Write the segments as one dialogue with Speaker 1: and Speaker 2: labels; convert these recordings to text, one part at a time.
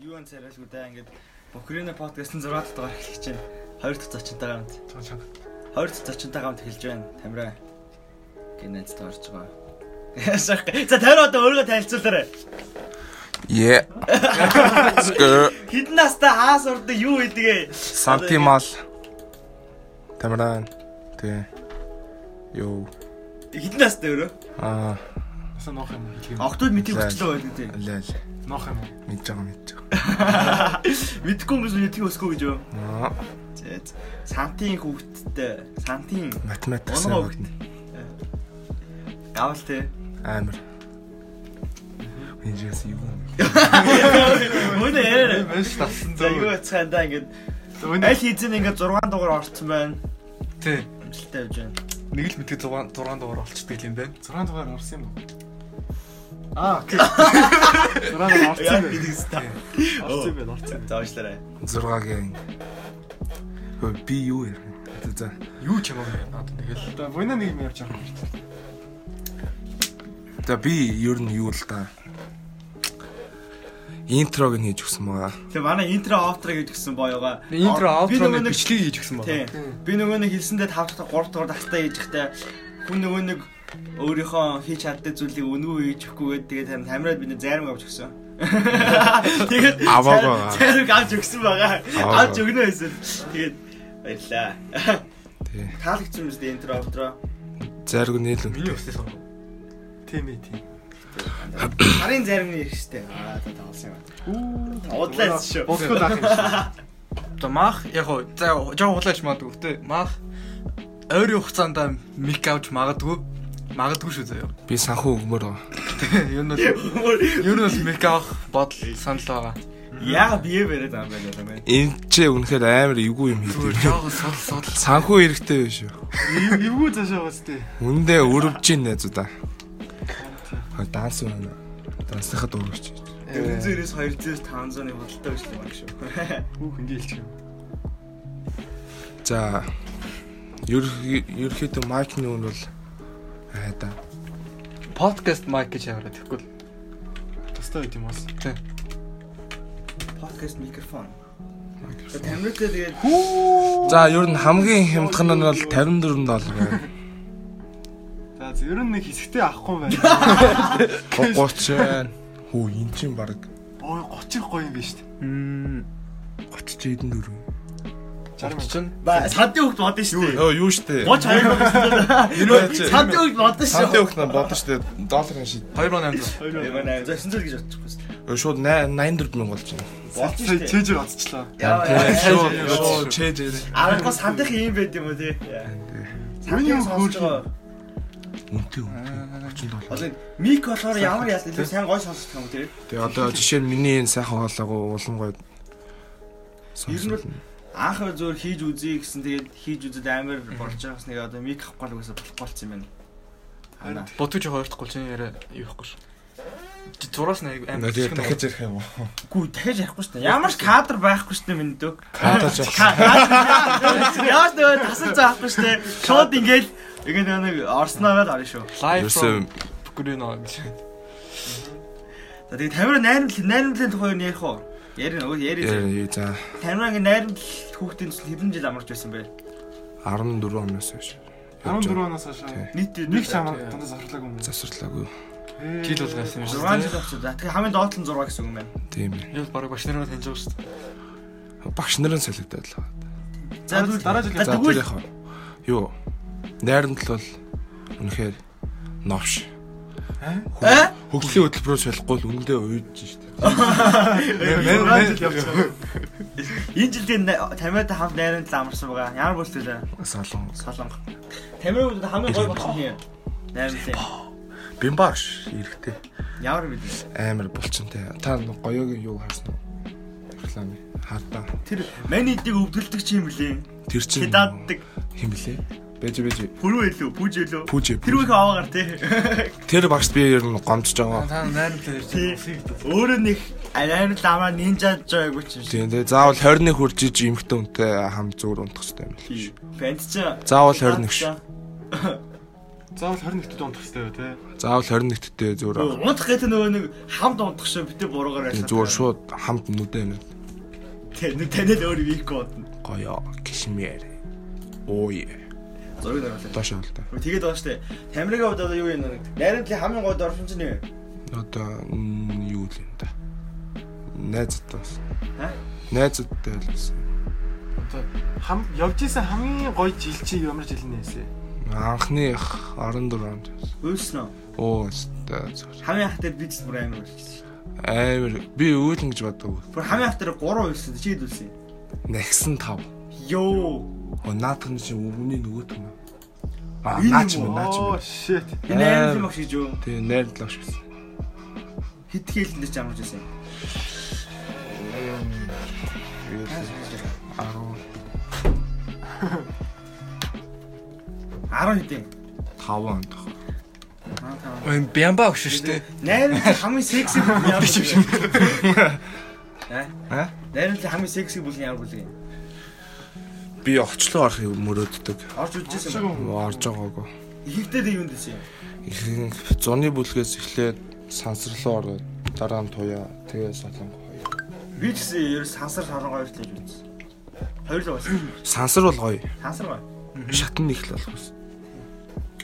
Speaker 1: Юуан царайлгүй даа ингээд Бокрина подкастын 6 дахь дугаар эхэлж байна. 2 дахь зочинтойгоо хамт. 2 дахь зочинтойгоо хамт эхэлж байна. Тамираа. Гинэц дуурж байгаа. Яшаа. За тамираа одоо өөрийгөө танилцуулаарай.
Speaker 2: Yeah. Let's go.
Speaker 1: Хідэн настай хаас урд юу хийдэг ээ?
Speaker 2: Сантимал. Тамиран. Тэ. Йоу.
Speaker 1: Хідэн настай өөрөө.
Speaker 2: Аа,
Speaker 3: Насан нох юм хэлэх юм.
Speaker 1: Огтуд мэдээ хүчлээ байл гэдэг.
Speaker 2: лал.
Speaker 3: Нох юм. уу?
Speaker 2: Мэдж байгаа мэдж
Speaker 1: Мэдхгүй юм гэсэн мэдхий өсгөө гэж юу?
Speaker 2: байгаа. Аа,
Speaker 1: Зэ, зэ. Сантийн хүүхдтэй. Сантийн
Speaker 2: математик
Speaker 1: Оноо
Speaker 2: сайн.
Speaker 1: хүүхд. Гавал те.
Speaker 2: Амар. Энэс юу?
Speaker 1: Өнөө яриа.
Speaker 3: Маш татсан
Speaker 1: За юу хацгаандаа ингээд
Speaker 3: Өнөө
Speaker 1: аль хийзэн ингээд 6 дугаар орцсон байна.
Speaker 3: тий.
Speaker 1: Амжилттай явж байна.
Speaker 4: Нэг л мэдээ 6 6 дугаар болчихдаг юм байна.
Speaker 3: 6 дугаар орсон юм уу? Аа, тий. 6 дугаар орсон
Speaker 1: Яг
Speaker 3: юм.
Speaker 1: гэдэг ста.
Speaker 3: Орсон байна, орсон.
Speaker 1: Заашлаарай.
Speaker 2: 6 гэн. Хөө би юу ярих? Тэ, За.
Speaker 4: Юу ч юм уу надад тэгэл
Speaker 3: Одоо өнөө нэг юм явж байгаа юм.
Speaker 2: За би ер нь юу л да. Интрог нь хийж өгсөн байгаа.
Speaker 1: Тэгээ манай интро аутро гэж гисэн боёога.
Speaker 4: интро аутроны
Speaker 1: нэг
Speaker 4: бичлэг хийж гсэн байна.
Speaker 1: Тийм. Би нөгөө нэг хэлсэндээ 5 дахь 3 дахь дахтай хийж ихтэй хүн нөгөө нэг өөрийнхөө хийж чаддаг зүйлийг өнгөө хийж өгөхгүйгээд тэгээд харин камерад бид нэ зарим авч өгсөн. Тэгээд
Speaker 2: Аваагүй
Speaker 1: зарим-
Speaker 2: байгаа.
Speaker 1: зарим авч өгсөн байгаа.
Speaker 2: Аваагүй.
Speaker 1: Авч өгнө гэсэн. Тэгээд баярлаа.
Speaker 2: Тэ.
Speaker 1: Таалагдсан биз дээ интро аутро.
Speaker 2: Зарг нийлэн.
Speaker 4: Миний өстэй сон.
Speaker 3: Тийм ээ, тийм.
Speaker 1: Сарын зарим нь ирэх штэ. Аа та тоглосон юм. Уу, удлаас шүү.
Speaker 3: Босход ах юм шиг.
Speaker 4: Одоо мах яг хоо за жоо хулаач маадгүй те. Мах ойрын хугацаанд мик авч магадгүй магадгүй шүү заяа.
Speaker 2: Би санхүү өгмөр байгаа.
Speaker 4: Ер нь бол ер нь бол мик авах бодол санал байгаа.
Speaker 1: Яа бие бариад байгаа юм байна юм.
Speaker 2: Энд ч үнэхээр амар эвгүй юм хийдэг.
Speaker 4: Зүгээр жоо судал судал.
Speaker 2: Санхүү хэрэгтэй биш үү?
Speaker 3: Эвгүй цаашаа гоц тий.
Speaker 2: Үндэ өрөвж ийн найзуудаа. Хаа данс байна. Дансахад өрөвч.
Speaker 4: Э.
Speaker 1: 400-ээс 200-ээс 500-ны бодлоо гэж байна шүү.
Speaker 3: Хүүх ингэ хэлчих юм.
Speaker 2: За ерхий- ерөөхдөө майкны үн бол айда.
Speaker 4: Подкаст майк гэж яваад тэгэхгүй. л.
Speaker 3: Тустай байт юм бас.
Speaker 1: Подкаст микрофон. Тамиртай тэгээд
Speaker 2: За ер нь хамгийн хямдхан нь бол 54 доллар байна.
Speaker 3: За, ер нь нэг хэсэгтэй авахгүй байна.
Speaker 2: 30 байна. Хөө эн чинь баг
Speaker 3: Ой, 30 гоё юм биш үү?
Speaker 4: Мм.
Speaker 2: 34.
Speaker 3: 60
Speaker 4: Чинь
Speaker 1: ба садын хөвгт бодсон шүү дээ.
Speaker 2: Өө юу штэ.
Speaker 1: Боч хоёр
Speaker 2: Юу
Speaker 1: садын хөвгт бодсон
Speaker 2: Сантыг
Speaker 1: шүү.
Speaker 2: өгнө бодсон штэ. Долларын шид.
Speaker 4: 2008.
Speaker 3: мянга.
Speaker 1: Зөсөн зүйл гэж бодчихгүй шүү.
Speaker 2: Өө, Шууд 84000 болж байна.
Speaker 1: Болсон
Speaker 3: Сая
Speaker 1: шүү.
Speaker 3: чэжэр оцчлаа.
Speaker 1: Яа.
Speaker 2: Шууд шууд чэйж ирээ.
Speaker 1: Арга сандах юм байд юм уу тий.
Speaker 3: Миний юм хөөрч.
Speaker 2: Үнтэй үнтэй. 30 доллар.
Speaker 1: Олон мик болохоор ямар ял илүү сайн гой сонсох юм тий.
Speaker 2: Тэгээ одоо жишээ нь миний энэ сайхан хоолойг улам гой.
Speaker 1: Ер нь бол анх зөөр хийж үзье гэсэн тэгээд хийж үзэд амар болж байгаас нэг одоо мик авахгүй л үгээсээ болохгүй болсон юм байна.
Speaker 3: Харин
Speaker 4: Ботгож хоёрдохгүй чинь яриа юу ихгүй шүү. Зураас нэг амар
Speaker 2: Тэгээ
Speaker 4: хэсэг нь
Speaker 2: дахиж ярих юм уу?
Speaker 1: Гүү дахиж ярихгүй шүү дээ. Ямар ч кадр байхгүй шүү дээ миний дөө.
Speaker 2: Кадр жоо.
Speaker 1: Яаж нөгөө тасалж авахгүй шүү дээ. Шууд ингээл ингээд нөгөө нэг орсноогоо л орно шүү.
Speaker 4: лайв
Speaker 2: Ерөөсөө
Speaker 4: гүрэнэ гэж.
Speaker 1: За тэгээ тамир найрамдл найрамдлын тухай юу ярих уу? Ярина уу ярина.
Speaker 2: Э, за
Speaker 1: Тамиргийн найрамдл хүүхдийн зүйл хэдэн жил амарч байсан бэ?
Speaker 2: 14 оноос хойш.
Speaker 3: 14 оноос хойш.
Speaker 1: Нийт
Speaker 3: Нэг ч амар дандаа завхарлаагүй юм.
Speaker 2: засварлаагүй.
Speaker 4: Жил бол гарсан юм
Speaker 1: 6
Speaker 4: шүү.
Speaker 1: жил болчихсон. За тэгээ хамгийн доотлон 6 гэсэн үг юм байна.
Speaker 2: Тийм ээ.
Speaker 4: Яг бараг баш нарыг таньж байгаа шүү. дээ.
Speaker 2: Багш нарын солигдоод л байгаа.
Speaker 1: За
Speaker 3: Дараа-
Speaker 1: тэгвэл-
Speaker 3: дараа жил
Speaker 1: за,
Speaker 2: За
Speaker 1: тэгвэл
Speaker 2: тэр яхав. Юу? Найрамд л бол үнэхээр новш.
Speaker 1: Аа?
Speaker 2: Хөгжлийн хөтөлбөрөөр солихгүй л үндэ уйдж штэ.
Speaker 3: Нэг жил явчихсан.
Speaker 1: энэ жил тэгээ най- тамиртай хамт найрамдл амарсан байгаа. Ямар бүлтэй лээ?
Speaker 2: Салон.
Speaker 1: Солонго. Тамиргийн үед хамгийн гой болох нь юм. Найрамдл.
Speaker 2: Бимбаш эрэхтэй.
Speaker 1: Ямар мэдээ?
Speaker 2: Амар булчинтай. Та гоёгийн юу харсан уу? Реклам хардаа.
Speaker 1: Тэр маний эдийг өвдгөлдөг чи юм блээ.
Speaker 2: Тэр чинь
Speaker 1: Хидааддаг.
Speaker 2: Хим блэ? Бэж бэж.
Speaker 1: Пүрүү илүү, пүүж илүү.
Speaker 2: Пүүжэ,
Speaker 1: Тэр үеийн аваагаар тий.
Speaker 2: Тэр багшд би ер нь гомдж байгаа.
Speaker 4: Та найрамд л ярьж
Speaker 1: Тий.
Speaker 4: байгаа. Үсгийг дээ.
Speaker 1: Өөрөө нэг арайм ламаа нинжаад байгаагүй ч юм шиг.
Speaker 2: Тийм тийм. Заавал 20-ны хүржиж эмхтэн үнтэй хам зүгээр унтах хэрэгтэй юм.
Speaker 1: Бэнд ч
Speaker 2: Заавал 21 шүү.
Speaker 3: Заавал 21-нд унтах хэрэгтэй байх тий.
Speaker 2: Заавал 21-т дээр зүгээр аа.
Speaker 1: Унтах гэдэг нөгөө нэг хамт унтах шиг битээ буруугаар
Speaker 2: Тэгээ зүгээр шууд хамт нүдэ нэр
Speaker 1: Тэ нэг танил өөр вик код. нь.
Speaker 2: гоё кишмэр. Ой.
Speaker 1: Зургийг оруулаа.
Speaker 2: Доош ойл та.
Speaker 1: Тэгээд байна штэ. Тамирын хувьд одоо юу юм нэг найрын талын хамгийн гол орчин чинь юу вэ?
Speaker 2: Одоо м, юу л юм да. Найзтай бас.
Speaker 1: Ха?
Speaker 2: Найзтай л бас.
Speaker 3: Одоо хам явж исэн хамгийн гоё жил чи ямар жил нээсэ?
Speaker 2: Анхных 14-нд.
Speaker 1: Үйлсэн үү?
Speaker 2: Оо, өстэй зүгээр.
Speaker 1: Хамгийн их дээр бид бүр амар үйлсэн.
Speaker 2: Амар би үйлэн гэж боддог.
Speaker 1: Бүр хамгийн их дээр 3 үйлсэн. Чи хэд үйлсэн?
Speaker 2: Нагсан 5.
Speaker 1: Йоо.
Speaker 2: Оо, наадхан чинь өвгөний нөгөө том. Аа,
Speaker 1: Энэ
Speaker 2: наач
Speaker 1: юм
Speaker 2: минь,
Speaker 1: уу?
Speaker 2: наач
Speaker 3: Оо
Speaker 2: минь.
Speaker 3: shit.
Speaker 1: Би найрын юм шиг жоо.
Speaker 2: Тэгээ найрлаа шүү дээ.
Speaker 1: Хэд хэлэлдэж амарч байсан юм.
Speaker 2: 15
Speaker 1: 10 хэдийн.
Speaker 2: онд.
Speaker 1: Аа, таа.
Speaker 4: Ой, бямба өгш шүү дээ.
Speaker 1: Найрын тал хамгийн секси бүлэг нь ямар биш юм. Э?
Speaker 2: Аа?
Speaker 1: Найрын тал хамгийн секси бүлэг нь ямар бүлэг юм?
Speaker 2: Би очлоо орох юм мөрөөддөг.
Speaker 1: Орж үзчихсэн юм.
Speaker 3: Шагун.
Speaker 2: Орж байгаагүй.
Speaker 1: Египтэд юунд дэсэн юм?
Speaker 2: Ихэнх зуны бүлгээс эхлээд сансарлуу ороод дараа нь туяа. Тэгээ солонго хоёо.
Speaker 1: Би ч гэсэн ерөөс сансар шарангаа хоёр л гэж үзсэн. Хоёр л болсон.
Speaker 2: Сансар бол гоё.
Speaker 1: Сансар гоё.
Speaker 2: Шатны их л болох ус.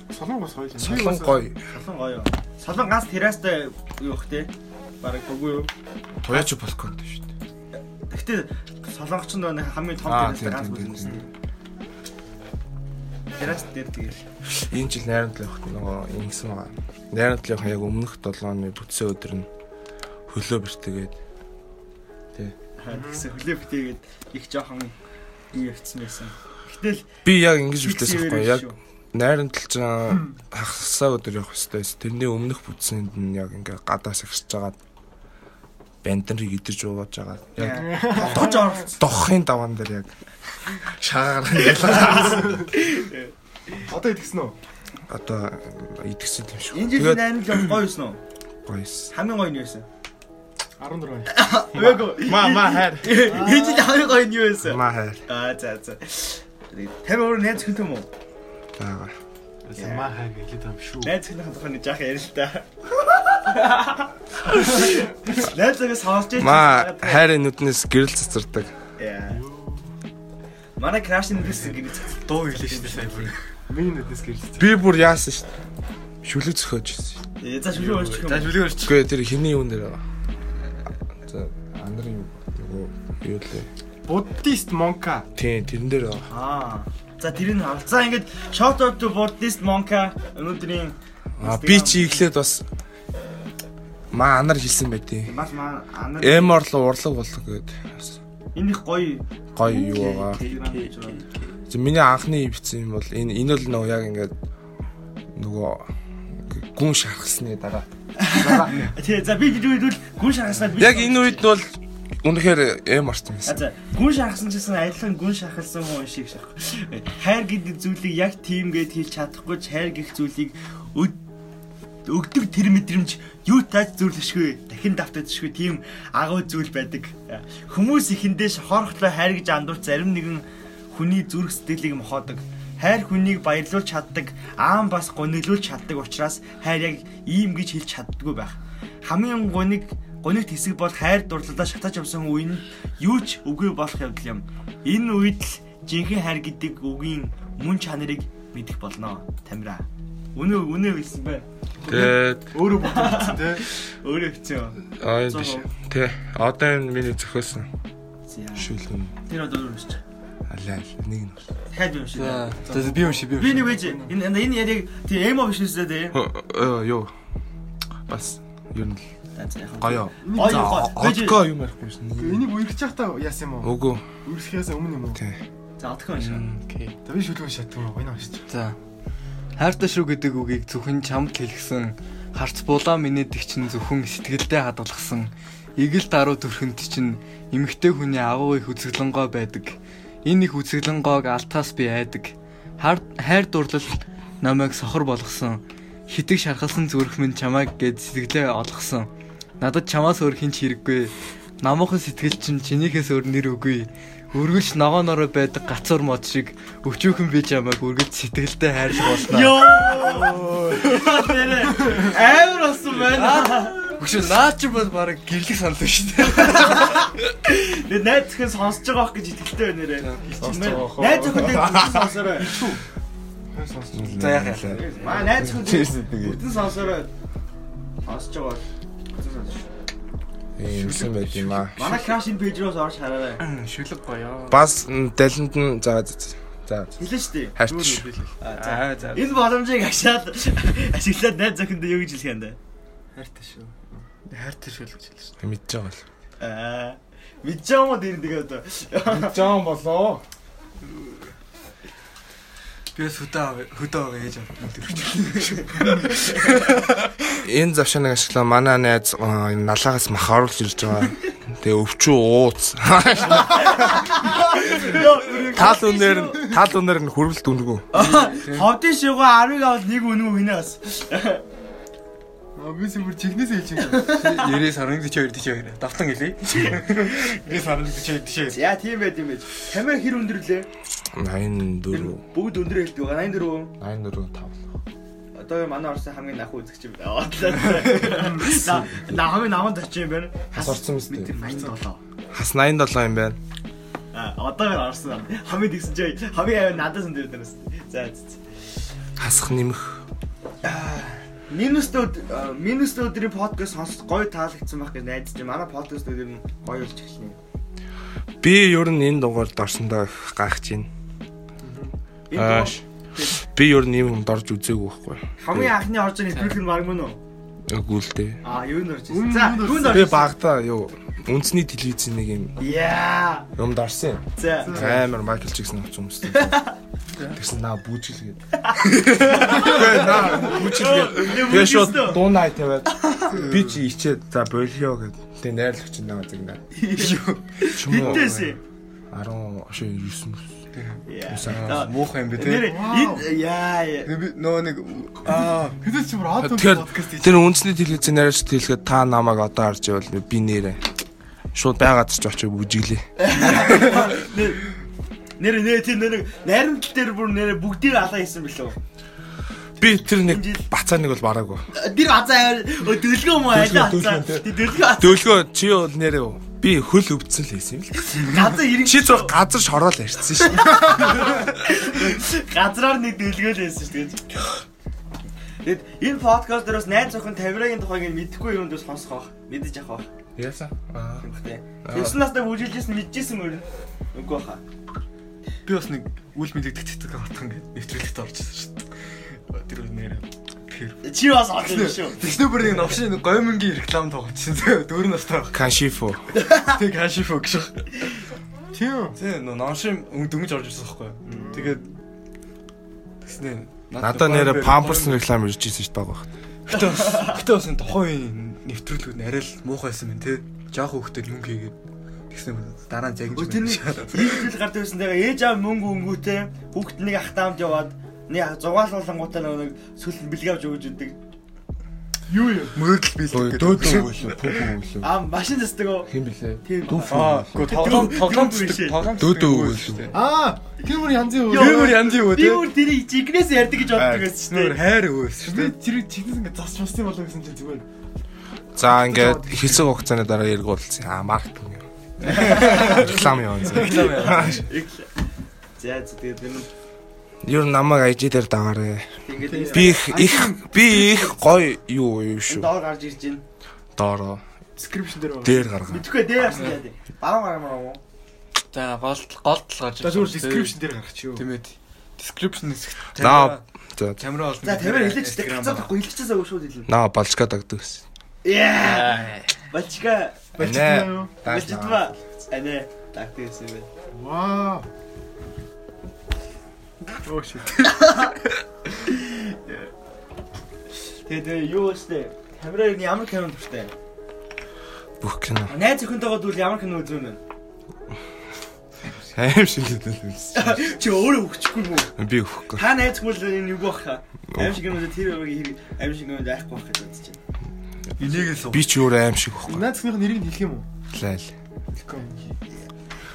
Speaker 3: Солонгос хоёул. юм.
Speaker 2: Солон гоё.
Speaker 1: Солон гоё. Солон ганц терастай юу бэх те? Бараг үгүй юу?
Speaker 2: Туяач болохгүй юм шүү дээ.
Speaker 1: Гэхдээ солонгочд нэг хамгийн том
Speaker 2: Аа,
Speaker 1: тэрнээс
Speaker 2: тийм,
Speaker 1: ганц
Speaker 2: тийм, тийм.
Speaker 1: үлэн шүү дээ. Тэрс дээр тэгэл.
Speaker 2: Энэ жил найрамд л явах нөгөө ингэсэн байгаа. Найрамд л явах яг өмнөх 7 оны бүтсэн өдөр нь хөлөө бэртгээд
Speaker 1: Аа, Тэгсэн хөлөө битээгээд их жоохон юу явцсан байсан. Гэтэл
Speaker 2: би яг ингэж
Speaker 1: их
Speaker 2: бэлдээсэн
Speaker 1: хэвээр
Speaker 2: байхгүй яг
Speaker 1: шүү.
Speaker 2: найран талжаа хагсаа өдөр явах хэвээрээс тэрний өмнөх бүтсэнд нь яг ингээ гадаас ихсэж жагаад бэнтэрийг идэрж ууж жагаад яг
Speaker 1: Яа. Дож оролцсон.
Speaker 2: дохын даван дээр яг шаагаар нь ялгаа
Speaker 3: Одоо идэгсэн үү?
Speaker 2: одоо идэгсэн юм шүү.
Speaker 1: Энэ жил
Speaker 2: Тэгээд
Speaker 1: 8 жил гоё юусэн үү?
Speaker 2: гоёс.
Speaker 1: Хамгийн гоё нь юусэн?
Speaker 3: 14.
Speaker 1: Үгүй.
Speaker 2: Ма ма хайр.
Speaker 1: Энэ жил хамгийн гоё нь юу байсан?
Speaker 2: Ма хайр.
Speaker 1: Аа за за. Тэр өөр найз хүн юм уу?
Speaker 2: Таага.
Speaker 1: Яа.
Speaker 3: Маа хай гэлээд байгаа юм шүү.
Speaker 1: Найз хүн хатах нь жаах ярил та. Найзээс хаалж яаж
Speaker 2: Ма хайр нүднээс гэрэл цацардаг.
Speaker 1: Яа. Манай краш нэвсэн гинэ.
Speaker 4: Дуу хэлээ шүү дээ. сайн бүр.
Speaker 3: Миний нүднээс гэрэлцсэн.
Speaker 2: Би бүр яасан шүү дээ. Шүлэг зөхөж ирсэн.
Speaker 1: Ээ, За шүлэг өрчих юм.
Speaker 4: За
Speaker 1: уу?
Speaker 4: жүлэг өрч.
Speaker 2: Гэхдээ тэр хиний юун дээр байгаа. За андрын юу нөгөө юу лээ.
Speaker 3: Буддист монка.
Speaker 2: Тийм тэрэн дээр байгаа.
Speaker 1: Аа. За тэрийг хав. За ингээд shout out to Buddhist Monka өнөөдрийн
Speaker 2: А би чи эхлээд бас маа анар хэлсэн байдیں۔
Speaker 1: маш маа анаа
Speaker 2: Эмор л урлаг болох гэдэг. бас
Speaker 1: энэ их гоё
Speaker 2: Гоё юу байгаа. Зөв миний анхны ивцэн юм бол энэ энэ бол нөгөө яг ингээд нөгөө гүн шархсны дараа.
Speaker 1: тий за би тэр үед бол гүн шахаснаа би
Speaker 2: Яг энэ үед нь бол үнэхээр эморсон
Speaker 1: А,
Speaker 2: байсан.
Speaker 1: за гүн шахсан гэсэн адилхан гүн шахалсан хүн шиг шах. Хайр гэдэг зүйлийг яг тиймгээд хэлж чадахгүй ч хайр гэх зүйлийг өд- өгдөг тэр мэдрэмж юу тааж зүйл бишгүй дахин давтаадшгүй тийм агуу зүйл байдаг. Хүмүүс ихэндээ шохорхлоо хайр гэж андуурч зарим нэгэн хүний зүрх сэтгэлийг мохоодог. Хайр хүнийг баярлуулж чаддаг, аан бас гонёлуулж чаддаг учраас хайр яг ийм гэж хэлж чаддгүй байх. Хамгийн гоник гонёт хэсэг бол хайр дурлалаа шатаж явсан үеийн юу ч үгүй болох явдал юм. Энэ үед л жинхэнэ хайр гэдэг үгийн мөн чанарыг мэдэх болно. Тамира. Үнэ үнэ хэлсэн байна.
Speaker 2: Тэгээд
Speaker 3: Өөрөө бүтэлцсэн тий.
Speaker 1: Өөрөө хэвчээ.
Speaker 2: аа энэ биш. Тэ одоо энэ миний зөхөөсөн
Speaker 1: За.
Speaker 2: шүлэн
Speaker 1: Тэр одоо өөрөө шүү.
Speaker 2: алай нэг нь. бол.
Speaker 1: Дахиад юм шиг.
Speaker 4: За за, би юм шиг би юм.
Speaker 1: Би
Speaker 4: шиг.
Speaker 1: нэг үеж энэ энэ- энэ яг тийм эмо биш үстэй дээ.
Speaker 2: Хөө, э, Юу бас ер нь л гоё.
Speaker 1: Гоё,
Speaker 2: За,
Speaker 1: гоё.
Speaker 2: Одко юм ярихгүй шин.
Speaker 3: Энийг үерхэж байхдаа яасан юм уу?
Speaker 2: Үгүй.
Speaker 3: Үерхэхээс өмнө юм уу?
Speaker 2: Тэ.
Speaker 1: За отхон шиг.
Speaker 4: Окей.
Speaker 3: За би шүлгэн шатдаг юм уу? Ойноо шүү.
Speaker 4: За. Хайртай шүү гэдэг үгийг зөвхөн чамд хэлгсэн харц булаа минийдэг чинь зөвхөн сэтгэлдээ хадгалсан. Игэл даруй төрхөнд чинь эмгтэй хүний агуу их үзэглэнгой байдаг. Энэ их үзэглэнгойг алтаас би айдаг. Хар- Хайр дурлал намайг сохор болгосон. Хитэг шархалсан зүрх минь чамайг гээд сэтгэлээ олгосон. Надад чамаас өөр хинч хэрэггүй. Намуухан сэтгэл чинь чинийхээс өөр нэр үгүй. Үргэлж ногоо нороо байдаг гацуур мод шиг өчүүхэн пижамаг үргэлж сэтгэлдээ хайрлах болно.
Speaker 1: Йоо. Амар болсон байна.
Speaker 4: Хөшөө наач бол баг гэрлэх санал шүү дээ.
Speaker 1: Би найз зөвхөн сонсож байгаа бох гэж итгэлтэй байна нэрээ.
Speaker 4: Сонсож байгаа хоо.
Speaker 1: Найз зөвхөн дэ сонсороо.
Speaker 4: За яах яах.
Speaker 1: Маа найз зөвхөн
Speaker 2: Тэрсэн тэгээ.
Speaker 1: бүтэн сонсороо. Сонсож байгаа бол. бүтэн сонсож.
Speaker 2: Ийм юм байт юм аа.
Speaker 1: Манай краш энэ пэйж рүү орж хараарай.
Speaker 3: Шүлэг гоё.
Speaker 2: Бас далинд нь за за. За.
Speaker 1: Хэлэн штий.
Speaker 2: Хайрч.
Speaker 1: Аа, за.
Speaker 3: Аа за.
Speaker 1: Энэ боломжийг ашиглаад ашиглаад найз зөвхөндөө юу гэж хэлэх юм бэ?
Speaker 3: Хайртай шүү. Хайртай шүлэг гэж хэлсэн.
Speaker 2: Мэдж байгаа бол.
Speaker 1: Аа. Мэдчихэм үү дэр тэгээ одоо.
Speaker 3: Жон болоо.
Speaker 4: Би бас хөдөө авъя- хөдөө авъя гэж
Speaker 2: Энэ завшааныг ашиглаа манай найз аа, энэ налаагаас мах оруулж ирж байгаа. Тэгээ өвчүү ууц. Тал үнээр нь тал үнээр нь хөрвөлт дүнгүү.
Speaker 1: Ховдын шугаа 10-ыг авал нэг үнэн өгнө бас.
Speaker 3: Обис бүр чихнээсээ хэлж байгаа.
Speaker 4: 90-с 12 42 давтан гэлээ.
Speaker 3: Би санал бичээ тийш.
Speaker 1: За тийм байт юм байж. Камер хэр өндөрлөө?
Speaker 2: 84
Speaker 1: Бүгд өндөр хэлдэг байгаа 84.
Speaker 2: 84 5.
Speaker 1: Одоо манай Орсын хамгийн анх үзэгч юм байна. За, наа хамгийн намд очив юм байна.
Speaker 2: Асуурсан биз дээ.
Speaker 1: 87.
Speaker 2: Хас 87 юм байна.
Speaker 1: А одоо минь Орсын ам. хамгийн дэгсэн жий. Хамгийн аваа надаас өндөр дээрээс. За. за, за.
Speaker 2: Хасах нэмэх.
Speaker 1: Минусд минусд өдрийн подкаст сонсох гоё таалагдсан байх гэж найдаж байна. Манай подкаст өдөр нь гоё болж эхэлнэ.
Speaker 2: Би ер нь энэ дугаард орсондоо их гайхаж байна.
Speaker 1: Энэ
Speaker 2: Аа.
Speaker 1: дугаар-
Speaker 2: Би ер нь юм дорж үзээгүй байхгүй.
Speaker 1: хамгийн анхны орж ирэх нэвтрүүлэг нь баг мөн үү?
Speaker 2: Үгүй л дээ.
Speaker 1: А юу нэрч.
Speaker 3: Үн-
Speaker 1: За,
Speaker 3: үн
Speaker 1: юу
Speaker 2: Би
Speaker 1: нэрч.
Speaker 2: багада юу үндэсний телевизийн нэг юм
Speaker 1: Яа.
Speaker 2: юм дорсон юм.
Speaker 1: За.
Speaker 2: Амар Майкл Джексон авч юм шүү дээ. Тэгсэн наа бүжгэлгээд. Үгүй наа бүжгэлгээд.
Speaker 1: Нэ,
Speaker 2: Тэгээ шууд
Speaker 1: бүжгэлсэн.
Speaker 2: дуунай тавиад би чи ичээд за болио гэд. Тэгээ найрлагч наа зэгнэ. Чүмүү.
Speaker 1: Хитээс.
Speaker 2: 10 ши 9 мөс.
Speaker 1: Яа.
Speaker 2: Үсаа.
Speaker 4: Муухай юм би
Speaker 1: Нэр
Speaker 4: те.
Speaker 1: энэ яа. яа.
Speaker 4: Би нөө нэг аа
Speaker 3: Хэдэж чи бүр хаад
Speaker 2: Тэгэхээр тэр үндэсний телевизийн найрлагч хэлэхэд та намайг одоо харж байвал би нэрээ шууд байгаад ч очиж бүжиглээ.
Speaker 1: Нэр нэр нэ тийм нэр найрамдал дээр бүр нэр бүгдийг алаа хийсэн билүү.
Speaker 2: Би тэр нэг бацаа нэг бол бараагүй.
Speaker 1: Тэр азаа дөлгөө мөн алаа хацаа. Тэ дөлгөө хацаа.
Speaker 2: Дөлгөө чи юу нэрээ юу? Би хөл өвдсөн л хэлсэн юм л.
Speaker 1: Газар ирэн
Speaker 2: Чи зүр газар шороол ярьсан шүү.
Speaker 1: газраар нэг дөлгөө л байсан шүү дээ. Тэгэд энэ подкаст дээрс найз зөвхөн 50-аагийн тухайг нь мэдэхгүй юмд бас сонсох бах. Мэдэж авах бах.
Speaker 2: Яасан? Аа.
Speaker 1: юм бах. Тэсэн настай бүжиглэжсэн мэдчихсэн мөр. Үгүй хаа.
Speaker 4: би бас нэг үл мэдэгдэх цэцэг хатхан гэж нэвтрүүлэгт орчихсон шүү дээ. Тэр нэр тэр
Speaker 1: Чи бас олж ирсэн шүү.
Speaker 4: Тэснүү бүр нэг новшин нэг гомингийн реклам тоглочихсон. Дөрөв настай байх.
Speaker 2: Каншифу.
Speaker 4: Тэг хашиф өгш.
Speaker 3: Тийм.
Speaker 4: Тэ нөө новшин дөнгөж орж ирсэн байхгүй. Тэгээд тэгснэ
Speaker 2: Надад нэрэ Pampers реклам ирж ирсэн шүү дээ баг баг.
Speaker 4: Гэтэ бас энэ тухайн үеийн нэвтрүүлгүүд нь арай л муухайсан мэн те. Жаахан хөхтөд мөнгө хийгээд тэгснэ бүр дараа нь загинж.
Speaker 1: Өө, Тэр нэг иргэдэл гардаг байсан дээр ээж аав мөнгө өнгөтэй хүүхэд нэг ах таамд яваад нэг зугаалуулангуудаа нөгөө нэг сүл бэлгэвж өгж өгдөг.
Speaker 3: Юу юм?
Speaker 4: мөрөдл бийлдэг гэдэг.
Speaker 2: үлээ, пүүпүү үлээ.
Speaker 1: Аа машин зэсдэг өө.
Speaker 2: Хим блэ?
Speaker 1: Тийм.
Speaker 4: Аа, гоо тоглоом
Speaker 1: Дүү-
Speaker 4: тоглоом
Speaker 1: дүү биш.
Speaker 4: зүтг тоглоом.
Speaker 2: Дүүдөө өгөөлөө.
Speaker 3: Аа, тэр бүр янзын
Speaker 1: Йоо.
Speaker 3: өөр.
Speaker 4: Юмөр янз юм үү
Speaker 1: Би
Speaker 4: те.
Speaker 1: бүр тэрийг жигнээс ярьдаг гэж боддог байсан
Speaker 4: Нүр
Speaker 1: шүү дээ.
Speaker 4: хайр өвөөс шүү
Speaker 3: Би
Speaker 4: дээ.
Speaker 3: тэр чихнээс ингэ засч бассан болоо гэсэн чи зүгээр.
Speaker 2: За ингээд хэцүү хугацааны дараа эрг уулцсан. Аа маркетинг. юм. Реклам яваа. зү.
Speaker 1: Их- За за тэгээд энэ
Speaker 2: Юу намайг IG дээр дагаарэ.
Speaker 1: ингээд
Speaker 2: Би их их би их гоё юу юу
Speaker 1: энэ
Speaker 2: шүү.
Speaker 1: доор гарч ирж байна.
Speaker 2: Доороо
Speaker 3: Description дээр байна.
Speaker 2: дээр гаргаа.
Speaker 1: Мэдхгүй дээ яасан яа. Баруун гарамаар уу?
Speaker 4: За гол гол толгож.
Speaker 3: За зүгээр description дээр гаргач юу.
Speaker 4: Тэмээд description хэсэгт
Speaker 2: Наа за
Speaker 4: камера олно.
Speaker 1: За тамир хэлээч дээ. Хацаахгүй хэлчихээсээ өгшүүд хэлэн.
Speaker 2: наа болчка дагдаг гэсэн.
Speaker 1: Яа. Бачка.
Speaker 3: Болчихлоо юу?
Speaker 1: Бачтва. Ане тактиксэн юм байна.
Speaker 3: Вау. Оо shit.
Speaker 1: Тэгээд юу өстэй? Камераар нь ямар камер дуртай?
Speaker 2: Бүх кино.
Speaker 1: Найз өхөнтэйгоо дүүл ямар кино үзүүн вэ?
Speaker 2: Аим шиг л үлээсэн.
Speaker 1: Чи өөрөө өгчихгүй юм уу?
Speaker 2: Би өөхгүй.
Speaker 1: Та найз хөл энэ юу бах та? Аим шиг юм үү тэр өрөөг аим шиг юм байхгүй байх гэж бодож байна.
Speaker 4: Энийг л суу.
Speaker 2: Би ч өөр аим шиг өөхгүй.
Speaker 3: Наад зөхнийх нэрийг нь хэлэх юм уу?
Speaker 2: Лайл.
Speaker 3: Хэлэхгүй юм.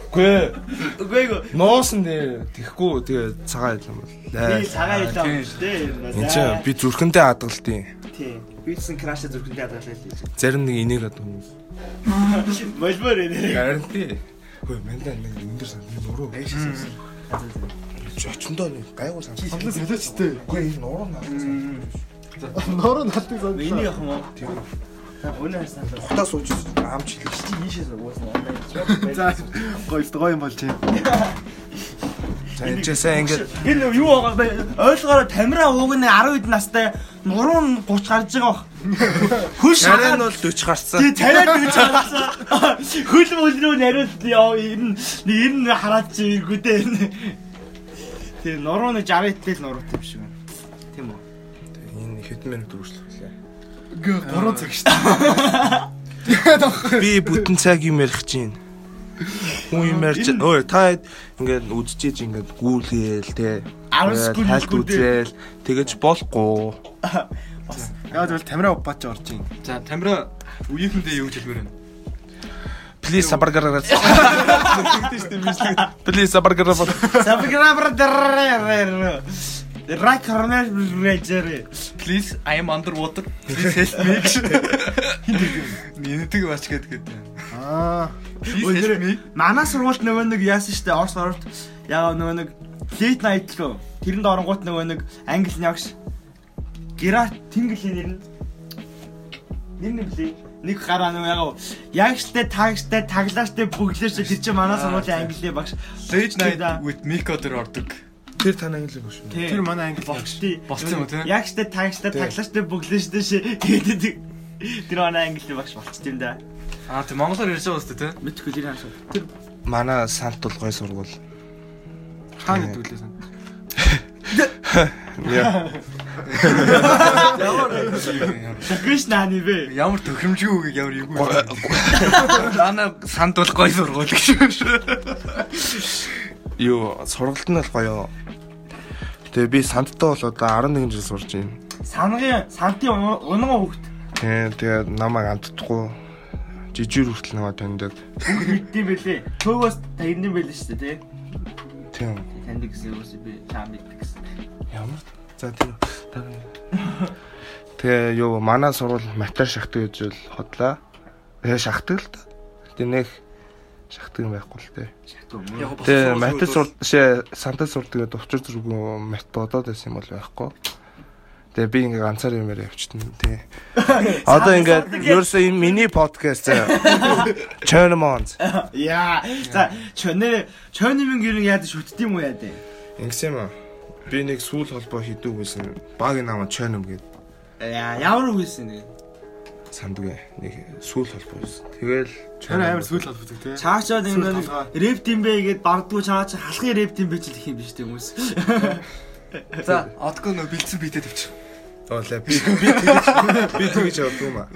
Speaker 2: Үгүй ээ.
Speaker 1: Үгүй ээ.
Speaker 2: Нуусан дээ. Тэхгүй тэгээ цагаан ил юм бол.
Speaker 1: Би
Speaker 2: Лай.
Speaker 1: цагаан
Speaker 4: тийм.
Speaker 1: хэлээ юм шүү дээ. ер нь.
Speaker 2: Энд чи би зүрхэндээ хадгалтын.
Speaker 1: Тийм. Би чинь краш зүрхэндээ хадгалаа л гэж.
Speaker 2: Зарим нэг энийг хад хүмүүс.
Speaker 1: Молмор ээ.
Speaker 2: Гаранти. Хөөе, мандаа нэг өндөр сан би нуруу. Чи очондоо нэг гайгүй сан.
Speaker 3: Хамгийн солиочтой.
Speaker 2: Үгүй энэ нуруу наа.
Speaker 3: Нуруу налтыг сонсон.
Speaker 1: Энийг явах юм уу? Тийм. За өнөө хасан л.
Speaker 2: Утаа сууж амч хэлээ.
Speaker 1: Чи ийшээс уусна. Онлайн.
Speaker 3: За гоё гоё юм болж байна.
Speaker 2: За энэ ч сайн ингээд
Speaker 1: Энэ юу байгаа бэ? Ойлгоороо тамира ууг нь 10 хэд настай нуруу нь 30 гарч байгаа бах. Хөл
Speaker 2: Шарын
Speaker 1: шараа
Speaker 2: бол 40 гарцсан.
Speaker 1: тий тариад гэж харсан. Хөл мөл рүү нариул яа ер нь ер нь хараад чи иргүү дээ. Тий нуруу нь 60 хэдтэй л нуруутай юм шиг байна. Тийм үү?
Speaker 2: Энэ хэдэн минут үргэлжлэх вэ?
Speaker 3: Гэ 3 цаг шүү дээ.
Speaker 2: Би бүтэн цаг юм ярих чинь. Хүн юм ярьж өө та хэд ингээд үдчихэж ингээд гүйлээл те.
Speaker 1: Арван секунд
Speaker 2: Тайлт
Speaker 1: гүйлгүү дээ.
Speaker 2: үзээл тэгэж болохгүй.
Speaker 3: Яаж бол тамира упаач орж ийн.
Speaker 4: За тамира үеийнхэндээ юу хэлмээр байна?
Speaker 2: Please сабаргараа. Please сабаргараа.
Speaker 1: Сабграбрадэр. Рак хорнер брэжэр.
Speaker 4: Please I am underwater. Please help me. Ниндэг бач гэдэг.
Speaker 3: Аа.
Speaker 4: Please help me.
Speaker 1: Манай сургуульд нөгөө нэг яасан штэ Орос оролт яа нөгөө нэг Late Night руу тэрэнд оронгууд нөгөө нэг англи нягш Герат Тинглийн нэр нь нэр нь блий нэг гараа нөгөө яг ягштай тагштай таглааштай бүглээш тэр чинь манай сургуулийн англи багш
Speaker 4: Stage night with Miko дээр ордог.
Speaker 2: Тэр танаа ингэ л биш үү?
Speaker 3: Тэр манай англи багш.
Speaker 1: багштай
Speaker 4: Болцсон юм уу, тий?
Speaker 1: Ягштай тагштай
Speaker 2: Тий.
Speaker 1: таглааштай бүглээштэй ши тэгээд тэр манай англи багш болчих юм да.
Speaker 4: Аа тийм монголоор ярьж байгаа үстэй те.
Speaker 1: Мэдхгүй л юм шиг. Тэр
Speaker 2: Манай сант бол гой сургуул.
Speaker 3: Хаа гэдэг үлээ сан.
Speaker 2: Яа.
Speaker 1: Шакиш нааны бэ?
Speaker 4: Ямар төхөмжгүй үгийг ямар юу вэ? Манай санд бол гой сургууль гэж.
Speaker 2: Юу, сургалт нь бол гоё. Тэгээ би санттай бол одоо 11 жил сурж байна.
Speaker 1: Сангийн сантын унган хөвгт
Speaker 2: Тий, тэгээ намайг амтдахгүй. Жижиг хүртэл намайг таньдаг.
Speaker 1: мэддэм бэлээ. Төөгөөс тагнэн бэлээ шүү дээ, тий.
Speaker 2: Тийм.
Speaker 1: Танд гэсэн юус би таа мэддэг гэсэн.
Speaker 2: Ямар? За тийм. Тэгээ юу манай сурвал матер шахдаг гэж л хотлаа. Тэгээ шахдаг л та. Тэгээ нэг шахдаг юм байхгүй л тээ.
Speaker 1: Шатуу мөн.
Speaker 2: Тэгээ матер сур шээ санта сурдаг гэдэг учир зүргүй мат бодоод байсан юм бол байхгүй. Тэгээ би ингээ ганцаар юм яриа явчихтэн тий. Одоо ингээ ерөөсөө энэ миний подкаст заяа. Tournament.
Speaker 1: Яа. За, чонэ чоны минь гэрэн яад шүтдэг юм уу яа дээ.
Speaker 2: Ингэсэн юм аа. Би нэг сүүл холбоо хийдэг байсан. Баг намаа Tournament гэдэг
Speaker 1: Яа, ямар үг хэлсэн нэ?
Speaker 2: сандгүй нэг сүүл холбоо байсан. Тэгэл
Speaker 3: Тэр амар сүүл бол бүдэг те.
Speaker 1: Чаачаад энэ нэг
Speaker 3: толгой.
Speaker 1: рэп дим бэ гэд бардгүй чаач халахын рэп дим бэ ч л их юм биш үү хүмүүс.
Speaker 4: За отко нөө бэлдсэн битээ төвчих.
Speaker 2: Оолаа би би тэгэж би тэгэж явдаг юм аа.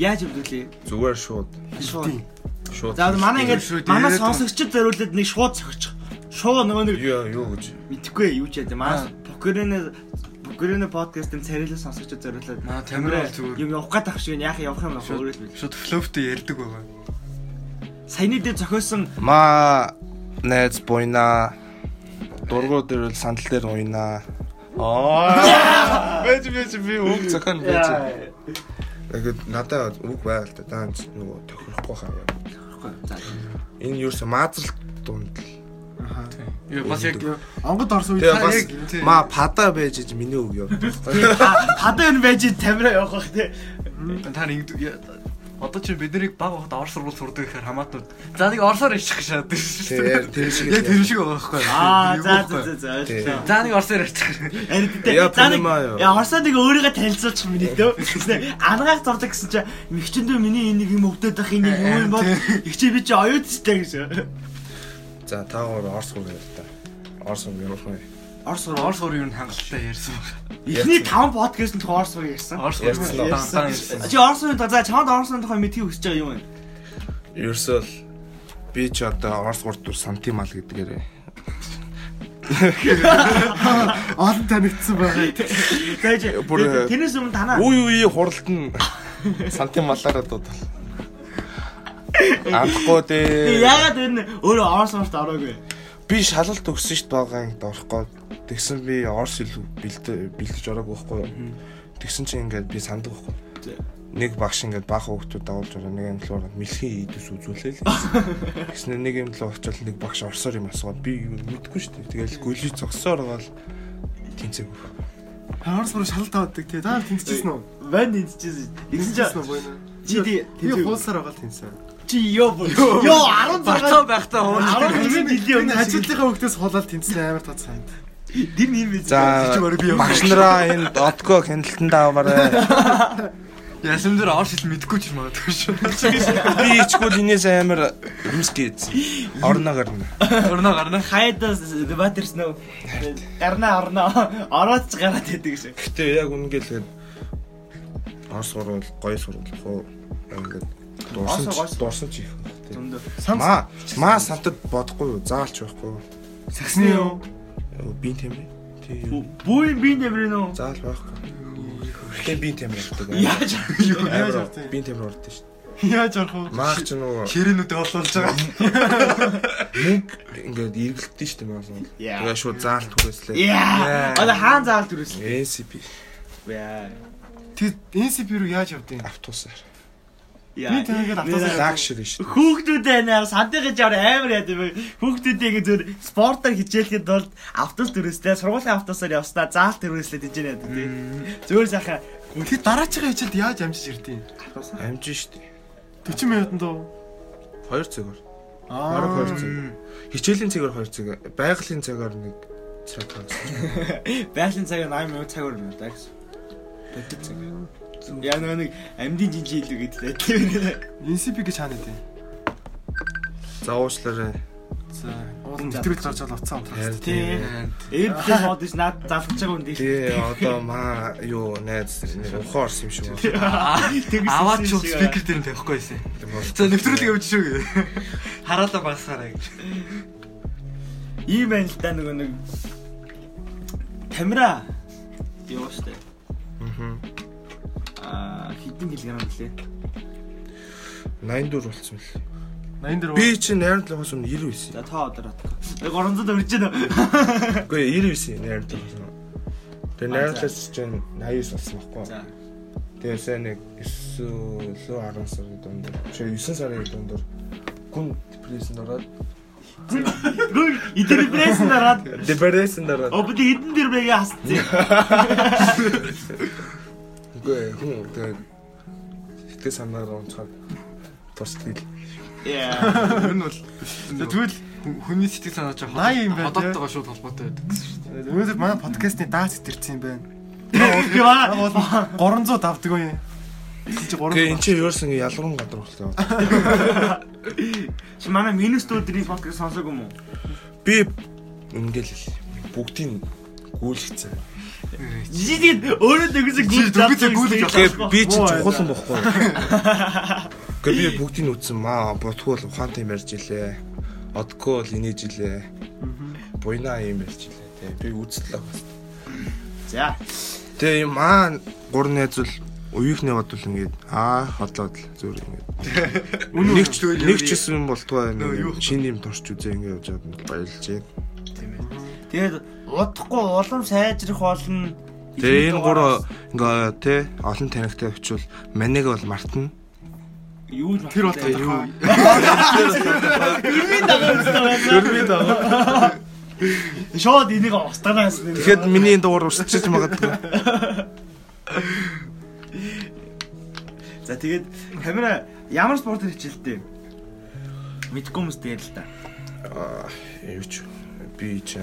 Speaker 1: Яаж өвдөглээ?
Speaker 2: Зүгээр шууд.
Speaker 1: Шууд.
Speaker 2: Шууд.
Speaker 1: За, манай ингээд
Speaker 4: Шууд
Speaker 1: манай
Speaker 4: яриад байна.
Speaker 1: сонсогчд зориулээд нэг шууд цогчих. Шууд нөгөө нэг
Speaker 2: Юу юу гэж.
Speaker 1: Мэдхгүй юу ч яа. Маас
Speaker 4: Аа.
Speaker 1: Покерэнэ Покерэнэ подкастын царилаа сонсогчд зориулаад
Speaker 4: Маа, тамираа бол зүгээр.
Speaker 1: юм явах гэдэг шиг яах явах юм бол өөрөө л бил.
Speaker 4: Шууд флөвтэй ярьдаг байгаа.
Speaker 1: Саяны дээр зохиосон
Speaker 2: Маа найз буйна. Дургуу дээр л сандал дээр уйна. Аа. Бэж бэж би үг зохион бэж.
Speaker 1: Яахгүй.
Speaker 2: Тэгэд надад үг байгаад та даа нөгөө тохирохгүй хаа.
Speaker 1: За.
Speaker 2: Энэ юус маазралт дунд л.
Speaker 4: Юу бас яг
Speaker 3: Онгод орсон үед
Speaker 2: Тэгээ
Speaker 3: та
Speaker 2: бас
Speaker 3: яг тий.
Speaker 2: маа пада байж гэж миний үг явдаг.
Speaker 1: Хадаа энэ байж тамира явах бах те.
Speaker 4: та нэг одоо чи бид нарыг баг ухад орс сургууль сурдаг гэхээр хамаатууд. За нэг орсоор ярьчих гэж шаадаг
Speaker 2: Тэгээ
Speaker 4: шүү дээ.
Speaker 2: тэр шиг.
Speaker 4: Яг тэр шиг байгаа байхгүй.
Speaker 1: Аа за
Speaker 4: Юу
Speaker 1: за
Speaker 4: байхгүй.
Speaker 1: за за. ойлголоо.
Speaker 4: За нэг орсоор ярьчих.
Speaker 1: Ари дэ.
Speaker 2: Яа,
Speaker 1: За, нэг-
Speaker 2: Панама юу?
Speaker 1: Яа Орсоо нэг өөрийгөө танилцуулчих миний дөө. Тэснэ ангаах зурдаг гэсэн чи мэгчэндөө миний энэ нэг юм өвдөд ах энэ нэг юу юм бол их чи би чи оюутстай гэж.
Speaker 2: За таагаар орс хурд ярил та. Орс хурд ярих юм.
Speaker 1: Орс орс.
Speaker 4: Орс сургууль юу н хангалттай ярьсан байна.
Speaker 1: Эхний 5 подкаст нь Орс уу ярьсан.
Speaker 4: Орс сургууль
Speaker 2: Ярьсан уу?
Speaker 4: даантаа ярьсан.
Speaker 1: Чи Орсын тухай за чамд Орсын тухай мэдхийг хүсэж байгаа юм байна.
Speaker 2: Ерөөсөө л би ч одоо орс хурд дур сантимал гэдгээр
Speaker 3: олон танигдсан байгаа.
Speaker 1: Тэгэж
Speaker 2: Бүр, э,
Speaker 1: тэрнээс өмнө танаа
Speaker 2: үе үе хуралд нь сантималаараа дуудал. Амхгүй дээ.
Speaker 1: Яагаад энэ өөрөө орс орт ороогүй.
Speaker 2: би шалалт өгсөн шít байгаа юм дөрхгүй. Тэгсэн би орс илүү бэлдэ- бэлдэж ороагүй байхгүй. юу. Тэгсэн чинь ингээд би санддаг байхгүй.
Speaker 1: Тий.
Speaker 2: Нэг багш ингээд баг хүүхдүүд давуулж ороо нэг юм л ороод мэлхий идэс үзүүлээл. Тэгснэ нэг юм л очил нэг багш орсоор юм асууад би юу мэдгүй шít. Тэгээл гөлий зогсоор ороод тэнцэв.
Speaker 3: Орос бүр шалалт авдаг тий. Даа тэнцчихсэн үү?
Speaker 1: Ван тэнцчихсэн. Тэгсэн
Speaker 3: Тэнцчихсэн
Speaker 1: чинь
Speaker 3: үү буйна?
Speaker 1: Чи тий,
Speaker 3: Би
Speaker 1: тэнцэв.
Speaker 3: хуулсаар байгаа л тэнцсэн.
Speaker 1: чи ёо бо. Ёо 16
Speaker 4: байхдаа
Speaker 1: Арав хэдэн жилийн
Speaker 3: Энэ
Speaker 1: өмнө ажил
Speaker 3: ажлынхаа хөвгтөөс хулаад тэнцсэн амар тод санд.
Speaker 1: дэр нэм биз.
Speaker 2: За багш нараа энэ додго хяналтандаа аваарэ.
Speaker 4: Яасан дээр орш хэл мэдгүй ч юм аадгүй шүү.
Speaker 2: Би ичгүүл инээс амар юмс гээд орно гарна.
Speaker 4: Орно гарна.
Speaker 1: хайдас дебатерс нөө. Гарна орно. Ороод ч гараад байдаг шиг.
Speaker 2: Гэтэ яг үнгээл тэгээд орс сурвал гоё сурвал хоо ингээд дурсан
Speaker 1: Орсоо гоё
Speaker 2: ч- дурсан ч их юм байна, тий.
Speaker 1: Зөндөө.
Speaker 2: Маа маа самтад бодохгүй юу, заалч байхгүй.
Speaker 3: Сагсны юу?
Speaker 2: юу. Би тийм ээ. Тий.
Speaker 1: Бүү би нэмрэн үү?
Speaker 2: Заал байхгүй. Гэтэ би тийм ярьдаг.
Speaker 1: Яаж юу?
Speaker 3: Яаж
Speaker 2: Амар
Speaker 3: ордог юм?
Speaker 2: Би тийм ордог шүү.
Speaker 3: Яаж орох вэ?
Speaker 2: Маа ч нөгөө
Speaker 3: Хэрэнүүдээ олуулж байгаа.
Speaker 2: мөнгө ингээд эргэлдэж шүү дээ маа. бол.
Speaker 1: Яа.
Speaker 2: Тэгээ шууд заалт түрээслээ.
Speaker 1: Яа. Одоо хаан заавал төрүүлсэн.
Speaker 2: NCP
Speaker 1: Яа.
Speaker 3: Тэр NCP руу яаж явдیں۔
Speaker 2: автобусаар.
Speaker 3: Би тэнийг автосаа-
Speaker 2: Лакшери шүү.
Speaker 1: Хүүхдүүдээ нэр сандыг гэж аваар амар яд юм. Хүүхдүүдээ ингэ зөв спортоор хичээлэхэд бол автобус төрөслөө, сургуулийн автобусаар явснаа заалт төрөслөө гэж нэт тий. Зүгээр сайхан
Speaker 3: Тэр дараачихаа хичээлд яаж амжиж ирдیں۔
Speaker 1: автобусаар.
Speaker 2: Амжин шүү дээ.
Speaker 3: 40 минутанд уу?
Speaker 2: 2 цагаар. Бараг
Speaker 3: Аа.
Speaker 2: 2 цаг. Хичээлийн цагаар 2 цаг. Байгалийн цагаар нэг цаг хагас.
Speaker 1: Байгалийн цагаар 80 минут цаг өрнө даа гэсэн. Бодит цаг. Яг нөгөө нэг амьдын жинжээ илүү гэдэлээ тий.
Speaker 3: NCP гэж хаана дээ?
Speaker 2: За уучлаарай.
Speaker 3: За, уулын нэвтрүүлж гарч бол уцаа унтрах.
Speaker 1: Тий. Эйрплейн мод ш над залхаж байгаа юм дээ.
Speaker 2: Тий одоо маа юу найз нэг ухаан орсон юм шиг байна.
Speaker 4: Аваад ч спикер дээр нь тавихгүй байсан. За нэвтрүүлэг явж шүү гээ. Хараалаа багсаарай гэж.
Speaker 1: Ийм байна л да нөгөө нэг камера яваа штэ.
Speaker 2: Мгм.
Speaker 1: Аа хэдэн килограмм блэ?
Speaker 2: 84 болсон мэл.
Speaker 3: 80 дээр.
Speaker 2: Би чинь найрамд л ухаас өмнө 99.
Speaker 1: За тоо одоо рат. Яг 300 өрж гэнэ.
Speaker 2: Үгүй 99 найрамд л ухаас. Тэгээ найрамдлаас чинь 89 болсон
Speaker 1: За.
Speaker 2: байхгүй. Тэгээсээ нэг 9 10 сарын дунд. Чи 9 сарын дунд гүн депрессэнд ороод
Speaker 1: Гүн идэр пресс нараад.
Speaker 2: депрессэнд ороод
Speaker 1: Обд хитэн дэр бэгэ хасцээ.
Speaker 2: үгүй хүн тэгээ сэтгэл санаагаа онцгой тусдгийг
Speaker 1: Яа.
Speaker 4: Ер нь бол
Speaker 3: Тэгвэл
Speaker 4: хүний сэтгэл санаа ч
Speaker 3: 80 юм байна, тий?
Speaker 4: Хадаадагаа шууд холбоотой байдаг гэсэн шүү.
Speaker 3: өнөөдөр манай подкастны даац итерсэн юм байна.
Speaker 1: Яа.
Speaker 3: 300 давдаг уу? Чи 300.
Speaker 2: Тэгээ эн чинь ерөөсөн ялгуун гадар болтой.
Speaker 1: Чи манай минус өдрийн подкаст сонсоогүй юм уу?
Speaker 2: Би ингээл л бүгдийн гүйлгцэн.
Speaker 1: Жи тэгэд өөрөө дэгсэг гүн
Speaker 4: дэгсэг гүйлж
Speaker 2: Тэгээ би чинь чухал юм бохгүй. Гэхдээ би бүгдийг нь үтсэн маа. Бодгүй бол ухаантай юм ярьж илээ. Одгүй бол инээж илээ. Буйна юм ярьж илээ. Тэгээ би үзтлээ.
Speaker 1: За.
Speaker 2: Тэгээ маа гур найзул уухны бодвол ингээд аа хотлоод л зүгээр ингээд. Нэг ч нэг ч юм болтугай юм. Шинэ юм торч үзээ ингээд явж байгаа баярлж байна.
Speaker 1: Тэгэд удахгүй улам сайжрах болно.
Speaker 2: Тэгээ энэ гур ингээд те олон танигтай очивол манайг бол мартна.
Speaker 1: юу л
Speaker 3: Тэр бол
Speaker 1: батлаа.
Speaker 3: тодорхой.
Speaker 1: Ирмийн дагаа үзсэн байна. Ирмийн дагаа. Шууд энийг устганаас.
Speaker 2: Тэгэхэд миний дуур усчих магадгүй.
Speaker 1: За тэгээд камера ямар спортоор хичээлтэй? Мэдгүй юмс дээр л да.
Speaker 2: Аа, юу ч би ч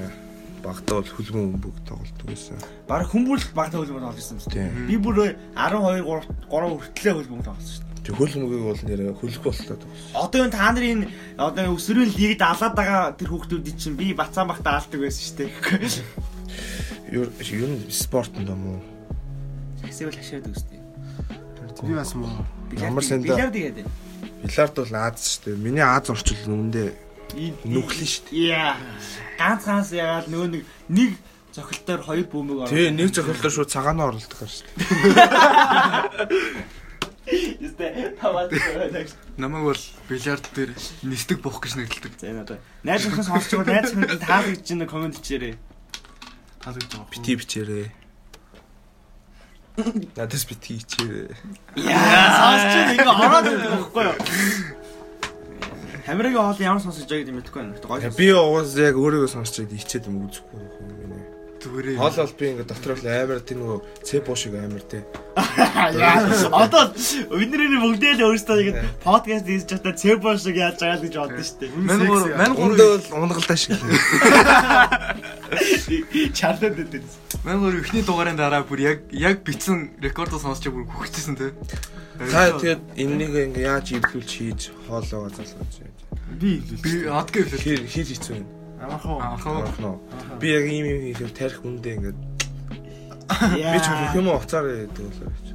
Speaker 2: багтаа бол хөлгөн бөмбөг тоглолт байсан.
Speaker 1: Бараг хүмүүл багтаа хөлбөмбөг тоглосон юм шүү
Speaker 2: Тийм.
Speaker 1: дээ. Би бүр 12 3 3 хүртлэх хөлбөмбөг тоглосон шүү дээ.
Speaker 2: Тэг хөлгөмбөгийг бол нэр хөлг болтой тоглосон.
Speaker 1: Одоо энэ та нарын энэ одоо өсвөрийн лигд алаад байгаа тэр хүүхдүүдийн чинь би бацаан багтаа алдаг байсан шүү дээ.
Speaker 2: Юу юу нь спорт юм уу?
Speaker 1: Хэсэвэл хашаад өгс тээ.
Speaker 3: Би бас муу.
Speaker 2: Ямар сандаа.
Speaker 1: Билиард гэдэг.
Speaker 2: Билард бол Аз шүү дээ. Миний Аз орчил нүгэндээ нүхлэн шүү
Speaker 1: Яа. Ганц ганц ягаад нөгөө нэг нэг цохилтоор хоёр бөмбөг орно.
Speaker 2: дээ. Тэг нэг зохиолтой шууд цагаанаа оролдох шүү дээ.
Speaker 1: Юустэй таваад байна.
Speaker 4: Намайг бол бильярд дээр нисдэг бох гэж нэрлдэг.
Speaker 1: За энэ одоо найз хүмүүс сонсож байгаа найз хүмүүс таалагдж байгаа коммент хийээрэй.
Speaker 3: Таалагдж байгаа. хөө.
Speaker 2: Бити бичээрээ. Надаас бити хичээрээ.
Speaker 1: Яа сонсож байгаа ингээ ороод ирэх байхгүй юу? Хамрагийн хоол ямар сонсож байгаа гэдэг мэдэхгүй байна. Гой.
Speaker 2: Би угаас яг өөрийгөө сонсч байгаад хичээд юм үзэхгүй юм байна.
Speaker 4: Зүгээрээ.
Speaker 2: Хол бол би ингээд дотор л амар тийм нөгөө цэпо шиг амар тийм.
Speaker 1: Яа, Одоо бидний бүгдээ л өөрсдөө ингэ подкаст хийж чадаа цэбор шиг яаж байгаа л гэж бодсон шүү дээ.
Speaker 4: Мэн гур мэн гур
Speaker 2: Үндэ бол унгалдаа шиг.
Speaker 1: Чарлаад өгдөө.
Speaker 4: мэн гур ихний дугаарын дараа бүр яг яг бичсэн рекордо сонсч бүр хөвчихсэн те.
Speaker 2: Та тэгээд энэнийг ингээд яаж ивлүүлж хийж хоолоо залгаж байж.
Speaker 3: Би хэлээ.
Speaker 4: би адгүй
Speaker 2: Хэр
Speaker 4: хэлээ.
Speaker 2: хэр хэцүү юм.
Speaker 3: Амархан.
Speaker 4: Анхаа
Speaker 2: Ахна. Би яг ийм юм хийхээр тарих үндэ ингээд
Speaker 1: Яа.
Speaker 2: би ч юм юм уцаар гэдэг болоо гэж.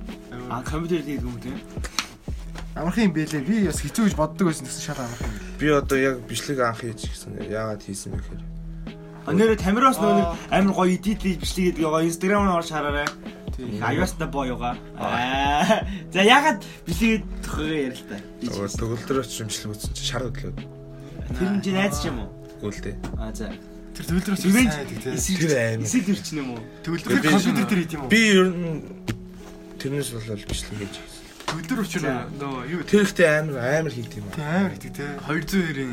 Speaker 1: А компьютер хийдэг юм тийм.
Speaker 3: Амархан юм бэлээ. Би бас хэцүү гэж боддог байсан гэсэн шал амархан юм.
Speaker 2: Би одоо яг бичлэг анх хийж гисэн. Яагаад хийсэн бэ гэхээр.
Speaker 1: А нэрэ тамираас нөгөө амар гоё эдит бичлэг гэдэг байгаа. Instagram-аар орж хараарай.
Speaker 3: Тийм.
Speaker 1: Аюуста боёга. Аа. За ягаад бичлэгэд төхөөрөө ярилтаа.
Speaker 2: Тэгвэл төгөлдрөө ч юмшлэг үзсэн чи шар хөдлөөд.
Speaker 1: Тэр нь чи найз ч юм уу?
Speaker 2: Гүйлдэ.
Speaker 1: А за.
Speaker 3: Тэр төвлөрөөс
Speaker 1: Тэгвэл
Speaker 3: тийм.
Speaker 2: Тэр аймаг.
Speaker 1: эсэл төрчин юм уу?
Speaker 3: Төвлөрөх
Speaker 2: Би-
Speaker 3: компьютер дээр хийх юм уу?
Speaker 2: Би ер нь тэрнээс болол бичлэг хийж гисэн.
Speaker 4: өдөр
Speaker 1: За.
Speaker 4: учраа нөгөө юу
Speaker 2: Тэр ихтэй амар амар хийд юм аа.
Speaker 3: Тийм амар хитэг те.
Speaker 4: 200 хэрийн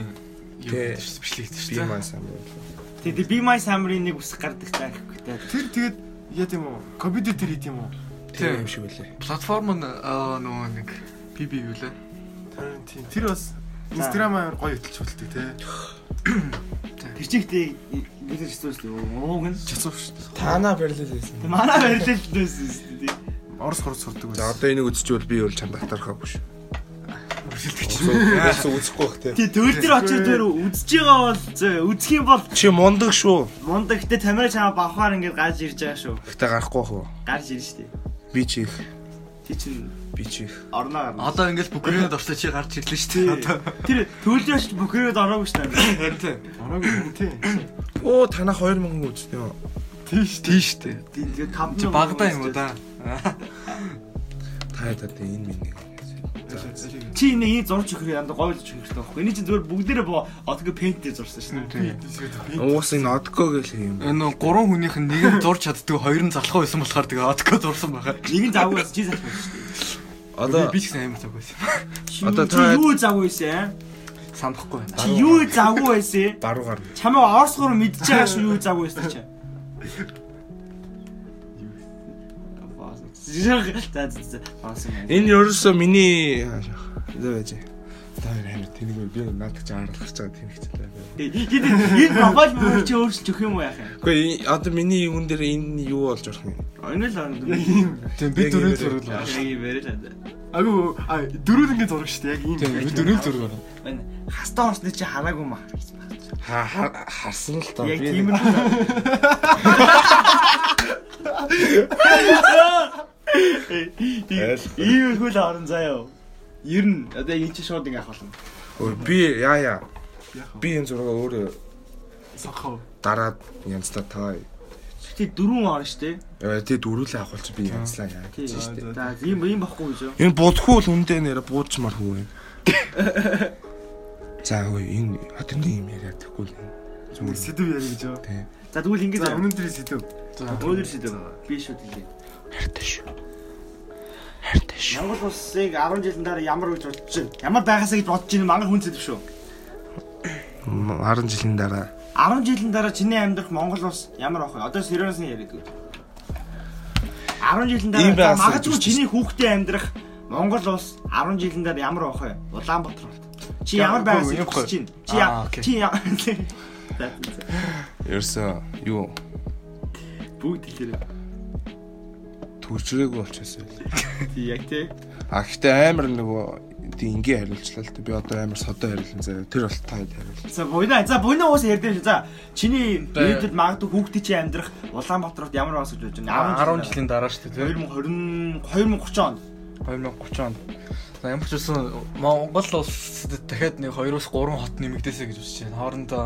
Speaker 4: юу
Speaker 2: Тэ.
Speaker 4: бичлэгтэй
Speaker 2: Би
Speaker 4: шүү
Speaker 2: маань
Speaker 4: дээ.
Speaker 2: сайн байна.
Speaker 1: Тэгээд би my summary нэг үсэх гардаг таа гэхгүйтэй.
Speaker 3: Тэр тэгээд яа тийм үү? Компьютер дээр хийх юм уу?
Speaker 2: Тэр юм шиг үлээ.
Speaker 4: Платформ нь аа, нөгөө нэг PB юу лээ.
Speaker 3: Тэр тийм. Тэр бас Instagram амар гоё хөтлч болтыг те.
Speaker 1: Тэр чигтэй бид нар хэсүүс л ууг нь.
Speaker 3: Чацуу шүү дээ.
Speaker 2: Тана барилал хийсэн.
Speaker 1: Манай барилд дөөсөн шүү дээ.
Speaker 3: Орос хурц сурдаг
Speaker 2: За
Speaker 3: байсан.
Speaker 2: одоо энийг үзчихвэл би өөрөө чамд татархаагүй шүү.
Speaker 3: Өршөлтөг чи.
Speaker 2: Үгүй үзэхгүй бах те.
Speaker 1: Тэг төл дээр очиж дээр үзэж байгаа бол зөө, үзэх юм бол
Speaker 2: Чи мундаг шүү.
Speaker 1: мундаг гэдэг тамира чамаа бавхаар ингээд гарч ирж байгаа шүү.
Speaker 2: Гэхдээ гарахгүй хөө.
Speaker 1: Гарч ирж штэ.
Speaker 2: Би чих.
Speaker 1: Тэг чин
Speaker 2: Би чих.
Speaker 1: орноо гарна.
Speaker 4: Одоо ингээл бүгээрээ дуртай чи гарч ирлээ шүү дээ.
Speaker 1: Тэр төлөө очиж бүхрээд ороогүй штэ.
Speaker 4: Харин тийм.
Speaker 3: Ороог юм тийм.
Speaker 2: Оо танах 2000 үзтээ юу?
Speaker 3: Тийш
Speaker 4: Тийм шүү дээ.
Speaker 1: Тэгээд компани
Speaker 4: Чи багада юм уу да?
Speaker 2: Таадад энэ миний.
Speaker 3: тийш.
Speaker 1: Чи энэ ий зурж өгөх юм гоё л өгөх хэрэгтэй байхгүй. Эний чинь зүгээр бүгдээрээ боо отго пенттэй зурсан шүү дээ.
Speaker 2: Уус энэ одко гэл хий юм.
Speaker 4: Энэ гурван хүнийх нь нэг нь зурч чаддгүй, хоёр нь залхуу байсан болохоор тэгээ отко зурсан байгаа.
Speaker 1: Нэг нь завгүй бас чи залхав шүү дээ.
Speaker 2: Одоо
Speaker 4: би ч гэсэн амар цаг байсан.
Speaker 1: Чи
Speaker 2: Одоо
Speaker 1: чи
Speaker 2: та-
Speaker 1: юу завгүй байсан?
Speaker 4: Самхгүй байна.
Speaker 1: Чи юу завгүй байсан?
Speaker 2: баруу гарна.
Speaker 1: Чамаа орсгоор мэдчихэж байгаа шүү юу завгүй байсан чи. Зэрэг за за за. Аас юм.
Speaker 2: Энэ ерөөсөө миний зөө байж. Та хоёр амар тэнийг би наадах гэж аргалах гэж байгаа тэнийх ч таа.
Speaker 1: Гэтэл энэ профайл мөр чи өөрчилж өгөх юм уу яах юм?
Speaker 2: Гэхдээ энэ- одоо миний юун дээр энэ юу болж орох юм?
Speaker 1: Энэ л орно.
Speaker 4: Тийм
Speaker 2: би
Speaker 4: би
Speaker 2: дөрөв
Speaker 4: дөрөв
Speaker 2: зураг
Speaker 4: зураг
Speaker 2: л
Speaker 4: л байна.
Speaker 1: Аяг ярил л.
Speaker 3: Агу а дөрөв ингээд зураг шүү дээ. Яг ийм.
Speaker 4: Тийм би дөрөв зураг байна.
Speaker 1: Энэ хастаа орсны чи хараагүй юм аа.
Speaker 2: Ха ха- харсан л та.
Speaker 1: Яг
Speaker 2: Би-
Speaker 1: тийм л. Ийм хөл орон заяа. Ер нь одоо энэ чи шууд ингээ авах болно.
Speaker 2: Ой, Би яа яа.
Speaker 3: Яах вэ?
Speaker 2: Би энэ зургаа өөрөө
Speaker 3: Сохоо.
Speaker 2: дараад янзлаа таа.
Speaker 1: Гэтэ дөрвөн орно штэ.
Speaker 2: Яа, Тэг дөрүүлээ ахуулчих би янзлаа яа
Speaker 1: Тийм.
Speaker 2: гэж штэ.
Speaker 1: За ийм ийм баггүй гэж.
Speaker 2: Энэ будхгүй л үндэ нэр буучмар хүү юм. За ой энэ хатны юм яриад тэгэхгүй л
Speaker 3: Нэг
Speaker 2: зүгээр
Speaker 3: сэдв ярих гэж байна.
Speaker 2: тий.
Speaker 1: За тэгвэл ингээ
Speaker 3: За
Speaker 1: заяа.
Speaker 3: өнөө дрий сэдв.
Speaker 1: Өнөөдөр шидэв. Би шууд хэлээ.
Speaker 2: Хайртай шүү. Хайртай шүү.
Speaker 1: Монгол улсыг 10 жилийн дараа ямар гэж бодож чинь? Ямар байгаасаа гэж бодож чинь мангар хүн зэдэв шүү.
Speaker 2: 10 жилийн дараа
Speaker 1: 10 жилийн дараа чиний амьдрах Монгол улс ямар авах вэ? Одоо сериоос нь яриад үү. 10 жилийн
Speaker 2: Ийм
Speaker 1: дараа
Speaker 2: байгаасаа
Speaker 1: магадгүй
Speaker 2: гэж
Speaker 1: чиний хүүхдээ амьдрах Монгол улс 10 жилийн дараа ямар авах вэ? Улаанбаатар болт. Чи ямар
Speaker 4: Яа,
Speaker 1: байгаасаа гэж
Speaker 4: үгүй, яахгүй.
Speaker 1: бодож чинь? Чи я-
Speaker 4: Аа, окей.
Speaker 1: чи я- За, за, за.
Speaker 2: ерөөсөө юу
Speaker 1: бүгд хэлээрэй.
Speaker 2: төржрээгүй болчихсон. байл.
Speaker 1: Тий, яг тий.
Speaker 2: А гэхдээ амар нөгөө тий ингээ хариулчлаа л дээ. Би одоо амар содоо хариулсан заяа. Тэр бол таа хариул.
Speaker 1: За буйна. За буйна уус ярьдээ шүү. За чиний нийтэд магадгүй хүүхдээ чи амьдрах Улаанбаатарт ямар бас гэж бодож байна?
Speaker 4: 10 жилийн дараа шүү дээ.
Speaker 1: 2020 2030 он.
Speaker 4: 2030 он. За ямар ч үсэн Монгол улсад дахиад нэг 2-оос 3 хот нэмэгдээсэй гэж үзэж байна. Хоорондоо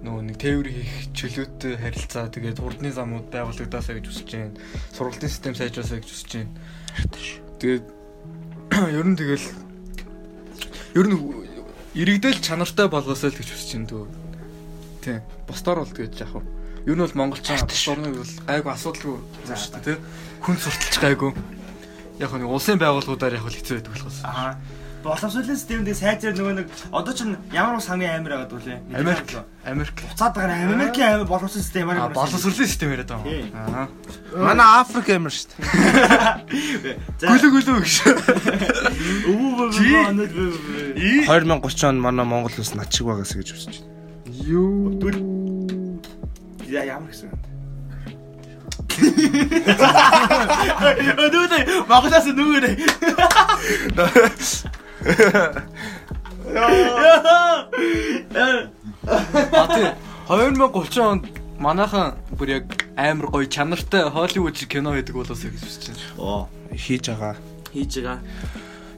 Speaker 4: нөгөө нэг тээвэр хийх чөлөөтэй харилцаа тэгээд хурдны замууд байгуулагдаасаа гэж үзэж байна. Сургалтын систем сайжраасаа гэж үзэж байна. Тэгээд Ер нь тэгэл ер нь иргэдэл чанартай болгосоо л гэж хүсэж байна дөө. Тий. Бусдаар бол тэгэж яах вэ? Ер нь бол монголчин орныг бол гайгүй асуудалгүй юм шүү дээ тий. Хүн сурталч гайгүй. Яг нь улсын байгууллагуудаар яг л хэцүү байдаг болохоос.
Speaker 1: Аа. Боловсруулалтын системд сайжрал нөгөө нэг одоо ч ямар ус хамгийн амар байгаад үлээ.
Speaker 4: Америк Америк
Speaker 1: Цаад байгаа нь Америкийн амар боловсруулалтын систем амар.
Speaker 4: А, боловсролын систем яриад
Speaker 1: Тий.
Speaker 4: байгаа. Аа.
Speaker 2: Манай Африк юм шүү дээ.
Speaker 1: За.
Speaker 4: Гүлү гүлү гэж.
Speaker 1: Өвөө
Speaker 4: Чи.
Speaker 1: бөө анад бөө.
Speaker 2: 2030 он манай Монгол улс над шиг байгаас гэж үзэж байна.
Speaker 4: Юу.
Speaker 1: Дүл. Я ямар гэсэн юм. Өдөөдөө Монголоос нүгээрээ. Яа. Яа.
Speaker 4: А тий. 2030 онд манайхан бүр яг амар гоё чанартай Холливуд шиг кино байдаг болоосоо гэж үзэж байна.
Speaker 1: Оо,
Speaker 2: Хийж байгаа.
Speaker 1: хийж байгаа.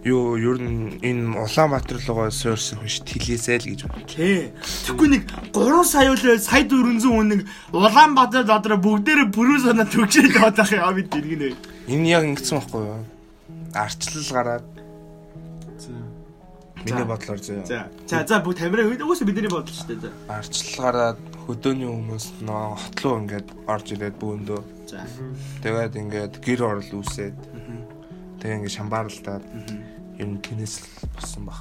Speaker 2: Юу ер нь энэ Улаанбаатар руугаа суурсан хүн шүү тэлээсэй л гэж байна.
Speaker 1: Тэ. Тэгэхгүй нэг 3 сая үлээ сая 400 хүн нэг Улаанбаатар дотроо бүгдээрээ бүрүү санаа төгшөөл яваад ах яа бид дэргэнэ.
Speaker 2: Энэ яг ингэсэн байхгүй юу? Арчлал гараад миний бодлоор зөө.
Speaker 1: За. За за бүгд тамираа өгөөсөө бидний бодол шүү дээ.
Speaker 2: Арчлал гараад хөдөөний хүмүүс нөө хотлоо ингээд орж ирээд бөөндөө.
Speaker 1: За.
Speaker 2: Тэгээд ингээд гэр орол үүсээд. Тэгээ ингээд шамбаарлалтаад ер нь тэнэс л болсон баг.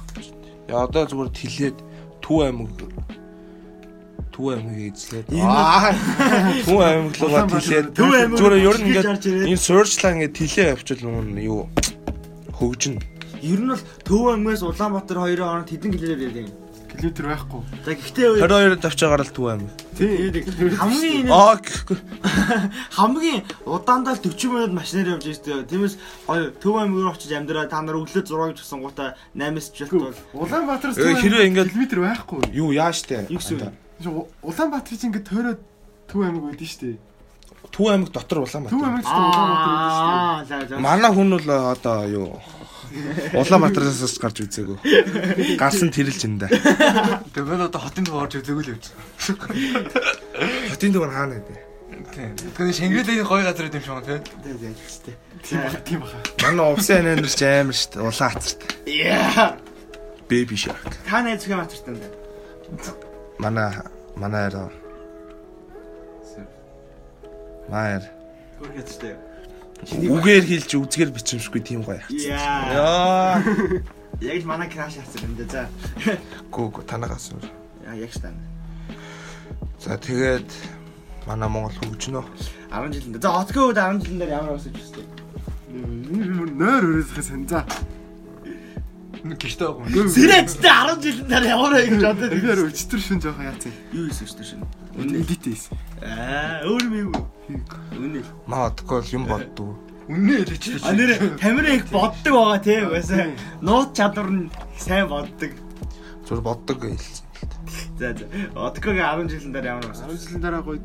Speaker 2: Яа одоо зүгээр тэлээд Төв аймаг Төв аймгийг эзлээд Аа, Төв аймаг руугаа
Speaker 3: Улаанбаатар
Speaker 2: тэлээд
Speaker 1: Төв аймаг
Speaker 2: зүгээр ер нь
Speaker 1: тэлж
Speaker 2: ингээд
Speaker 1: гарч ирээд.
Speaker 2: энэ суурьчлаа ингээд тэлээ явчихвал юм нь юу хөгжин.
Speaker 1: Ер нь бол Төв аймгаас Улаанбаатар хоёрын хооронд хэдэн километр явдаг юм?
Speaker 3: Километр байхгүй.
Speaker 1: За гэхдээ
Speaker 2: 22-нд авчаагаар л Төв аймаг.
Speaker 3: Тий.
Speaker 1: хамгийн энэ
Speaker 2: Аа гэхгүй.
Speaker 1: хамгийн удаандаа л 40 минут машинаар явж байгаа шүү дээ. Тиймээс гоё Төв аймаг руу очиж амьдраа та нар өглөө 6 гэж гисэн гутаа 8-аас жилт бол
Speaker 3: Улаанбаатараас
Speaker 2: Э, хэрвээ ингээд-
Speaker 3: километр байхгүй.
Speaker 2: Юу яаж тээ?
Speaker 1: Юу гэсэн үг?
Speaker 3: Жо- Улаанбаатар чинь ингээд тойроод Төв аймаг байдаг шүү дээ.
Speaker 2: Төв аймаг дотор
Speaker 3: Төв
Speaker 2: Улаанбаатар.
Speaker 3: аймаг чинь Улаанбаатар байдаг шүү дээ.
Speaker 1: за за.
Speaker 2: Манай хүн бол э, одоо юу Улаанбаатараас бас гарч үзээгөө. Гарсан тэрэлж энэ даа.
Speaker 4: Тэгээд би одоо хотын төв орж үзэгүй л явж байгаа.
Speaker 2: Хотын дэвэр хаана гэдэг.
Speaker 4: Тийм. Тэгээд Шангрилагийн гоё газар юм шиг байна тий.
Speaker 1: За, за, хэвчтэй.
Speaker 3: Тийм бах, тийм баха.
Speaker 2: Манай увсын анаар ч амар шүү дээ. Улаан хацарт.
Speaker 1: Яа.
Speaker 2: Baby Shark.
Speaker 1: Та найз зөвхөн матартан даа.
Speaker 2: Манай манай арай. Маяр.
Speaker 1: Үргэлжтэй.
Speaker 2: Үгээр хэлж үзгээр бичимшгүй тийм гоё.
Speaker 1: Яа.
Speaker 2: Яа.
Speaker 1: Яг л манай краш хацсан юм даа. За.
Speaker 2: Гүүг танагаас. өөр.
Speaker 1: Яа, яг штан.
Speaker 2: За тэгээд манай Монгол хөгжинөө.
Speaker 1: 10 жил даа. За, хотгоо 10 жилэн дээр ямар өсөж хэвчтэй.
Speaker 3: Энэ бүр нойр өрөөсөх сан. За.
Speaker 4: Гэртээ байгаа юм.
Speaker 1: Зэрэгтэй 10 жилэн дээр ямар байх гэж бодоод
Speaker 3: Тэр өчтөр шин жоохон яацээ.
Speaker 1: юу хийсэн штэ шинэ. Үнэ.
Speaker 3: Эдит хийсэн.
Speaker 1: Аа, өөр юм юу? Үнэ.
Speaker 2: Маа одгүй бол юм боддгоо.
Speaker 4: Үнэн хэлээч.
Speaker 1: А нэр тамира их боддог байгаа тийм байсан. Нууц чадвар нь их сайн боддог.
Speaker 2: Зүр боддог хэлсэн.
Speaker 1: За за. Одкогийн 10 жилийн дараа ямар байсан?
Speaker 3: 10 жилийн дараа гоё.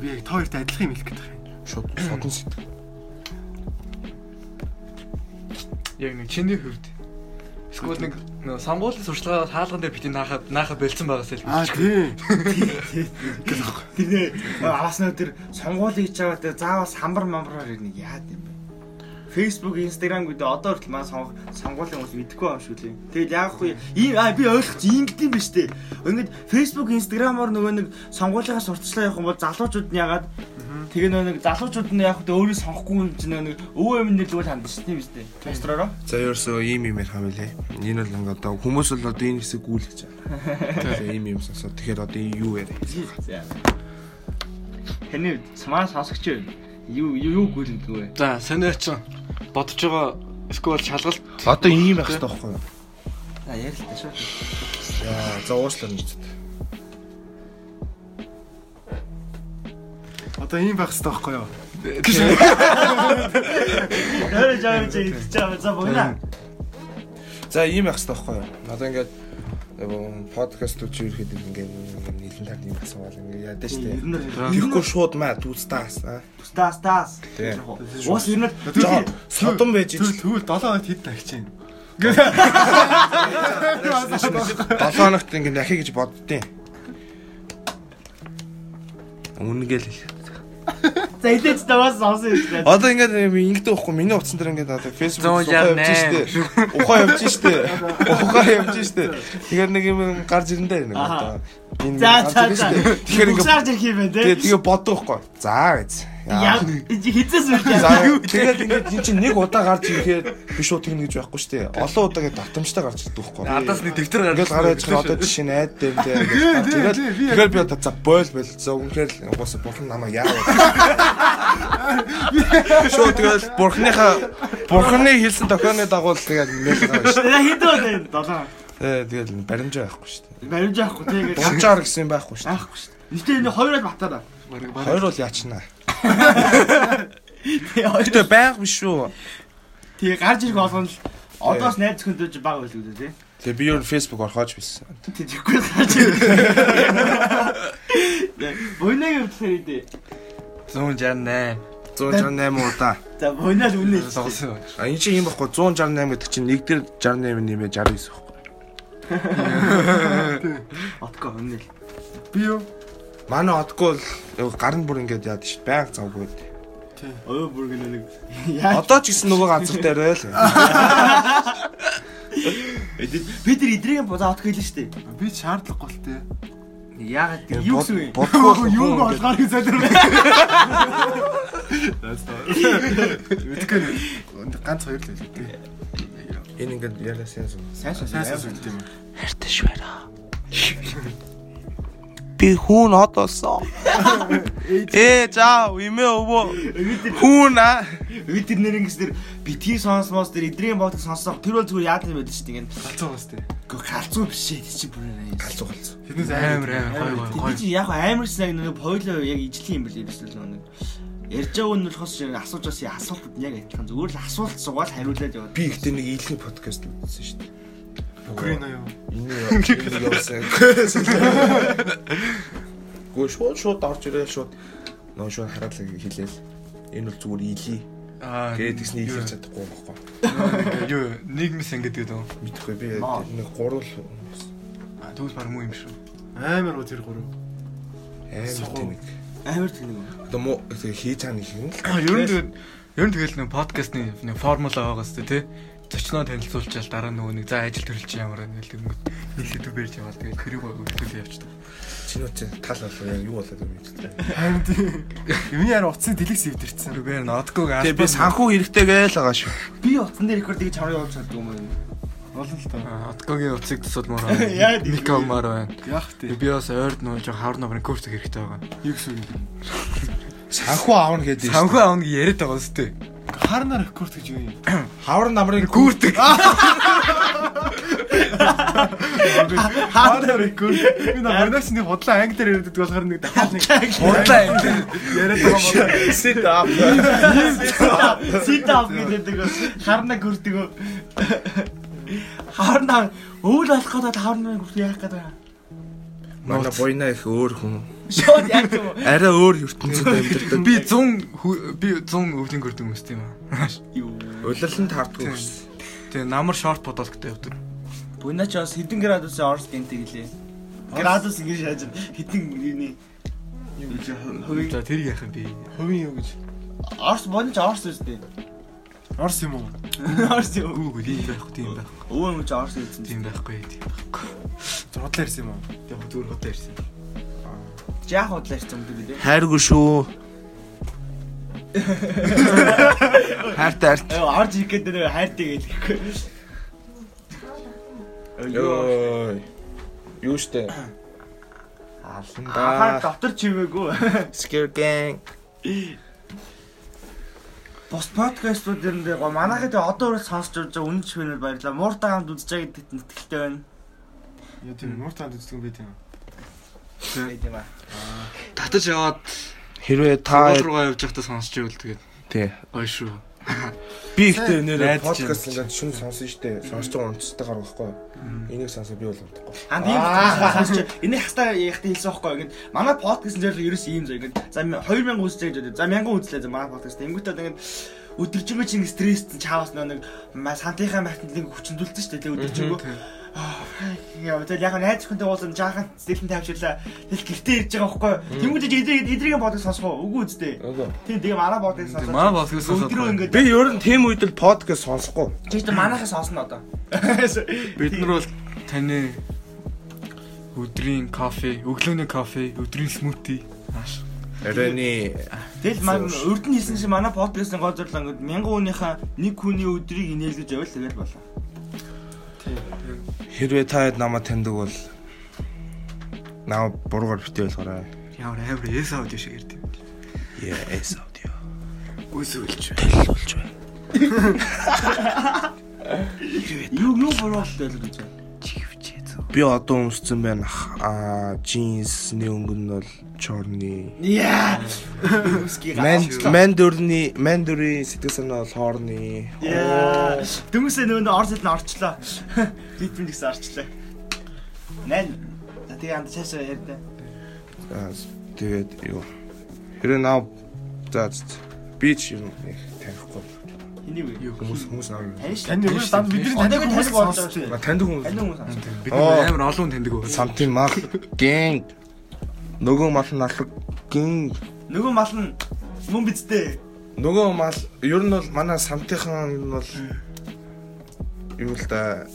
Speaker 3: Би яг тойрт адилхан юм хэлэх гэдэг юм.
Speaker 2: Шууд содон сэтгэл.
Speaker 4: Яг нэг чиний хөвд. Эсвэл нэг нөө сонгуулийн сурчлагаа хаалган дээр битий наахад наахад болцсон байгаас л
Speaker 3: Аа тий.
Speaker 1: Тэр нэ аваас нөө тэр сонгуулийн хийж байгаа тэр заавал самбар мамбараар ирнэ яад юм бэ? Facebook, Instagram гэдэг одоо хүртэл маа сонгох сонгуулийн үйл мэдэхгүй юм шүү лээ. Тэгэл яах вэ? Ийм аа би ойлгоч ингэдэм биш үү? Ингээд Facebook, Instagram-аар нөгөө нэг сонгуулийнхаа сурталчлаа явах юм бол залуучууд нь ягаад тэгээ нөгөө нэг залуучууд нь яах вэ? Өөрөө сонгохгүй юм чинь нөгөө нэг өвөө эмнэл зүгээр хандж тийм биз дээ. Тестророо.
Speaker 2: За ерөөсөө ийм юм ярих хамилээ. Энэ бол ингээд одоо хүмүүс бол одоо энэ хэсэг гүйлгэж байгаа. Тэгээ ийм юм сонсоо. Тэгэхээр одоо юу яриа?
Speaker 1: Тэний смаа сонсогч юу? Юу юу гүйлэн дүү вэ?
Speaker 4: За сонио ч бодож байгаа эсвэл шалгалт
Speaker 2: Одоо ийм байх хэрэгтэй байхгүй юу?
Speaker 1: А ярилтаа шүү.
Speaker 2: Яа, за уушлаа нэг зүт.
Speaker 3: Одоо ийм байх хэрэгтэй байхгүй юу?
Speaker 1: Өөрөө жаа гэж хэлчихэж байгаа за бүгнэ.
Speaker 2: За ийм байх хэрэгтэй байхгүй юу? Одоо ингээд э, подкаст үчи ирэхэд ингээд нэлен тал ийм асуувал ингээд яадаа штэ.
Speaker 1: Ер нь л-
Speaker 2: Тэгэхгүй шууд маа дүүстаас аа.
Speaker 1: Тас тас.
Speaker 2: Тий.
Speaker 1: Уус ер нь л-
Speaker 2: Жоо, содон байж
Speaker 3: Тэр
Speaker 2: ич.
Speaker 3: тэгвэл 7 хоногт хэд тагчийн.
Speaker 2: 7 хоногт ингээд дахиа гэж боддیں۔ Үнэгээл хэл.
Speaker 1: За хилээч таваас сонсон юм байна.
Speaker 2: Одоо ингээд би ингэдэг байхгүй миний утсан дээр ингээд одоо фэйсбүүк
Speaker 4: 168.
Speaker 2: ухаа явж штэ. Ухаа явж штэ. Тэгэхээр нэг юм гарч ирэндээ нэг одоо энэ
Speaker 1: За
Speaker 2: гарч
Speaker 1: за
Speaker 2: ирнэ
Speaker 1: за.
Speaker 2: штэ. Тэгэхээр
Speaker 1: Тэгэхээр ингээд
Speaker 2: ингээд
Speaker 1: цаарж ирэх юм байна
Speaker 2: тэгээ
Speaker 1: те.
Speaker 2: тэгээ боддог байхгүй. За гэж.
Speaker 1: Яг хизээс үү гэж.
Speaker 2: За тэгээд ингээд эн чинь нэг удаа гарч ирэхээр биш үү тэгнэ гэж байхгүй штэ. Олон удаа ингээд давтамжтай гарч ирдэг байхгүй.
Speaker 4: Надаас нэг дэвтэр гаргаж
Speaker 2: Ингээл гараад ирэх одоо жишээ нь айд дээр дээ. Тэгэл тэгэл би одоо за бойл бойл за үнэхээр л угаасаа бурхан намайг яа. Шоо тэгэл бурханыхаа бурханы хэлсэн тохионы дагуу л тэгэл нэл гарна шүү.
Speaker 1: За хитүү байна. Долоо.
Speaker 2: Тэ тэгэл баримжаа байхгүй шүү дээ.
Speaker 1: Баримж авахгүй те ингээд.
Speaker 2: Дунжаар гэсэн юм байхгүй шүү.
Speaker 1: Аахгүй шүү. Гэтэ энэ хоёроо батараа.
Speaker 2: Хоёр бол яачнаа.
Speaker 1: Тэ хоёр.
Speaker 2: Гэтэ байг биш шүү.
Speaker 1: Тий гарч ирэх болгоно л одоос найз зөвхөн дэж баг байлгүй дээ
Speaker 2: Тэгээ би юу фэйсбુક орхооч билсэн.
Speaker 1: тий. Тий тэгэхгүй гарч ирэх. Өнөөгийн хөвчлэр идэ.
Speaker 4: 168.
Speaker 2: 168 удаа.
Speaker 1: За өнөө л үнэ хэлсэн.
Speaker 4: Сонсон.
Speaker 2: А энэ чинь юм байхгүй 168 гэдэг чинь нэг дээр 68 нэмээ 69 байхгүй.
Speaker 1: Отко үнэ л.
Speaker 3: Би юу?
Speaker 2: Манай отгүй бол гар нь бүр ингээд яад шүү. Байг завгүй.
Speaker 1: Ой бүр гэнэ нэг. Яа.
Speaker 2: Одоо ч гэсэн нөгөө газар дээрээ л.
Speaker 1: Бид нар идрийн бодоо отко хэлсэн шүү дээ.
Speaker 3: Би шаардлахгүй л тээ.
Speaker 4: Яагаад гэвэл
Speaker 1: Юу гэсэн юм?
Speaker 2: Бодгоо
Speaker 3: Юу болохоор хэлсэн бэ? Үтгэн ганц хоёр л хэлээ.
Speaker 2: энэ ингээд яриасан юм.
Speaker 1: Сайн сайн
Speaker 3: Сайн сайн үгтэй юм.
Speaker 2: Би хүн од болсон. Ээ за имээ өвөө. Хүн аа.
Speaker 1: Бид тэр нэр ингэс тэр битгий сонсмоос тэр идрийн бодлыг сонссоо тэр бол зүгээр яад юм байдаг шүү дээ. Ингээд
Speaker 3: Галцаагаас тээ.
Speaker 1: гоо галзуу биш ээ тий чи бүр нэ.
Speaker 2: Галзуу галзуу.
Speaker 3: Тэрнээс
Speaker 4: амар амар гой гой
Speaker 1: Тий чи яг амарсан яг нэг пойло яг ижлийн юм бэлээ биш л нэг. Ярьж байгаа нь болохоос яг асууж бас яа асуултууд нь яг адилхан зүгээр л асуулт суугаад хариулаад яваад.
Speaker 2: Би ихтэй нэг ийлхэн подкаст үзсэн шүү дээ.
Speaker 3: гой. Грин аа юу?
Speaker 2: Энэ явсан. Гөө шууд шууд орж ирэл шууд нөө шууд хараалаа хэлээл. Энэ бол зүгээр ийлээ.
Speaker 4: Аа.
Speaker 2: Гээд тэгснэ ийлхэж чадахгүй байхгүй.
Speaker 4: Юу нийгмис ингэдэг гэдэг үү?
Speaker 2: Мэдхгүй би нэг гурал
Speaker 4: Аа тэгвэл баг муу юм шүү.
Speaker 3: Амар гоо тэр гурав.
Speaker 2: амар тэнэг.
Speaker 1: Амар тэнэг юм.
Speaker 2: Одоо муу тэгээ хийж чаана гэх юм л.
Speaker 4: Ер нь тэгэл ер нь тэгэл нэг подкастны нэг формула байгаа сте тий. Зочноо танилцуулчаал дараа нөгөө нэг за ажил төрөл чи ямар байна гэдэг нэг нийлээд үбэрч яваал тэгэл тэрийг өгдөл явчихдаг.
Speaker 2: Чинүүд чи тал болов яа юу болоод юм бэ?
Speaker 3: Амар тийм. Юуны яар уцсан дэлгэс ивдэрсэн.
Speaker 4: Үгээр нодгоо
Speaker 2: Тэгээ би санхүү хэрэгтэй гээл байгаа шүү.
Speaker 1: Би утсан дээр рекорд хийж чамрыг явуулж чаддаг юм байна.
Speaker 3: Болно л доо.
Speaker 4: Одгогийн уцыг тусалмаар байна.
Speaker 1: Яа, тийм.
Speaker 4: Микомар байна.
Speaker 3: Яах
Speaker 4: Би
Speaker 3: тээ.
Speaker 4: бас ойрд нөө жоо хавар номер курс хэрэгтэй байгаа.
Speaker 3: Юу гэсэн үг юм.
Speaker 2: Санхүү аавна гэдэг.
Speaker 4: Санхүү аавны яриад байгаа сте.
Speaker 3: Харнаар рекорд гэж юу юм?
Speaker 2: хавар намрын гүрдэг.
Speaker 3: Харнаар рекорд. Би нэг өнөөс нэг худлаа англиар ярьдаг болохоор нэг дахиад нэг
Speaker 4: Худлаа энэ.
Speaker 3: яриад байгаа юм.
Speaker 2: Sit up.
Speaker 1: Сит ав гэдэг бас харна гүрдэг. өө. Харна өвөл алах гэдэг харна гүрдэг яах гэдэг. вэ?
Speaker 2: Манай бойна их өөр хүн.
Speaker 1: Шууд яах юм. бэ?
Speaker 2: Арай өөр ертөнцид амьдардаг.
Speaker 4: Би 100 хүү- би 100 өвлийн гүрдэг юм сте юм аа.
Speaker 1: Юу.
Speaker 2: Улирлан таардгүй гэсэн.
Speaker 4: Тэгээ намар шорт подкасттай явдаг.
Speaker 1: Буйна ч бас хэдэн градусын Орос гэмтэй гэлээ. Градус ингэ шааж хэдэн юуны юу гэж хувийн
Speaker 4: За тэр яах юм би.
Speaker 3: Хувийн юу гэж?
Speaker 1: Орос бодно ч Орос үстэй.
Speaker 3: Орс юм уу?
Speaker 1: Орос юу?
Speaker 4: Гүү гүү тийм байхгүй тийм байхгүй.
Speaker 1: Өвөө мөч Орос үстэй.
Speaker 4: Тийм байхгүй тийм байхгүй.
Speaker 3: Худлаа ярьсан юм уу?
Speaker 4: Тэгээ хөтөр хөтөр ирсэн.
Speaker 1: Жаах удлаа ирсэн юм дээ.
Speaker 2: Хайргүй шүү. Хайртай хайрт.
Speaker 1: Э орж ирэх гэдэг нэр хайртай гэлэхгүй. Йоо.
Speaker 2: Йой. Юу штэ?
Speaker 1: Хаа
Speaker 2: Аланда.
Speaker 1: дотор чимээгүй.
Speaker 2: Scare gang.
Speaker 1: Бус подкастууд ер нь дээ гоо манайхад одоо өөрөө сонсч явж байгаа үнэн чимээр баярлаа. Мууртай хамт үзэж байгаа гэдэгт нэтгэлтэй байна.
Speaker 3: Яа тийм нууртанд үздэг юм бэ тийм.
Speaker 1: Тийм аа.
Speaker 4: Татаж яваад
Speaker 2: Хэрвээ та
Speaker 4: Монгол руугаа явж байхдаа сонсч ивэл тэгээд
Speaker 2: тий.
Speaker 4: ой шүү.
Speaker 2: Би ихтэй нэр
Speaker 4: Найдаж
Speaker 2: подкаст ингээд шүн сонсон штэ. Сонсож байгаа үнцтэй гар байхгүй. Энийг сонсоо би бол унтахгүй.
Speaker 1: Аа тийм сонсч энийг хастаа яахтай хэлсэн байхгүй ингээд манай подкаст нь зөвхөн ерөөс ийм зөв ингээд за 2000 үзлээ гэж бодъё. За 1000 үзлээ за манай подкаст. Тэнгүүтээ ингээд өдөржингөө чинь стресст чинь чаавас нэг ма- сантынхаа махтныг хүчндүүлсэн шүү дээ. Өдөржингөө Яа, тэгэл яг найз хүнтэй уулзсан жаахан зэлэн тавьчихлаа. Тэгэл гэртээ ирж байгаа байхгүй. Тэнгүүд чи эдрийг эдрийн бодлыг сонсох уу? Үгүй үстэй.
Speaker 2: Үгүй.
Speaker 1: Тийм тэгээ манай бодлыг сонсох.
Speaker 4: манай бодлыг сонсоод.
Speaker 1: Өдрөө ингээд
Speaker 2: Би ер нь тийм үед л подкаст сонсохгүй.
Speaker 1: чи чинь манайхаа сонсно одоо.
Speaker 4: Бид нар бол таны өдрийн кофе, өглөөний кофе, өдрийн смути. Маш.
Speaker 2: Ярианы
Speaker 1: Тэгэл маань өрд нь хийсэн чинь манай подкастын гол зорилго ингээд 1000 хүнийхээ нэг хүний өдрийг инээлгэж явбал тэгэл болоо.
Speaker 2: хэрвээ та хэд намайг таньдаг бол наа бургаар битэй болохоор
Speaker 4: Ямар амар эс аудио шиг ирд.
Speaker 2: yes audio
Speaker 4: Үсвэлж.
Speaker 2: хэлүүлж байна.
Speaker 1: Юу юу буруу болтой л гэж байна.
Speaker 4: Чихвчээ зөө.
Speaker 2: Би одоо өмссөн байна. Аа джинсний өнгө нь бол чорны.
Speaker 1: Яа. Үсгий
Speaker 2: Манд мандүрний мандүрийн сэтгэл санаа бол хоорны.
Speaker 1: Яа. Дүмсээ нөгөө орс хэлн орчлоо. Ритм гэсэн орчлоо. Нэн. За тэгээ анд цаашаа ярьдаа.
Speaker 2: Аа, Тэгээд юу. Хэрвээ наа за за, за. би ч юм их танихгүй.
Speaker 1: Энийг үү? Юу?
Speaker 2: Хүмүүс хүмүүс аа.
Speaker 1: Тааш.
Speaker 3: Таны
Speaker 4: Тэний
Speaker 3: хүмүүс дан бидний таньдаг хүмүүс болж
Speaker 1: болж
Speaker 3: байна.
Speaker 1: байна.
Speaker 2: Таньдаг хүмүүс.
Speaker 1: Алин хүмүүс аа.
Speaker 4: Бид
Speaker 2: Оо.
Speaker 4: нар амар олон хүн таньдаг уу?
Speaker 2: Самтын мал гэн нөгөө мал нь алга гэн
Speaker 1: Нөгөө мал нь мөн бидтэй.
Speaker 2: нөгөө мал ер нь бол манай самтынхан нь бол юу л да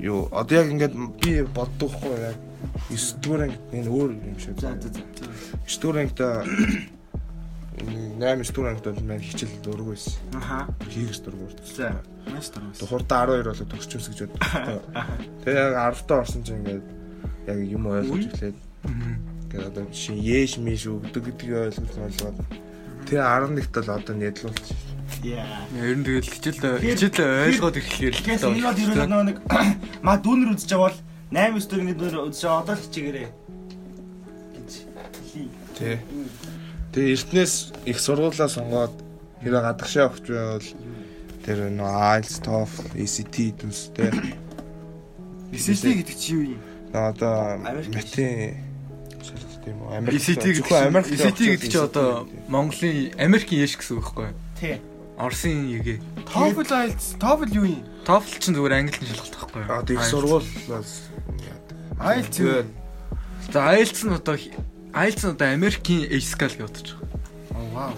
Speaker 2: юу одоо яг ингээд би боддогхгүй яг 9 дуурай энэ өөр юм шиг.
Speaker 1: За за за.
Speaker 2: 9 дуурайд 8 9 дуурайд бол мань хичээл дөрөв байсан.
Speaker 1: Аха.
Speaker 2: Хийгс дөрөв.
Speaker 1: За.
Speaker 3: Маш дургуйс.
Speaker 2: Хурдаа 12 болоод төгсчихвс гэж боддог. Тэгээ яг 10 таа орсон чинь ингээд яг юм ойлгож эхлээд тэгээд одоо шин яэш миш өгдөг гэдгийг ойлгож ойлгоод тэгээ 11-т л одоо нэдлүүлж
Speaker 1: Яа.
Speaker 4: Ер нь тэгэл хичээл хичээл ойлгоод ирэхээр л
Speaker 1: Тэгээс энэ бол ер нь нөгөө нэг маа дүүнэр үзэж байгаа бол 8 9 дүүнэр дүүнэр үзэж байгаа одоо л хичээгээрээ. гэж хэлий.
Speaker 2: тий. Тэгээ эртнээс их сургуулаа сонгоод хэрэг гадагшаа өгч байвал тэр нөө IELTS, TOEFL, ACT дүнстэй
Speaker 3: Эсэлтэй гэдэг чи юу юм?
Speaker 2: нөө одоо
Speaker 1: Америк.
Speaker 2: метин шалгалт тийм үү? Америк.
Speaker 4: ECT гэдэг
Speaker 2: Зөвхөн Америк
Speaker 4: чинь- ECT гэдэг чи одоо Монголын Америкийн яш гэсэн үг байхгүй юу?
Speaker 1: Тий.
Speaker 4: Орсын ЕГЭ.
Speaker 3: TOEFL IELTS, TOEFL юу юм?
Speaker 4: TOEFL чинь зүгээр англиний шалгалт байхгүй юу?
Speaker 2: одоо их
Speaker 4: IELTS.
Speaker 2: сургуулаас яадаг.
Speaker 3: IELTS юу
Speaker 2: Тэгээд
Speaker 3: юм?
Speaker 4: За IELTS нь одоо IELTS нь одоо Америкийн ACL гэж бодож байгаа.
Speaker 3: Оо вау.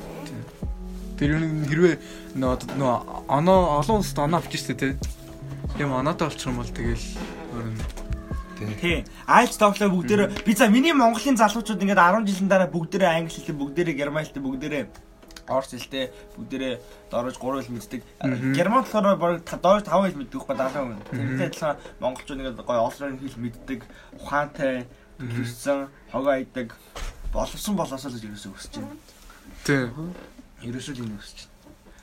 Speaker 4: Тэр юу нэг хэрвээ нөө одоо нөө оноо олон улсад оноо авчих штэ тий. Тийм оноотой болчих юм бол тэгэл өөр нь
Speaker 1: Тий. Айлс тоглоо бүгдээр би за миний Монголын залуучууд ингээд 10 жилийн дараа бүгдээрээ англи хэлтэй, бүгдээрээ герман хэлтэй, бүгдээрээ орс хэлтэй, бүгдээрээ дөрөж 3 хэл мэддэг. Герман болохоор бараг та- дөрөж 5 хэл мэддэг байхгүй 70 хүн. Тэрнтэй адилхан монголчууд ингээд гоё олон хэл мэддэг, ухаантай, төлөвсөн, хогоо айдаг боловсон болоосоо л ерөөсөө өсөж байна.
Speaker 4: тий.
Speaker 1: Ерөөсөө л энэ өсөж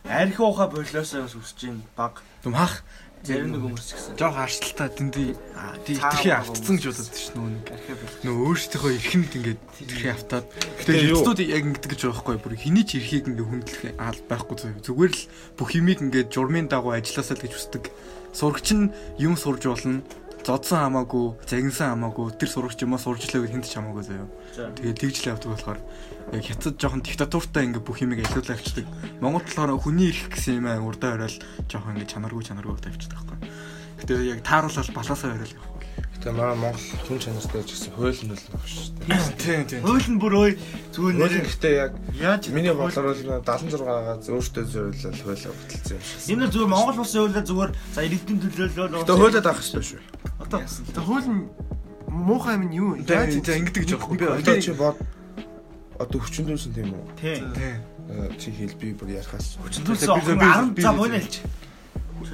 Speaker 1: байна. Архи ухаа болоосоо бас өсөж байна. Баг
Speaker 4: Дүм хах
Speaker 1: зарим нэг хүмүүс гэсэн.
Speaker 4: жоо харшилтаа тэндий аа, тий
Speaker 1: Цаа
Speaker 4: итерхий
Speaker 1: болов.
Speaker 4: автцсан гэж бодож штэ нөө нэг.
Speaker 1: Архи бол.
Speaker 4: Нөө өөрсдийнхөө эрхэнд ингээд итерхий автаад
Speaker 2: Гэтэ
Speaker 4: тэгээ
Speaker 2: юу-
Speaker 4: хэвчүүд яг ингээд гэж байгаа байхгүй юу? бүр хэний ч эрхийг ингээд хүндлэх аа байхгүй зөө. Зүгээр л бүх юмыг ингээд журмын дагуу ажилласаа л гэж хүсдэг. Сурагч нь юм сурж болно. Зодсон хамаагүй, загинсан хамаагүй, тэр сурагч юмаа сурж лээ гэхэд ч хамаагүй заяа.
Speaker 1: За.
Speaker 4: Тэгээд тэгжл явдаг болохоор яг хятад жоохон диктатуртай ингээ бүх юмыг ажилуулж авчдаг. Монгол талаараа хүний ирэх гэсэн юм аа урдаа оройл жоохон ингээ чанаргүй чанаргүй тавьчихдаг байхгүй. Гэтэ яг тааруулаад балаасаа оройл явах.
Speaker 2: Тэгээ манай Монгол хүн чанартай ч гэсэн хууль нь л багш шүү дээ.
Speaker 4: Тийм тийм.
Speaker 1: Хууль нь бүр ой зүүн
Speaker 2: Хууль нь
Speaker 1: нэр
Speaker 2: гэхдээ яг
Speaker 1: яаж
Speaker 2: миний бодлоор бол 76-аас өөртөө зөвлөл хуулиа бүтэлцсэн юм шиг.
Speaker 1: Энэ нь зүгээр Монгол улсын хуулиар зүгээр за иргэдийн төлөөлөл
Speaker 2: Тэгээ хуулиа даах хэрэгтэй шүү.
Speaker 3: Одоо тэ хууль нь муухай юм нь юу?
Speaker 4: За ингээ гэж явахгүй. Би
Speaker 2: Одоо чи бод одоо хүчин зүйлсэн тийм үү?
Speaker 1: Тий.
Speaker 4: Тийм.
Speaker 2: Э, Чи хэл би бүр ярихаас.
Speaker 1: Хүчнүүлсэн
Speaker 4: Би- би- би-
Speaker 1: охин 10
Speaker 4: би-
Speaker 1: за
Speaker 4: би-
Speaker 1: мөн хэлж.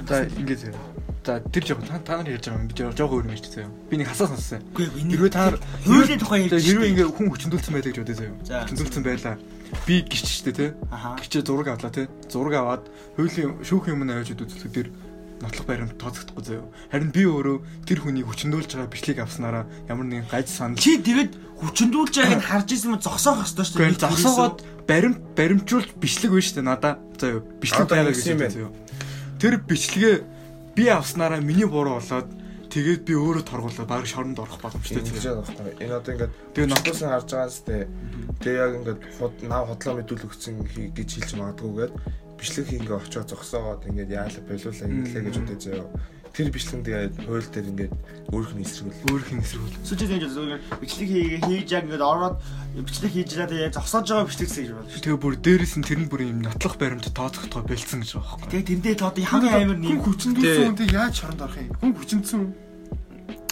Speaker 4: За ингээ зэрэг. За тэр жоохон та та нар ярьж байгаа юм. Би жоо- жоохон өөр юм ярьж байгаа. Би нэг хасаа сонссон.
Speaker 1: Үгүй ээ, энийг
Speaker 4: Хэрвээ та нар
Speaker 1: хуулийн тухай
Speaker 4: Тэгээ
Speaker 1: хэлж.
Speaker 4: хэрвээ ингээ хүн хүчндүүлсэн байлаа гэж бодоё
Speaker 1: За.
Speaker 4: заяа. Хүчндүүлсэн байлаа. Би гэрч штэ тий.
Speaker 1: Аха.
Speaker 4: Гэрчээ зураг авлаа тий. Зураг аваад хуулийн шүүх юм аваад үзлээ тэр нотлох баримт тооцогдохгүй заяа. Харин би өөрөө тэр хүний хүчндүүлж байгаа бичлэг авснараа ямар нэгэн гаж санал
Speaker 1: Чи тэгэд хүчндүүлж байгааг нь харж ирсэн юм зогсоох ёстой шүү
Speaker 4: Гэхдээ зогсоогоод баримт баримжуулж бичлэг байна шүү дээ надаа. За юу бичлэг
Speaker 2: Одоо
Speaker 4: байгаа
Speaker 2: ингэсэн
Speaker 4: гэсэн
Speaker 2: юм байна.
Speaker 4: юм байна. Тэр бичлэгээ би авснараа миний буруу болоод тэгээд би өөрөө торгуулаад баг шоронд орох боломжтой
Speaker 2: Тэгж байгаа
Speaker 4: заяа.
Speaker 2: байхгүй. Энэ одоо ингээд
Speaker 4: Тэгээ
Speaker 2: тэгээ
Speaker 4: нот-
Speaker 2: нотоос харж байгаас тээ тэгээ яг ингээд худ нав хотлоо мэдүүлэгцэн гэж хэлж магадгүйгээд бичлэг ингээ очиод зогсоогоод ингээд яалаа болиулаа инглээ гэж өдөө заяа. Тэр бичлэг нь тэгээд хууль дээр ингээд өөрөх нь эсрэгүүл.
Speaker 4: Өөрөх нь эсрүүл.
Speaker 1: Сүчтэй гэж зүгээр бичлэг хийгээ хийж яг ингээд ороод бичлэг хийж лаа тэгээ зогсоож байгаа бичлэг гэж байна.
Speaker 4: Тэгээ бүр дээрээс нь тэрний бүр юм нотлох баримт тооцохдгоо бэлдсэн гэж байгаа байхгүй.
Speaker 1: Тэгээ тэндээ тоод хамгийн амар
Speaker 3: Хүн
Speaker 1: нэг
Speaker 3: хүчндүүлсэн
Speaker 2: Тий.
Speaker 3: хүнтэй яаж шоронд орох юм? Хүн хүчндсэн хүн.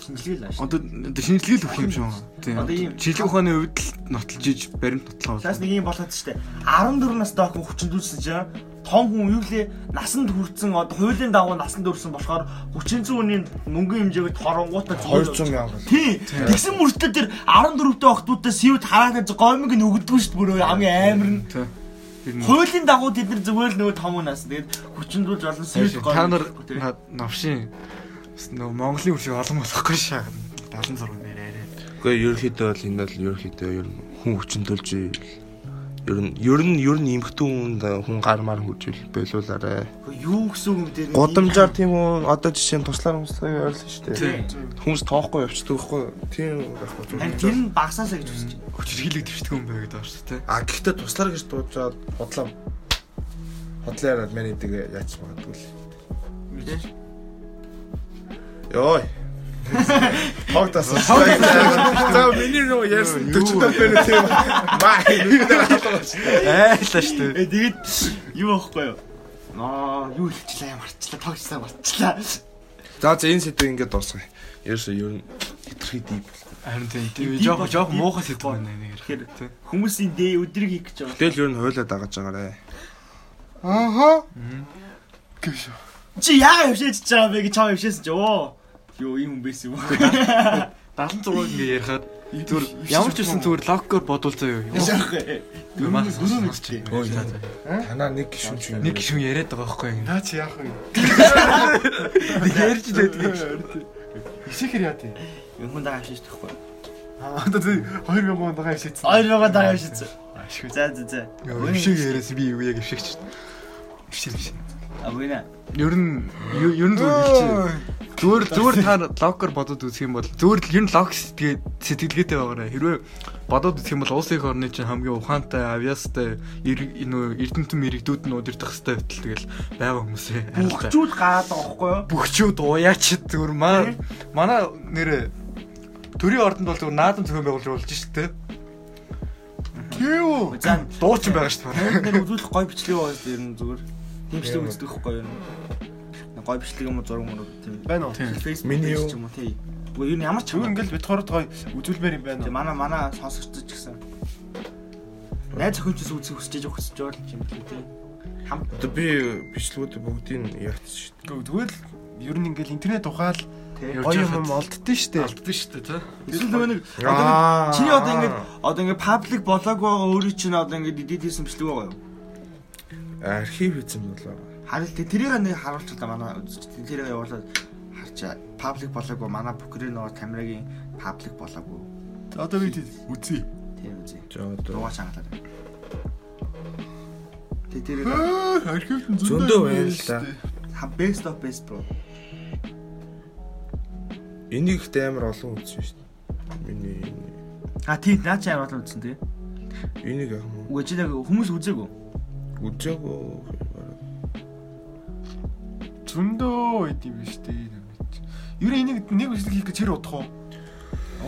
Speaker 1: шинжилгээ л ааш.
Speaker 4: Одоо шинжилгээ л өгөх юм шүү. Тийм.
Speaker 1: Одоо ийм-
Speaker 4: Жилийн ухааны үед л нотолж иж баримт нотлоо.
Speaker 1: Лаас нэг юм болоод штэ 14 настай хүн хүчндүүлсэн чинь том хүн юу лээ насанд хүрсэн одоо хуулийн дагуу насанд хүрсэн болохоор хүчин зүйн мөнгөний хэмжээг торнгуудаа
Speaker 2: 200 мянга.
Speaker 1: Тий. Тэгсэн мөртлөө тэр 14-т охтуудаас юу хараад байж гомиг нь өгдөггүй шүү дээ бүр хамгийн амар нь.
Speaker 4: Тийм. Тэр нь-
Speaker 1: Хуулийн дагуу тэд нар зүгээр л нөгөө том унаас тэгээд хүчндүүлж олон сүйд гомиг.
Speaker 4: Та нар над- навшин бас нөгөө Монголын үр шиг олон болохгүй шаа. 76 нэрээрээ.
Speaker 2: Гэхдээ ерөөхдөө бол энэ бол ерөөхдөө ер нь хүн хүчндүүлж ер нь ер нь ер нь эмхтэн хүн хүн гармаар хүчил болуулаарэ.
Speaker 1: юу гэсэн юм дээр
Speaker 2: Гудамжаар тийм үү одоо жишээ нь туслаар хүмүүсээ ойрлоо шүү дээ.
Speaker 1: Тий.
Speaker 2: Хүмүүс тоохгүй явчихдаг байхгүй юу? Тийм байхгүй.
Speaker 1: Харин
Speaker 2: зүгээр.
Speaker 1: тэр нь багсаасаа гэж үсэж байна.
Speaker 4: Хүч хилэг твчдэг юм байгаад байна шүү дээ.
Speaker 2: А гэхдээ туслаар гэж дуучаад бодлоо бодлоо яриад миний дэг яач магадгүй л.
Speaker 1: Мэдээж.
Speaker 2: Йой. Хогтас. За миний нөө ярьсан 40 төгрөг тийм. Маа нүдээр хатгаж.
Speaker 4: Айлаа шүү дээ.
Speaker 1: Э тэгээд юу аахгүй юу? Аа юу хэлчихлээ марчлаа тогчлаа марчлаа.
Speaker 2: За за энэ сэдв ингээд дуусгая. Ерөөсөө ер нь хитрхи дип.
Speaker 4: Харин тийм. Тэгээ
Speaker 1: Дип
Speaker 4: жоох
Speaker 1: бол-
Speaker 4: жоох
Speaker 1: дип
Speaker 4: муухай
Speaker 1: бол-
Speaker 4: сэдв байна нэг
Speaker 1: Тэгэхээр
Speaker 4: хэрэг. Тийм.
Speaker 1: Хүмүүсийн дэ өдрийг хийх гэж байгаа.
Speaker 2: Тэгэл ер нь хуйлаа дагаж байгаарэ.
Speaker 3: Ааха. Гэвш.
Speaker 1: Чи яагаад хөвшөөж байгаа бэ гэж чам хөвшөөсөн чи оо. Юу юм бэ юм.
Speaker 4: 76-ыг ингээ ярихад зүр ямар ч үсэн зүгээр логкоор бодвол заяа.
Speaker 1: Яахгүй.
Speaker 4: Юмаас
Speaker 1: Гүрэн мэдчихэе.
Speaker 2: Танаа нэг гişүн ч юм.
Speaker 4: Нэг гişүн яриад байгаа байхгүй юм.
Speaker 3: Наа чи яах вэ?
Speaker 4: Нэг ярьж байдаг.
Speaker 3: Ишэхэр яа тий.
Speaker 1: Юм хүн дагаа хөвшөөж тахгүй.
Speaker 3: Аа одоо тий 2000 байгаа ишээдсэн.
Speaker 1: Хоёр байгаа дагаа хөвшөөж.
Speaker 3: Ашгүй.
Speaker 1: За за за.
Speaker 4: Өвшиг яриас би юу яг өвшигч. Өвшиг биш.
Speaker 1: А бүгнэ.
Speaker 4: Ер нь ер ер нь зүгээр хэлчихэ. Зүгээр зүгээр та локер бодоод үзэх юм бол зүгээр л ер нь лок сэтгэл сэтгэлгээтэй байгаарэ. Хэрвээ бодоод үзэх юм бол улсын их орны чинь хамгийн ухаантай, авиастай, нөө эрдэмтэн мэрэгдүүд нь удирдах хэвээр байтал тэгэл байгаа хүмүүсээ. харилцаа.
Speaker 1: Бүгчүүд гараад байгаа байхгүй юу?
Speaker 4: Бүхчүүд уяач зүгээр маа манай нэр төрийн ордонд бол зүгээр наадам зохион байгуулж шүү дээ. Юу?
Speaker 1: За
Speaker 4: Дуучин байгаа шүү дээ.
Speaker 1: Бид нар үзүүлэх гой бичлэг байгаад ер нь зүгээр. Тийм бичлэг үздэг хөхгүй ер нь. Гой бичлэг юм уу зураг мөр тийм.
Speaker 3: Байна уу?
Speaker 4: Тийм.
Speaker 1: Facebook
Speaker 2: Миний юу?
Speaker 1: page ч юм уу тий. Уу ер нь ямар ч
Speaker 3: Юу
Speaker 1: юм.
Speaker 3: ингээл бит хорд гоё үзүүлмээр юм байна
Speaker 1: Тий
Speaker 3: уу?
Speaker 1: манай манай сонсогчдож гэсэн. Найз охинчс үзэх хүсэж байгаа хүсэж байгаа юм тий. тий. Хамт
Speaker 2: Одоо би бичлгүүд бүгдийг яатчих.
Speaker 3: Гэхдээ Тэгвэл ер нь ингээл интернет ухаал
Speaker 1: тий.
Speaker 4: Ер-
Speaker 3: гоё юм олддсон шүү дээ.
Speaker 4: Алдсан шүү дээ, тэ.
Speaker 1: Эсвэл нөгөө нэг одоо нэг
Speaker 2: Аа.
Speaker 1: чиний одоо ингэ одоо ингэ паблик болоогүй байгаа өөрийн чинь одоо ингэ дид хийсэн бичлэг байгаа юу?
Speaker 2: архив эзэн болоо.
Speaker 1: Харин тэ- тэрийг нэг харуулчих та манай үзэгчдээ тэрийг явуулаад харчаа. Паблик болоогүй манай бүкрийн нөгөө камерагийн паблик болоогүй.
Speaker 3: Одоо би тий үзье.
Speaker 1: Тийм үү.
Speaker 2: За одоо
Speaker 1: Дугаа чангалаад. Тэ тэр
Speaker 3: Архивт нь
Speaker 2: зөндөө байна л да.
Speaker 1: ха best of best bro.
Speaker 2: Энийг ихтэй амар олон үзсэн шүү дээ. Миний
Speaker 1: А тийм наа чи харуулсан үзсэн тий.
Speaker 2: энийг яг юм уу?
Speaker 1: Үгүй чи яг хүмүүс үзээгүй.
Speaker 2: Үзээгүй.
Speaker 3: Зөндөө байд юм шүү дээ. Ер нь энийг нэг үсэг хийх гэж хэр удах уу?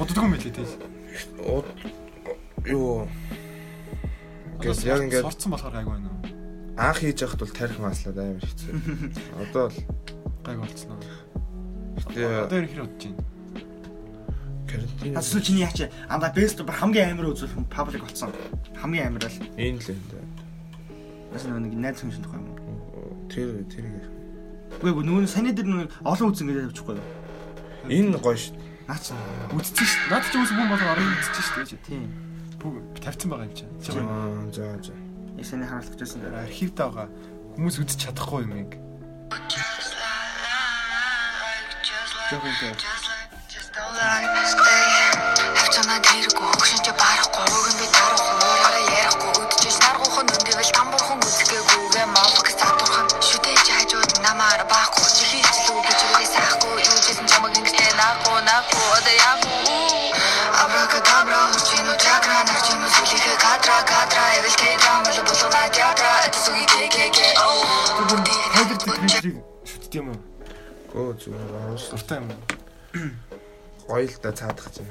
Speaker 3: Уддаг юм билээ тий.
Speaker 2: Уу- юу Гэс яг ингээд
Speaker 3: сурцсан болохоор гайгүй байна уу?
Speaker 2: анх хийж явахд бол тарих маслаад амар хэцүү. Одоо л
Speaker 3: Гайгүй болцсон аа.
Speaker 2: тэгээ
Speaker 3: Одоо ер нь хэр удаж байна?
Speaker 2: карантин
Speaker 1: Хасуу чиний яач анда best of хамгийн амар үзүүлэх юм паблик болсон. Хамгийн амар л.
Speaker 2: энэ л энэ. дээ.
Speaker 1: Бас нөгөө нэг найз хүн шиг тухай юм.
Speaker 2: Тэр тэр их.
Speaker 1: Үгүй бо нөгөө саний дээр нөгөө олон үзэн гэдэг авчихгүй юу?
Speaker 2: энэ гоё шүү. дээ.
Speaker 1: Наач.
Speaker 3: Үзсэн шүү дээ. Наад чи үс бүм болохоор орон үзсэн шүү дээ.
Speaker 1: Тийм.
Speaker 3: Бүгд тавьсан байгаа юм чи. Чи гоё.
Speaker 2: Аа за за.
Speaker 1: Яг саний харуулж байсан дээр.
Speaker 3: архивд байгаа хүмүүс үзэж чадахгүй юм яг.
Speaker 5: Абракадабра, чину чакра, нарчину сүлихэ кадра, кадра, эвэл кей-драма, л болгона театра, эт сүгий кей-кей-кей, оу.
Speaker 3: Хайдер тэтгэлийг шүтдэг юм уу?
Speaker 2: Өө зүгээр оруулсан.
Speaker 3: Дуртай юм.
Speaker 2: Гоё л да цаадах чинь.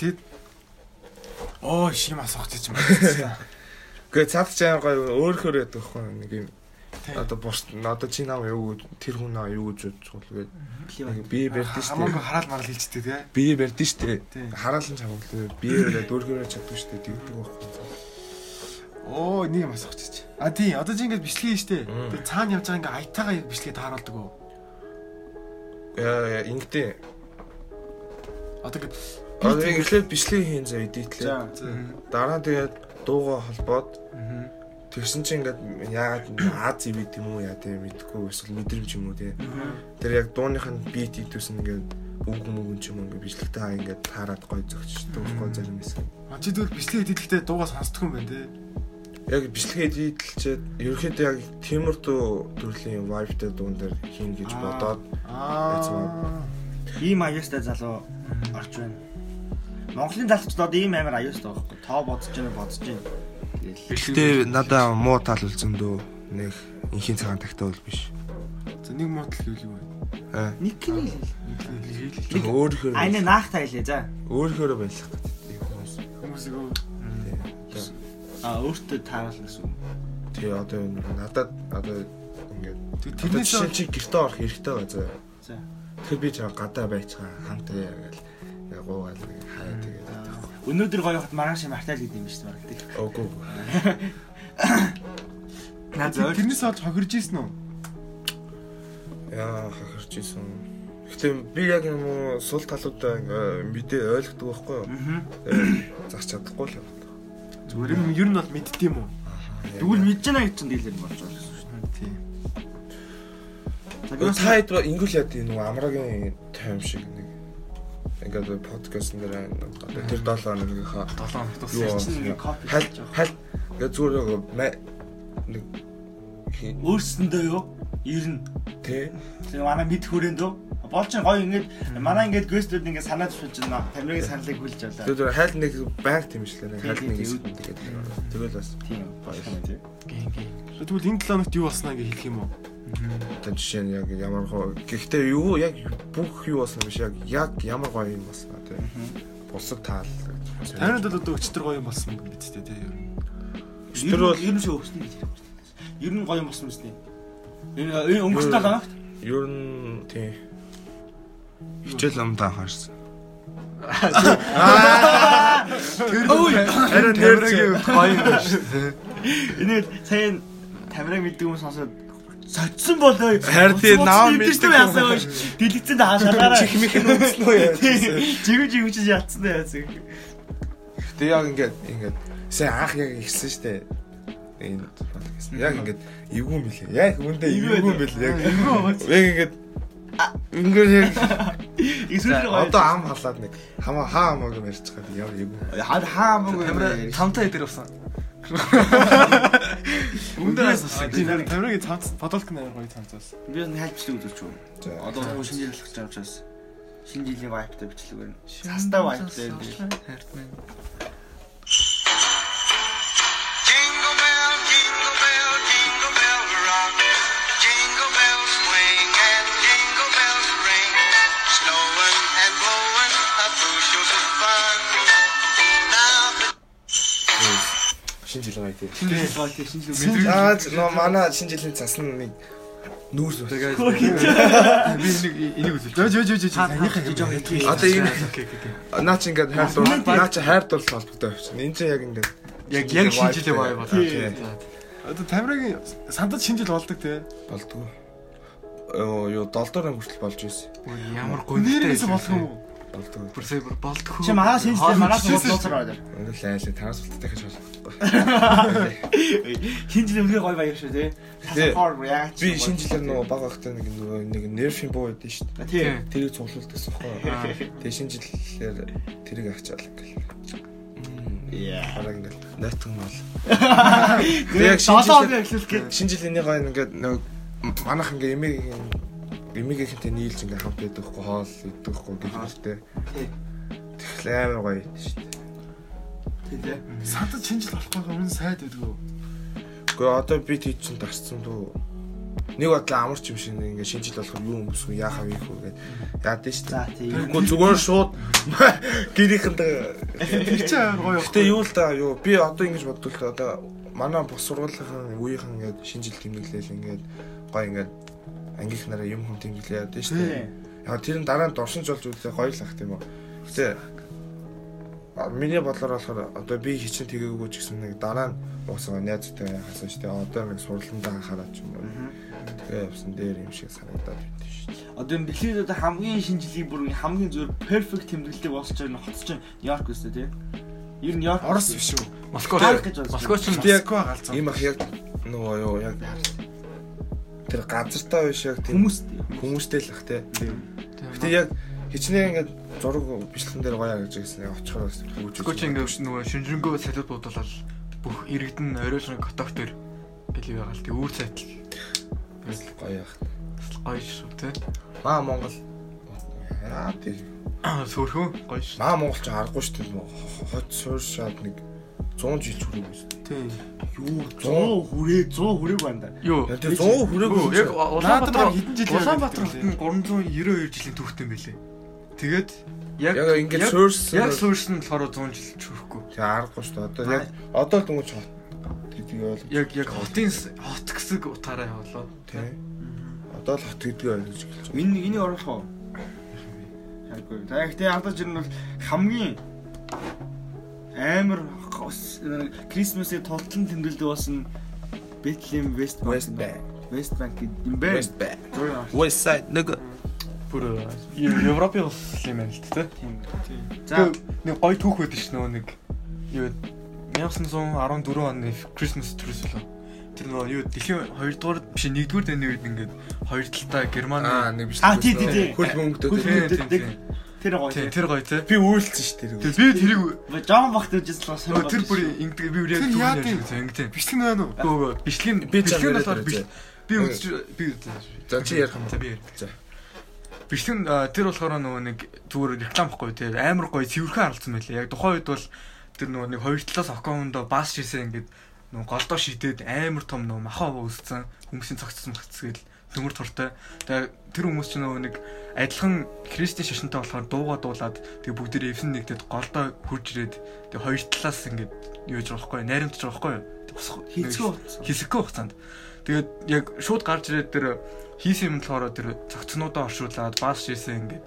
Speaker 3: Тэгэд Оо шим асах гэж юм байна.
Speaker 2: Гэхдээ цаадах чинь амар гоё өөрөөр яддаг байхгүй юу? нэг юм.
Speaker 3: Тийм.
Speaker 2: Одоо бурт одоо чи нам юу гэж тэр хүн аа юу гэж бодсгол гээд
Speaker 1: Климат.
Speaker 2: би барьд нь
Speaker 3: Хамаагүй
Speaker 2: штэ.
Speaker 3: хараал марал хэлжтэй те.
Speaker 2: Би барьд нь штэ.
Speaker 3: Тийм.
Speaker 2: Хараалан чамглаа. Би барьад өөрөөр чаддаг штэ. Тэгдэг байхгүй юу?
Speaker 3: Оо нэг юм асах чич. А тий одоо чи ингээд бичлэгээ штэ.
Speaker 2: Мм.
Speaker 3: Тэг цаана явж байгаа ингээд аятаагаа бичлэгээ тааруулдаг уу?
Speaker 2: Яа ингэдэ.
Speaker 3: Одоо ингээд
Speaker 2: Одоо эхлээд бичлэг хийн за эдитлээ.
Speaker 1: За.
Speaker 2: Дараа нь тэгээд дуугаа холбоод тэгсэн чинь ингээд яагаад Аз ивэ гэм үү яа тийм мэдхгүй эсвэл мэдрэмж юм уу тийм. Тэр яг дууных нь бит идвэс нь ингээд үг мөгөн ч юм уу ингээд бичлэгтэй хаа ингээд таарад гой зөгч дуухгүй зарим хэсэг.
Speaker 3: а чи зүгээр бичлэгээ дэлгэхдээ дуугаа сонсдгүй юм байна те.
Speaker 2: Яг бичлэгэд идэлчээд ерөөхдөө яг тиймэр дуу төрлийн vibe-тэй дуун дээр хийн гэж
Speaker 3: Аа.
Speaker 2: бодоод
Speaker 3: Аа.
Speaker 1: Ийм аюустай залуу орж байна. Монголын залуучууд одоо ийм амар аюустай байхгүй. Тоо бодож байна, бодож байна.
Speaker 2: Гэтэ
Speaker 1: Тэгэл.
Speaker 2: надаа муу тал үл зөндөө нэг инхийн цагаан тагтаа үл биш.
Speaker 3: За нэг муутал гэвэл юу вэ?
Speaker 1: Нэг киний л.
Speaker 2: Нэг өөрөөр
Speaker 1: Айны наах тайлээ за.
Speaker 2: өөрөөр байлах гэдэг хүмүүс.
Speaker 3: Хүмүүс нөгөө
Speaker 1: А өөртөө тааруулна гэсэн. үг.
Speaker 2: Тэгээ одоо энэ надад одоо ингээд
Speaker 3: тэг-
Speaker 2: одоо
Speaker 3: тэрнээс
Speaker 2: жишээ нь чи гэрте орох хэрэгтэй байгаа заа.
Speaker 1: За.
Speaker 2: Тэгэхээр би чам гадаа байцгаа хамт яа гэл яг гоогаал нэг хаяа тэгээд байхгүй.
Speaker 1: Өнөөдөр гоё хот маргааш мартай л гэдэг юм шүү дээ. бараг.
Speaker 2: Огоо.
Speaker 1: Наа
Speaker 3: тэр-
Speaker 1: зөв.
Speaker 3: тэрнээс олж хохирж исэн үү?
Speaker 2: Яа хахирч исэн. Гэтэ би яг юм уу сул талуудаа ингээ мэдээ ойлгодог байхгүй юу? Тэгээ зарч чадахгүй л байна.
Speaker 3: Зүгээр юм ер нь бол мэддэм үү?
Speaker 1: Тэгвэл мэдж байна гэж чинь дийлэр болж байгаа гэсэн шүү
Speaker 3: Тий.
Speaker 1: дээ. За
Speaker 2: Өө,
Speaker 1: гэрээс
Speaker 2: та хэд ба- ингүүл яд энэ нөгөө амрагийн тайм шиг нэг ингээд подкаст нэр одоо тэр 7 хоногийнхаа
Speaker 4: 7 хоногт ус
Speaker 2: юу
Speaker 1: чинь нэг копи
Speaker 2: хал
Speaker 1: хийж байгаа.
Speaker 2: хал ингээд зүгээр яг ма- нэг хи-
Speaker 1: өөрсөндөө юу? Ер нь
Speaker 2: тэ
Speaker 1: Тэгээ манай мэд хүрээнд үү? Болж ин гоё ингээд манай ингээд гөөсдөд ингээд санаа төвшүүлж байна. Тамирын саналыг хүлж авлаа.
Speaker 2: зүгээр хайл нэг байг тэмчлээ хайл
Speaker 1: Тийм,
Speaker 2: нэг
Speaker 1: тийм,
Speaker 2: эсвэл тэгээд тэгэл бас
Speaker 1: Тийм гоё юм тий.
Speaker 3: Тэгвэл энэ 7 хоногт юу болснаа гэж хэлэх юм уу?
Speaker 2: одоо жишээ нь яг ямар хоо гэхдээ юу яг бүх юу болсон биш яг яг ямар гоё юм болсон тэ бусад таал
Speaker 3: Танад бол одоо өчтөр гоё юм болсон гэдэгтэй тий. ер нь.
Speaker 1: Тэр бол ер нь шиг өгснө гэж ярихгүй. Ер нь гоё юм болсон мэт. Энэ
Speaker 2: Юу-
Speaker 1: өнгөрсөн 7 хоногт
Speaker 2: ер нь тий хичээл ам таахаарсан тамирагийн
Speaker 4: Харин гоё юм шүү дээ.
Speaker 1: энэ сайн тамираа мэддэг хүмүүс сонсоод соцсон болоо.
Speaker 2: Харин тий, наа мэддэг
Speaker 1: мэддэг юм яасан юм. Дэлгэцэн даа шалгаараа.
Speaker 2: чихмих нь үзсэн үү яа.
Speaker 1: Жигүү жигүү чи ятсан даа яасан.
Speaker 2: Гэтэ яг ингээд ингээд сайн анх яг ихсэн штэ. Энэ гэсэн. Яг ингээд эвгүй юм билээ. Яг үндэ
Speaker 1: Эвгүй
Speaker 2: эвгүй юм
Speaker 1: байдаг.
Speaker 2: билээ. Яг
Speaker 1: Эвгүй байгаа
Speaker 2: Яг ингээд ингээд яг
Speaker 1: Эсвэл гоё.
Speaker 2: одоо ам халаад нэг хамаа хаа хамаагүй барьцгаад яв эвгүй.
Speaker 1: хаа хамаагүй.
Speaker 4: Тамира тамтай дээр усан.
Speaker 1: Үндээс
Speaker 3: Тий, нэр тамирагийн цамц бодолт нь амар гоё цамцаас.
Speaker 1: Би нэг хайлтчлаг үзүүлч юм.
Speaker 2: За.
Speaker 1: Одоо хүн шинэ жил болж байгаа учраас шинэ жилийн вайптай бичлэг байна. Цастаа вайптай байна.
Speaker 4: Хартман.
Speaker 5: Jingle bell, jingle bell, jingle bell rock. Jingle bells swing and jingle bells ring. Snowing and blowing up through shoes of fun. Now the
Speaker 2: Шинэ жил гоё тий.
Speaker 1: Шинэ жил гоё шинэ жил мэдрэг.
Speaker 2: Аа нөө манай шинэ жилийн цас нь нэг нүүрс.
Speaker 4: Тэгээд
Speaker 3: Би нэг энийг үзэл. Жож жож жож. Санийхаа гэж
Speaker 1: жоо хэлээ.
Speaker 2: Одоо энэ наа чи ингээд хайр дуул наа чи хайр дуул холбоотой авчихна. Энд чи яг ингээд
Speaker 4: яг яг шинжилгээ бай болоо.
Speaker 2: Тий.
Speaker 3: Одоо тамирагийн сандад шинжил болдог тий.
Speaker 2: болдгоо. Оо юу долдоор ам хүртэл болж ирсэн.
Speaker 4: Ямар
Speaker 3: Гүнээрээс болох юм уу?
Speaker 2: Болдгоо.
Speaker 4: Бүрсээ бүр болдох.
Speaker 1: Чи манай шинэ жил манай суулцаар байна.
Speaker 2: Ингээд л айлаа трансферттай гэж болохгүй.
Speaker 1: Шинэ жил үнхээр гоё баяр шүү те.
Speaker 2: Тий.
Speaker 1: Хасаар реакц.
Speaker 2: Би шинэ жилээр нөгөө баг ахтай нэг нөгөө нэг нерфийн буу байдсан шүү дээ.
Speaker 1: тий.
Speaker 2: Тэрийг цуглуулдагсан байхгүй. Тэгээ шинэ жилээр тэрийг авчаал ингээл.
Speaker 1: Яа.
Speaker 2: Хараа ингээл найтхан бол.
Speaker 1: Тэгээ
Speaker 2: яг
Speaker 1: яг
Speaker 2: шинэ
Speaker 1: шинэ
Speaker 2: жилээр-
Speaker 1: жил эхлэх гээд
Speaker 2: Шинэ жилийнх нь ингээд нөгөө манайх ингээ эмээгийн эмээгийнхэнтэй нийлж ингээ хамт байдаг байхгүй хоол идэх байхгүй гэхэлтэй.
Speaker 1: Тий.
Speaker 2: Тэгэл амар гоё шүү дээ.
Speaker 1: тий те.
Speaker 3: Сандад шинжил болох байх өмнө сайд байдгүй.
Speaker 2: Гэхдээ одоо би тэг чин тасцсан дөө. нэг бодлоо амарч юм шиг ингээд шинжил болохоор юу өмсөх вэ, яах вэ хүү гэдэг. Яад нь шүү
Speaker 1: За
Speaker 2: дээ.
Speaker 1: тийм.
Speaker 2: Тэгэхгүй зүгээр шууд гэрийнхэндээ
Speaker 3: Тэр чинь амар гоё. явах.
Speaker 2: Гэтэ юу л да юу би одоо ингэж боддог л да, одоо манай бус сургуулийн үеийнхэн ингээд шинжил тэмдэглээл ингээд гой ингээд ангийнх нараа юм хүм тэмдэглээ яваад шүү дээ. Яг тэр нь дараа нь дуршинж болж үлээ гоё л ах тийм үү. Гэтэ а, миний бодлоор болохоор одоо би хичээл тэгээгүй ч гэсэн нэг дараа нь уусаа найзтай хасан шүү дээ. Одоо нэг сурландаа анхаараад ч юм уу. Тэгээ явсан дээр юм шиг санагдаад байна шүү дээ.
Speaker 1: Одоо энэ дэлхийд одоо хамгийн шинжилгээ бүр ингээ хамгийн зөв perfect тэмдэглэлтэй босч байгаа нь хотч чинь Нью-Йорк өстэй тий. Ер нь Нью-Йорк.
Speaker 3: Орос биш үү?
Speaker 6: Москва.
Speaker 1: Таарах гэж байна.
Speaker 6: Москва ч
Speaker 3: Гэтэ яг гоо галзуу.
Speaker 2: Ийм ах яг нөгөө юу яг тэр газар таа биш яг тийм
Speaker 1: Хүмүүст.
Speaker 2: хүмүүстэй л бах те. Гэтэ яг хичнээн ингээд зураг бичлэн дээр гоё гэж гэсэн яг очихор бас үүж.
Speaker 6: Москва ч ингээд нөгөө шинжрэнгөө салют буудлал бүх иргэдэн оройшрон котог төр гэлээ байгаа л тий үүр цайтал
Speaker 2: гоё бах.
Speaker 6: гоё шүү тий.
Speaker 2: Маа Монгол. Яа тий.
Speaker 6: Сөрхөн гоё шүү.
Speaker 2: Маа Монгол ч харахгүй шүү дээ. Хот сууршаад нэг 100 жил хүрээгүй шүү дээ.
Speaker 3: Тийм.
Speaker 1: Юу 100 хүрээ 100 хүрээг байна да.
Speaker 6: Юу?
Speaker 2: Яг тий 100 хүрээгүй.
Speaker 6: Юу, Яг
Speaker 2: шүү дээ.
Speaker 6: Улаанбаатар
Speaker 3: Наадмаар хэдэн жил яваад
Speaker 6: Улаанбаатар
Speaker 3: байдаг
Speaker 6: хотын 392 жилийн түүхтэй юм билээ. Тэгээд яг
Speaker 2: яг ингээд
Speaker 6: яг-
Speaker 2: суурсан.
Speaker 6: Яг суурсан болохоор 100 жил чүрэхгүй.
Speaker 2: Тий харахгүй шүү дээ. Одоо яг одоо л дөнгөж хот гэдэг нь ойлгомжтой.
Speaker 6: Яг яг хотын с- хот гэсэг утгаараа явлаа.
Speaker 2: Тий. Одоо л хот гэдэг нь ойлгож эхэлж байна.
Speaker 1: Миний энийг оруулах уу? Хайргүй. За яг тий ядаж ер нь бол хамгийн амар хос- Крисмсийн толтлон тэмдэглэлд болсон Bethlehem West Bank.
Speaker 2: West Bank.
Speaker 1: West Bank гэдэг юм бэ.
Speaker 2: West Bank.
Speaker 1: Зургийг авах
Speaker 2: West side нөгөө
Speaker 4: Бүр э, Европын улс юм байна л тэ.
Speaker 1: тийм. За
Speaker 4: За нэг гоё түүх байдаг ш нөгөө нэг юу 1914 оны Christmas төрөс лөө. Тэр нөгөө юу дэлхийн 2 дугаар биш 1 дугаар дэний үед ингээд хоёр талдаа Германы
Speaker 2: аа нэг бичлэг.
Speaker 1: А, тий, тий, тий.
Speaker 2: Хөл бөмбөгдөд.
Speaker 1: Хөл
Speaker 6: Тийм,
Speaker 1: бөмбөгдөд.
Speaker 6: тийм, тийм.
Speaker 1: тэр гоё.
Speaker 4: тий
Speaker 1: тий.
Speaker 4: тэр гоё тэ.
Speaker 2: Би үйлцсэн шүү дээ.
Speaker 4: Тэр би тэрийг
Speaker 1: Жон бахт үжил бас.
Speaker 4: нөгөө тэр бүр ингэдэг би үрээ
Speaker 3: Тэр яа тийм?
Speaker 4: ингэдэг.
Speaker 3: Бичлэг нь байна уу?
Speaker 4: Гөө бичлэг нь-
Speaker 2: Би
Speaker 4: бичлэг нь
Speaker 2: цаана
Speaker 4: болохоор
Speaker 2: яриад
Speaker 4: биш. Би үзэж би үзэж.
Speaker 2: За, чи ярих юм уу?
Speaker 4: За би ярих.
Speaker 2: За.
Speaker 4: Бичлэг нь, а, тэр болохоор нөгөө нэг зүгээр реклам байхгүй тэр амар гоё цэвэрхэн харалцсан байлээ. Яг тухайн үед бол тэр нөгөө нэг хоёр талаас окоундо бас шисэн ингээд нөгөө голдоо шидэд амар том нөгөө махаа өссөн хүмүүсийн цогцсон цэцгээл төмөр туртай. Тэгээ тэр хүмүүс ч нөгөө нэг адилхан христийн шашинтай болохоор дууга дуулаад тэгээ бүгд эвсэн нэгдэд голдоо хурж ирээд тэгээ хоёр талаас ингээд юу яж болохгүй найрамдж болохгүй.
Speaker 1: Хэцүү утас.
Speaker 4: Хэсэггүй хугацаанд. Тэгээд яг шууд гарч ирээд тэр хийсэн юм болохоор тэр цогцнуудаа оршуулад баас шээсэн ингээд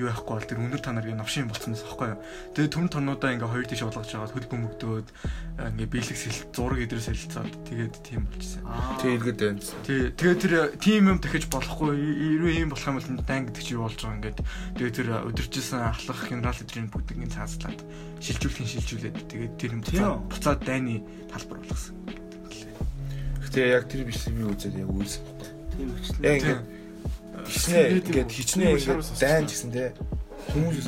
Speaker 4: юу яахгүй бол тэр өнөр танаар гээ новшин болцсноос аахгүй юу. Тэгээ түн торнуудаа ингээ хоёр тийш уулгаж байгаа хөл бөмбөгдөөд ингээ биелэг сэлт зураг идрээс сэлцаад тэгээд тийм болчихсон.
Speaker 2: Тий иргэд байна.
Speaker 4: Тий, тэгээ тэр тийм юм дахиж болохгүй. Ирүү ийм болох юм бол энэ дан гэдэг чи юу болж байгаа юм гээд. Тэгээ тэр өдөржсэн ахлах генерал эдрийн бүгднийг цаацлаад шилжүүлэх нь шилжүүлээд тэгээд тэр юм буцаад
Speaker 1: Тийм.
Speaker 4: буцаад дайны талбар болгосон.
Speaker 2: Гэтэ яг тэр бичлэг би үзээд яг үйлсэн байхгүй.
Speaker 1: тийм өчлөө.
Speaker 2: Яг ингээд хичнээн ингээд хичнээн ингээд дайн гэсэн те. Хүмүүс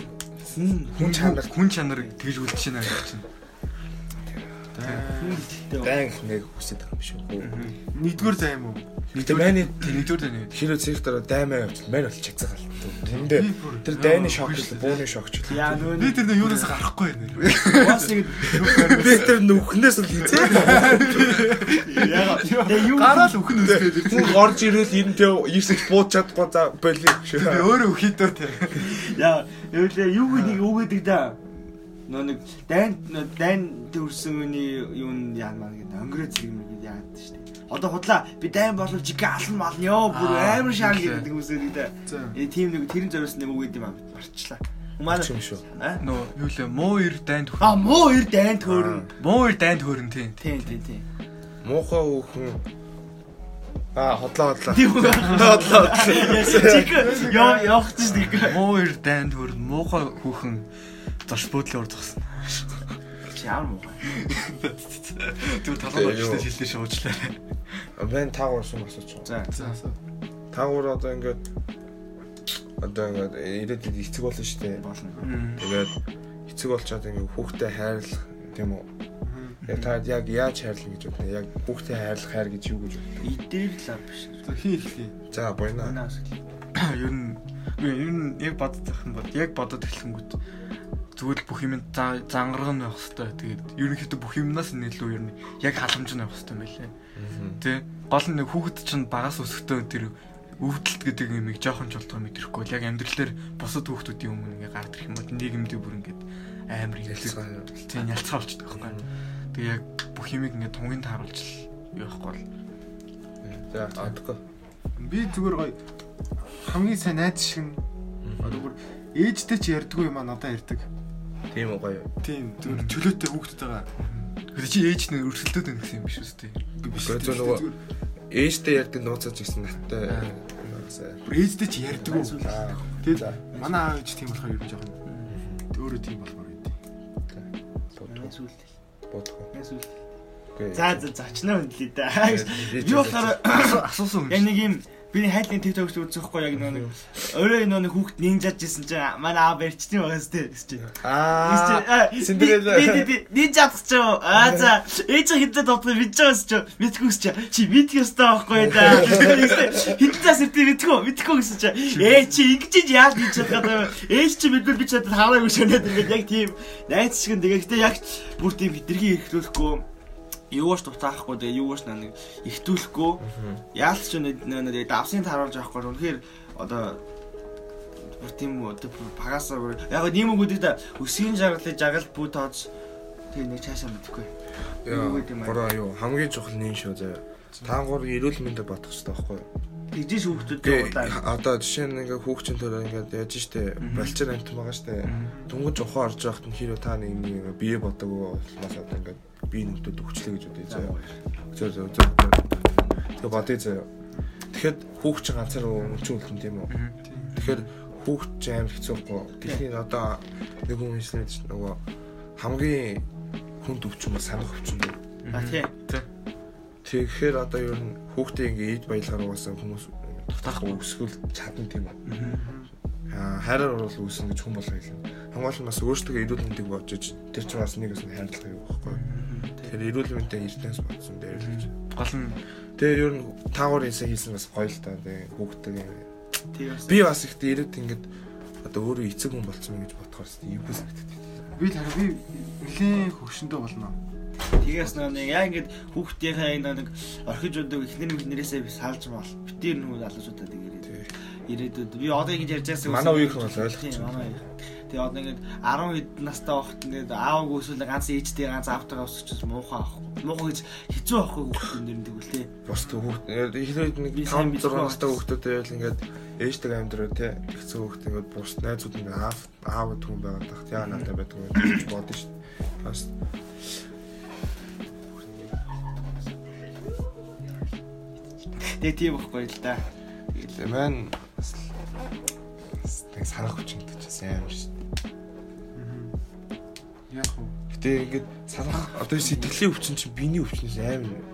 Speaker 2: хүн чанар
Speaker 4: хүн чанар тэгж үлдэж байна гэж чинь.
Speaker 2: дайн ингээд хүсэж байгаа юм биш үү?
Speaker 3: Нэгдүгээр займ уу?
Speaker 2: Гэтэ миний
Speaker 4: Нэгдүгээр дэний.
Speaker 2: хэр үзэх дараа даймаа явчихсан. Мань бол чагцаг алдсан. Тэндээ
Speaker 3: Би бүр-
Speaker 2: тэр дайны шок л бууны шокч.
Speaker 1: Яа нөө
Speaker 3: Би тэр нөө юунаас гарахгүй байна.
Speaker 1: бас нэг
Speaker 2: Би тэр нүхнээс л хизээ.
Speaker 1: яа. Тэгээ юу
Speaker 3: Гараал өхөн үстэй.
Speaker 2: Хүн орж ирэл эндээ ирсэж бууж чадахгүй за боли.
Speaker 3: Би өөрөө өхийдөө тэр.
Speaker 1: яа явлаа юу гэдэг үг гэдэг да. Нөө нэг дайн нөө дайн төрсөн үний юу нь яа маа гэдэг өнгөрөө зэрэг юм гээд яад штэ. Одоо худлаа би дайн болов жигэ алан мал ёо бүр
Speaker 4: Аа,
Speaker 1: амар шаал
Speaker 4: тийм.
Speaker 1: гэдэг хүмүүс үү да.
Speaker 3: За.
Speaker 1: Э тийм нэг тэрэн зориулсан нэг үг гэдэг юм аа марчлаа. Манай
Speaker 2: Марчих юм шүү.
Speaker 1: Аа?
Speaker 4: Нөө юу лээ муу ир дайнд хөрн.
Speaker 1: А муу ер дайн төрөн.
Speaker 4: Муу ир дайнд хөрн тийм.
Speaker 1: Тийм тийм тийм.
Speaker 2: Муухай хүн А хотлоо хотлоо.
Speaker 1: Тийм үү?
Speaker 2: Хотлоо.
Speaker 1: Яа явах ч тийм.
Speaker 4: Муу ир дайнд хөрн. Муухай хүүхэн зорш буудлын урд зогсон.
Speaker 1: Ямар муу.
Speaker 4: Зүгээр
Speaker 2: Ээ,
Speaker 4: талаа болчихсон
Speaker 2: юу.
Speaker 4: шилдэж шуучлаа.
Speaker 2: Бэн таг уурсан асуучих.
Speaker 1: За.
Speaker 3: За.
Speaker 2: Тагуур одоо ингээд одоо ингээд ирээдүйд эцэг болно шүү дээ.
Speaker 1: болно.
Speaker 2: Тэгээд эцэг болчоод ингээд хүүхдээ хайрлах тийм үү? Яг та яг яаж хайрлах гэж бодно? Яг хүүхдээ хайрлах хайр гэж юу гэж бодно?
Speaker 1: Идээр л аа биш.
Speaker 3: Хий хий.
Speaker 2: За буйна.
Speaker 1: Манаас л.
Speaker 4: Ер нь ер нь яг бодож байх юм бол яг бодоод эхлэнгүүт
Speaker 6: Зүгээр л бүх юм зангархан байх хэвээр. Тэгээд ерөнхийдөө бүх юмнаас нь илүү ер нь яг халамж нь байх хэвээр байлээ. Тэ. Гол нь нэг хүүхэд чинь багаас өсөхдөө тэр өвдөлт гэдэг юмыг жоохон ч болтоо мэдрэхгүй л яг амьдралаар бусад хүүхдүүдийн өмнө ингээ гардаг юм бол нийгэмдээ бүр ингээ амар
Speaker 2: Ялцгаа юу.
Speaker 6: хэлцээ. Тэ ялцгаа болчихдог байхгүй. Тэгээ яг бүх юмыг ингээ тунгийн тааруулж л юу байхгүй бол
Speaker 2: За одохгүй.
Speaker 3: Би зүгээр гоё хамгийн сайн найз шиг нь одоо бүр ээжтэй ч ярьдгүй юм аа надад ярьдаг.
Speaker 2: Тийм үү гоё.
Speaker 3: Тийм зүгээр чөлөөтэй хүүхдтэйгаа.
Speaker 6: Гэтэ чи ээж нь өрсөлдөд байна гэсэн юм биш үстэй.
Speaker 3: Биш
Speaker 2: Гэхдээ
Speaker 3: тийм,
Speaker 2: нөгөө-
Speaker 3: зүгээр
Speaker 2: Ээжтэй ярьдаг нууцаж гэсэн надтай.
Speaker 3: бүр ээжтэй ч ярьдгүй.
Speaker 2: Аа. За.
Speaker 3: Тэгээд манай аав ээж тийм болохоор ер нь жоохон өөрөө тийм болохоор байд.
Speaker 1: Найс үлдэл.
Speaker 2: Бодохгүй.
Speaker 1: Найс үлдэл.
Speaker 2: Окей.
Speaker 1: За за зочноо хөндлөе дээ.
Speaker 2: Ээж
Speaker 1: Юу болохоор
Speaker 6: Асуусан
Speaker 1: яг нэг юм би хайлын TikTok ч үзэхгүй яг нөгөө нэг өөрөө нөгөө нэг хүүхд нинжаж ирсэн чинь манай аав ярьчтын байгаас тэр гэсэн чинь.
Speaker 2: Аа.
Speaker 1: э,
Speaker 2: Синдрелла.
Speaker 1: Нинж чадчих юу? Аа за ээж хэдэн дотор мэдчихсэн ч мэдхгүй гэсэн чинь чи мэдх ёстой байхгүй да. Хэдэн цаас ирдэ мэдхгүй мэдхгүй гэсэн чинь ээ чи ингэж ч яаж мэдж чадгаад байна вэ? ээж чи мэдвэл би чадад хараагүй шэнэд ингээд яг тийм найз шиг нэг ихтэй яг бүр тийм хитрхи хэрэглүүлэхгүй юугаш дутаахгүй тэгээ юугаш нэг ихтүүлэхгүй яалт ч нэг нэг нэг давсын тааруулж авахгүй үнэхээр одоо бүр тийм үү одоо бүр багасаа бүр яг нь юм өгдөг да өсгийн жаргалыг жаргал бүү тооц тэгээ нэг цаашаа мэдхгүй юу гэдэг юм аа?
Speaker 2: Гураа юу хамгийн чухал нэг шүү заяа. Таангуур эрүүл мэндэд бодох хэрэгтэй байхгүй юу?
Speaker 1: тэгжээс хүүхдүүд
Speaker 2: Тэгээ
Speaker 1: удаа
Speaker 2: одоо жишээ нь ингээ хүүхчин төрөө ингээ яаж штэ болчин амт байгаа штэ. Дүнгийн ухаан орж байхад нь хэрэв та нэг ингээ ингээ бие бодог болмаас одоо ингээ бие нүдэд өгчлээ гэж үтэй заяа. Зөө зөө зөө. Тэгээ бодё заяа. Тэгэхэд хүүхч ганцаар өмчүүлэх юм тийм үү? Тэгэхээр хүүхч амар хэцүүхгүй. Гэхдээ одоо нэг хүн хэлсэн чинь нөгөө хамгийн хүнд өвчин ба санах өвчин гэдэг
Speaker 1: тий
Speaker 2: Тэгэхээр одоо ер нь хүүхдээ ингээ ид баялгаар угаасан хүмүүс дутаахгүй өсгөл чадна тийм үү. Аа хайраар урал үүсэн гэж хүн болгоо хэлнэ. Хамгаалал нь бас өөртөө эрүүл мэндийг бодож иж тэр чинь бас нэгээс нь хайрлах юм байхгүй. Тэгэхээр эрүүл мэндийн эртнээс бодсон дээр л гэж.
Speaker 6: гол нь
Speaker 2: Тэгээ ер нь таагаар хийсэн хийсэн бас гоё л та. Тэгээ хүүхдээ ингээ.
Speaker 1: тий бас
Speaker 2: би бас ихтэй ирээд ингээд одоо өөрөө эцэг хүн болцсон мэй гэж бодохоор ч юм уу санагдав.
Speaker 3: Би тэр би нэлээд хөвшөндөө болно.
Speaker 1: Тэгээс нөө нэг яг ингээд хүүхдийнхээ энэ нэг орхиж удаг эхнэр эхнэрээсээ би салж мал. Битэр нүү залуучуудаа тэг ирээд. Ирээдүүд би одоо ингэж ярьж байгаасаа
Speaker 2: Манай үеийнх нь бол ойлгочих.
Speaker 1: Тэгээ одоо ингээд 10 хэд настай байхад ингээд аавг өсвөл ганц ээжтэй ганц аавтайгаа өсчихсөн муухай авах. Муухай гэж хэцүү авахгүй хүүхдүүд нэр дэг үлээ.
Speaker 2: Бус хүүхд эхлээд нэг
Speaker 1: Би
Speaker 2: 5
Speaker 1: сайн
Speaker 2: 6
Speaker 1: мэдгүй
Speaker 2: настай
Speaker 1: бас.
Speaker 2: хүүхдүүд байвал ингээд ээжтэй амьдраа тий тэгсэн хүүхд ингээд бус найзууд ингээд аав аав түн байгаад тах тий анаатай байдаг юм гэж бодно шүү дээ. Бас
Speaker 1: Тэгээ тийм байхгүй л да.
Speaker 2: тэгэл маань бас л- бас тэг санах хүчин гэдэг чинь сайн юм шүү дээ.
Speaker 3: Яг уу.
Speaker 2: Гэтэ ингээд санах одоо сэтгэлийн өвчин чинь биений өвчнөөс амар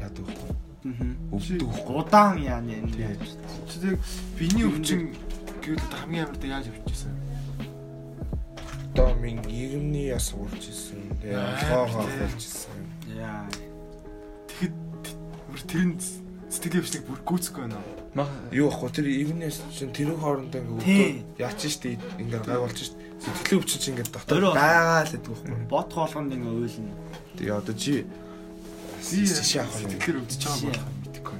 Speaker 2: яадаг вэ? Өвдөг вэ?
Speaker 1: Удаан яа нэ. энэ.
Speaker 3: Чи тэг биений өвчин гэвэл одоо хамгийн амартай яаж өвччихсэн?
Speaker 2: Одоо минь иргэний яс урж исэн. Тэгээ олгоогоо болж исэн.
Speaker 1: Яа.
Speaker 3: Тэгэхэд бүр тэрэн сэтгэлийн өвчлэг бүр гүцэхгүй байна.
Speaker 6: мах
Speaker 2: Юу ахгүй тэр ивнэс чинь тэрэн хоорондоо
Speaker 1: Тийм.
Speaker 2: ингээ өвдөд яачин штэ ингээ гай болж штэ сэтгэлийн өвчин чинь ингээ дотор
Speaker 1: Өөрөө.
Speaker 2: байгаа л гэдэг юм байна.
Speaker 1: Бот хоолгонд ингээд ойлно.
Speaker 2: Тэгээ одоо чи
Speaker 3: Би
Speaker 2: жишээ авах юм.
Speaker 3: сэтгэлээр өвдөж байгаа болох юм мэдэхгүй.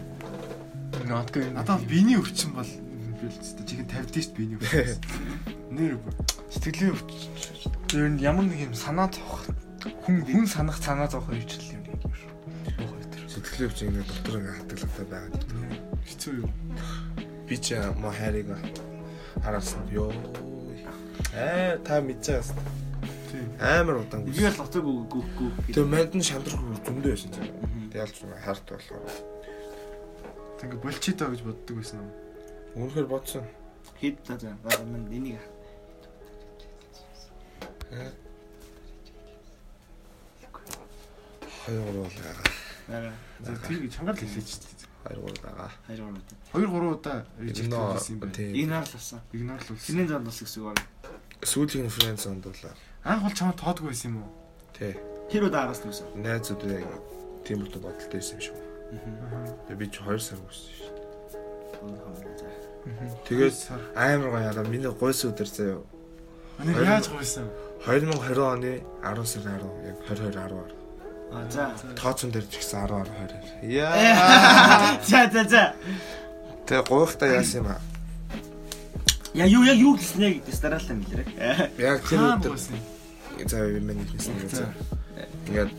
Speaker 6: нотго юм.
Speaker 3: Надад биений өвчин бол би л зүгээр чихэн тавьдээ шүү дээ биений өвчин. Нэр бүр.
Speaker 6: сэтгэлийн өвч. Ер нь ямар нэг юм санаа зовх. Хүн хүн санах санаа зовх үйл юм нэг юм шүү. Бохоо тэр.
Speaker 2: Сэтгэлийн өвчин ингээ дотор ингээ хатгалтай байгаа гэдэг.
Speaker 3: Хэцүү юу?
Speaker 2: Би ч мо хайрыг хараасан ёо. Э та мэдчихээс.
Speaker 3: Тийм.
Speaker 2: Амар удаан.
Speaker 1: Би бол гоцог үгүй үгүй.
Speaker 2: Тэгээ мэд нь шандрахгүй зөндөө байсан цаа. Тэгээ ялж байгаа харт болохоор.
Speaker 3: Ингээ болчихё даа гэж боддог байсан юм.
Speaker 2: Үнэхээр бодсон.
Speaker 1: Хэд та за. Бага мэн энийг.
Speaker 2: Э. Хоёр гурван л байгаа.
Speaker 1: Бага.
Speaker 3: За тийм гэж чангаар л хэлээч дээ.
Speaker 2: Хоёр гурван байгаа.
Speaker 1: 2 удаа.
Speaker 3: 2 3 удаа reject
Speaker 2: Игнор
Speaker 3: хийсэн юм байна.
Speaker 2: тийм.
Speaker 1: Игнор л болсон.
Speaker 3: Игнор л үлсэн.
Speaker 1: Синийн занд бас гэсэн үг байна.
Speaker 2: Сүүлийн фрэнд сондуулаа.
Speaker 3: Анх бол чамд тоодгүй байсан юм уу?
Speaker 2: Тий.
Speaker 1: Тэр удаа араас нүсэн.
Speaker 2: найзууд яг тийм бодол бодолтой байсан юм шиг. Тэгээ би ч 2 сар үссэн шүү. дээ.
Speaker 1: За.
Speaker 2: Тэгээс
Speaker 3: сар.
Speaker 2: амар гоё яла миний гойс өдөр заяа.
Speaker 3: Өнөөдөр яаж гомсон?
Speaker 2: 2020 оны 10 сарын 10 яг 22 10
Speaker 1: А за.
Speaker 2: тооцон дээр ч гэсэн 10 10 20. Яа.
Speaker 1: За за за.
Speaker 2: Тэгээ гуйхтаа яасан юм аа.
Speaker 1: Яа юу яг юу гэлснэ гэдээс дараалал юм лээ.
Speaker 2: Яг тэр
Speaker 3: Хаан
Speaker 2: өдөр
Speaker 3: гомсон.
Speaker 2: за миний хийсэн юм за. Ингээд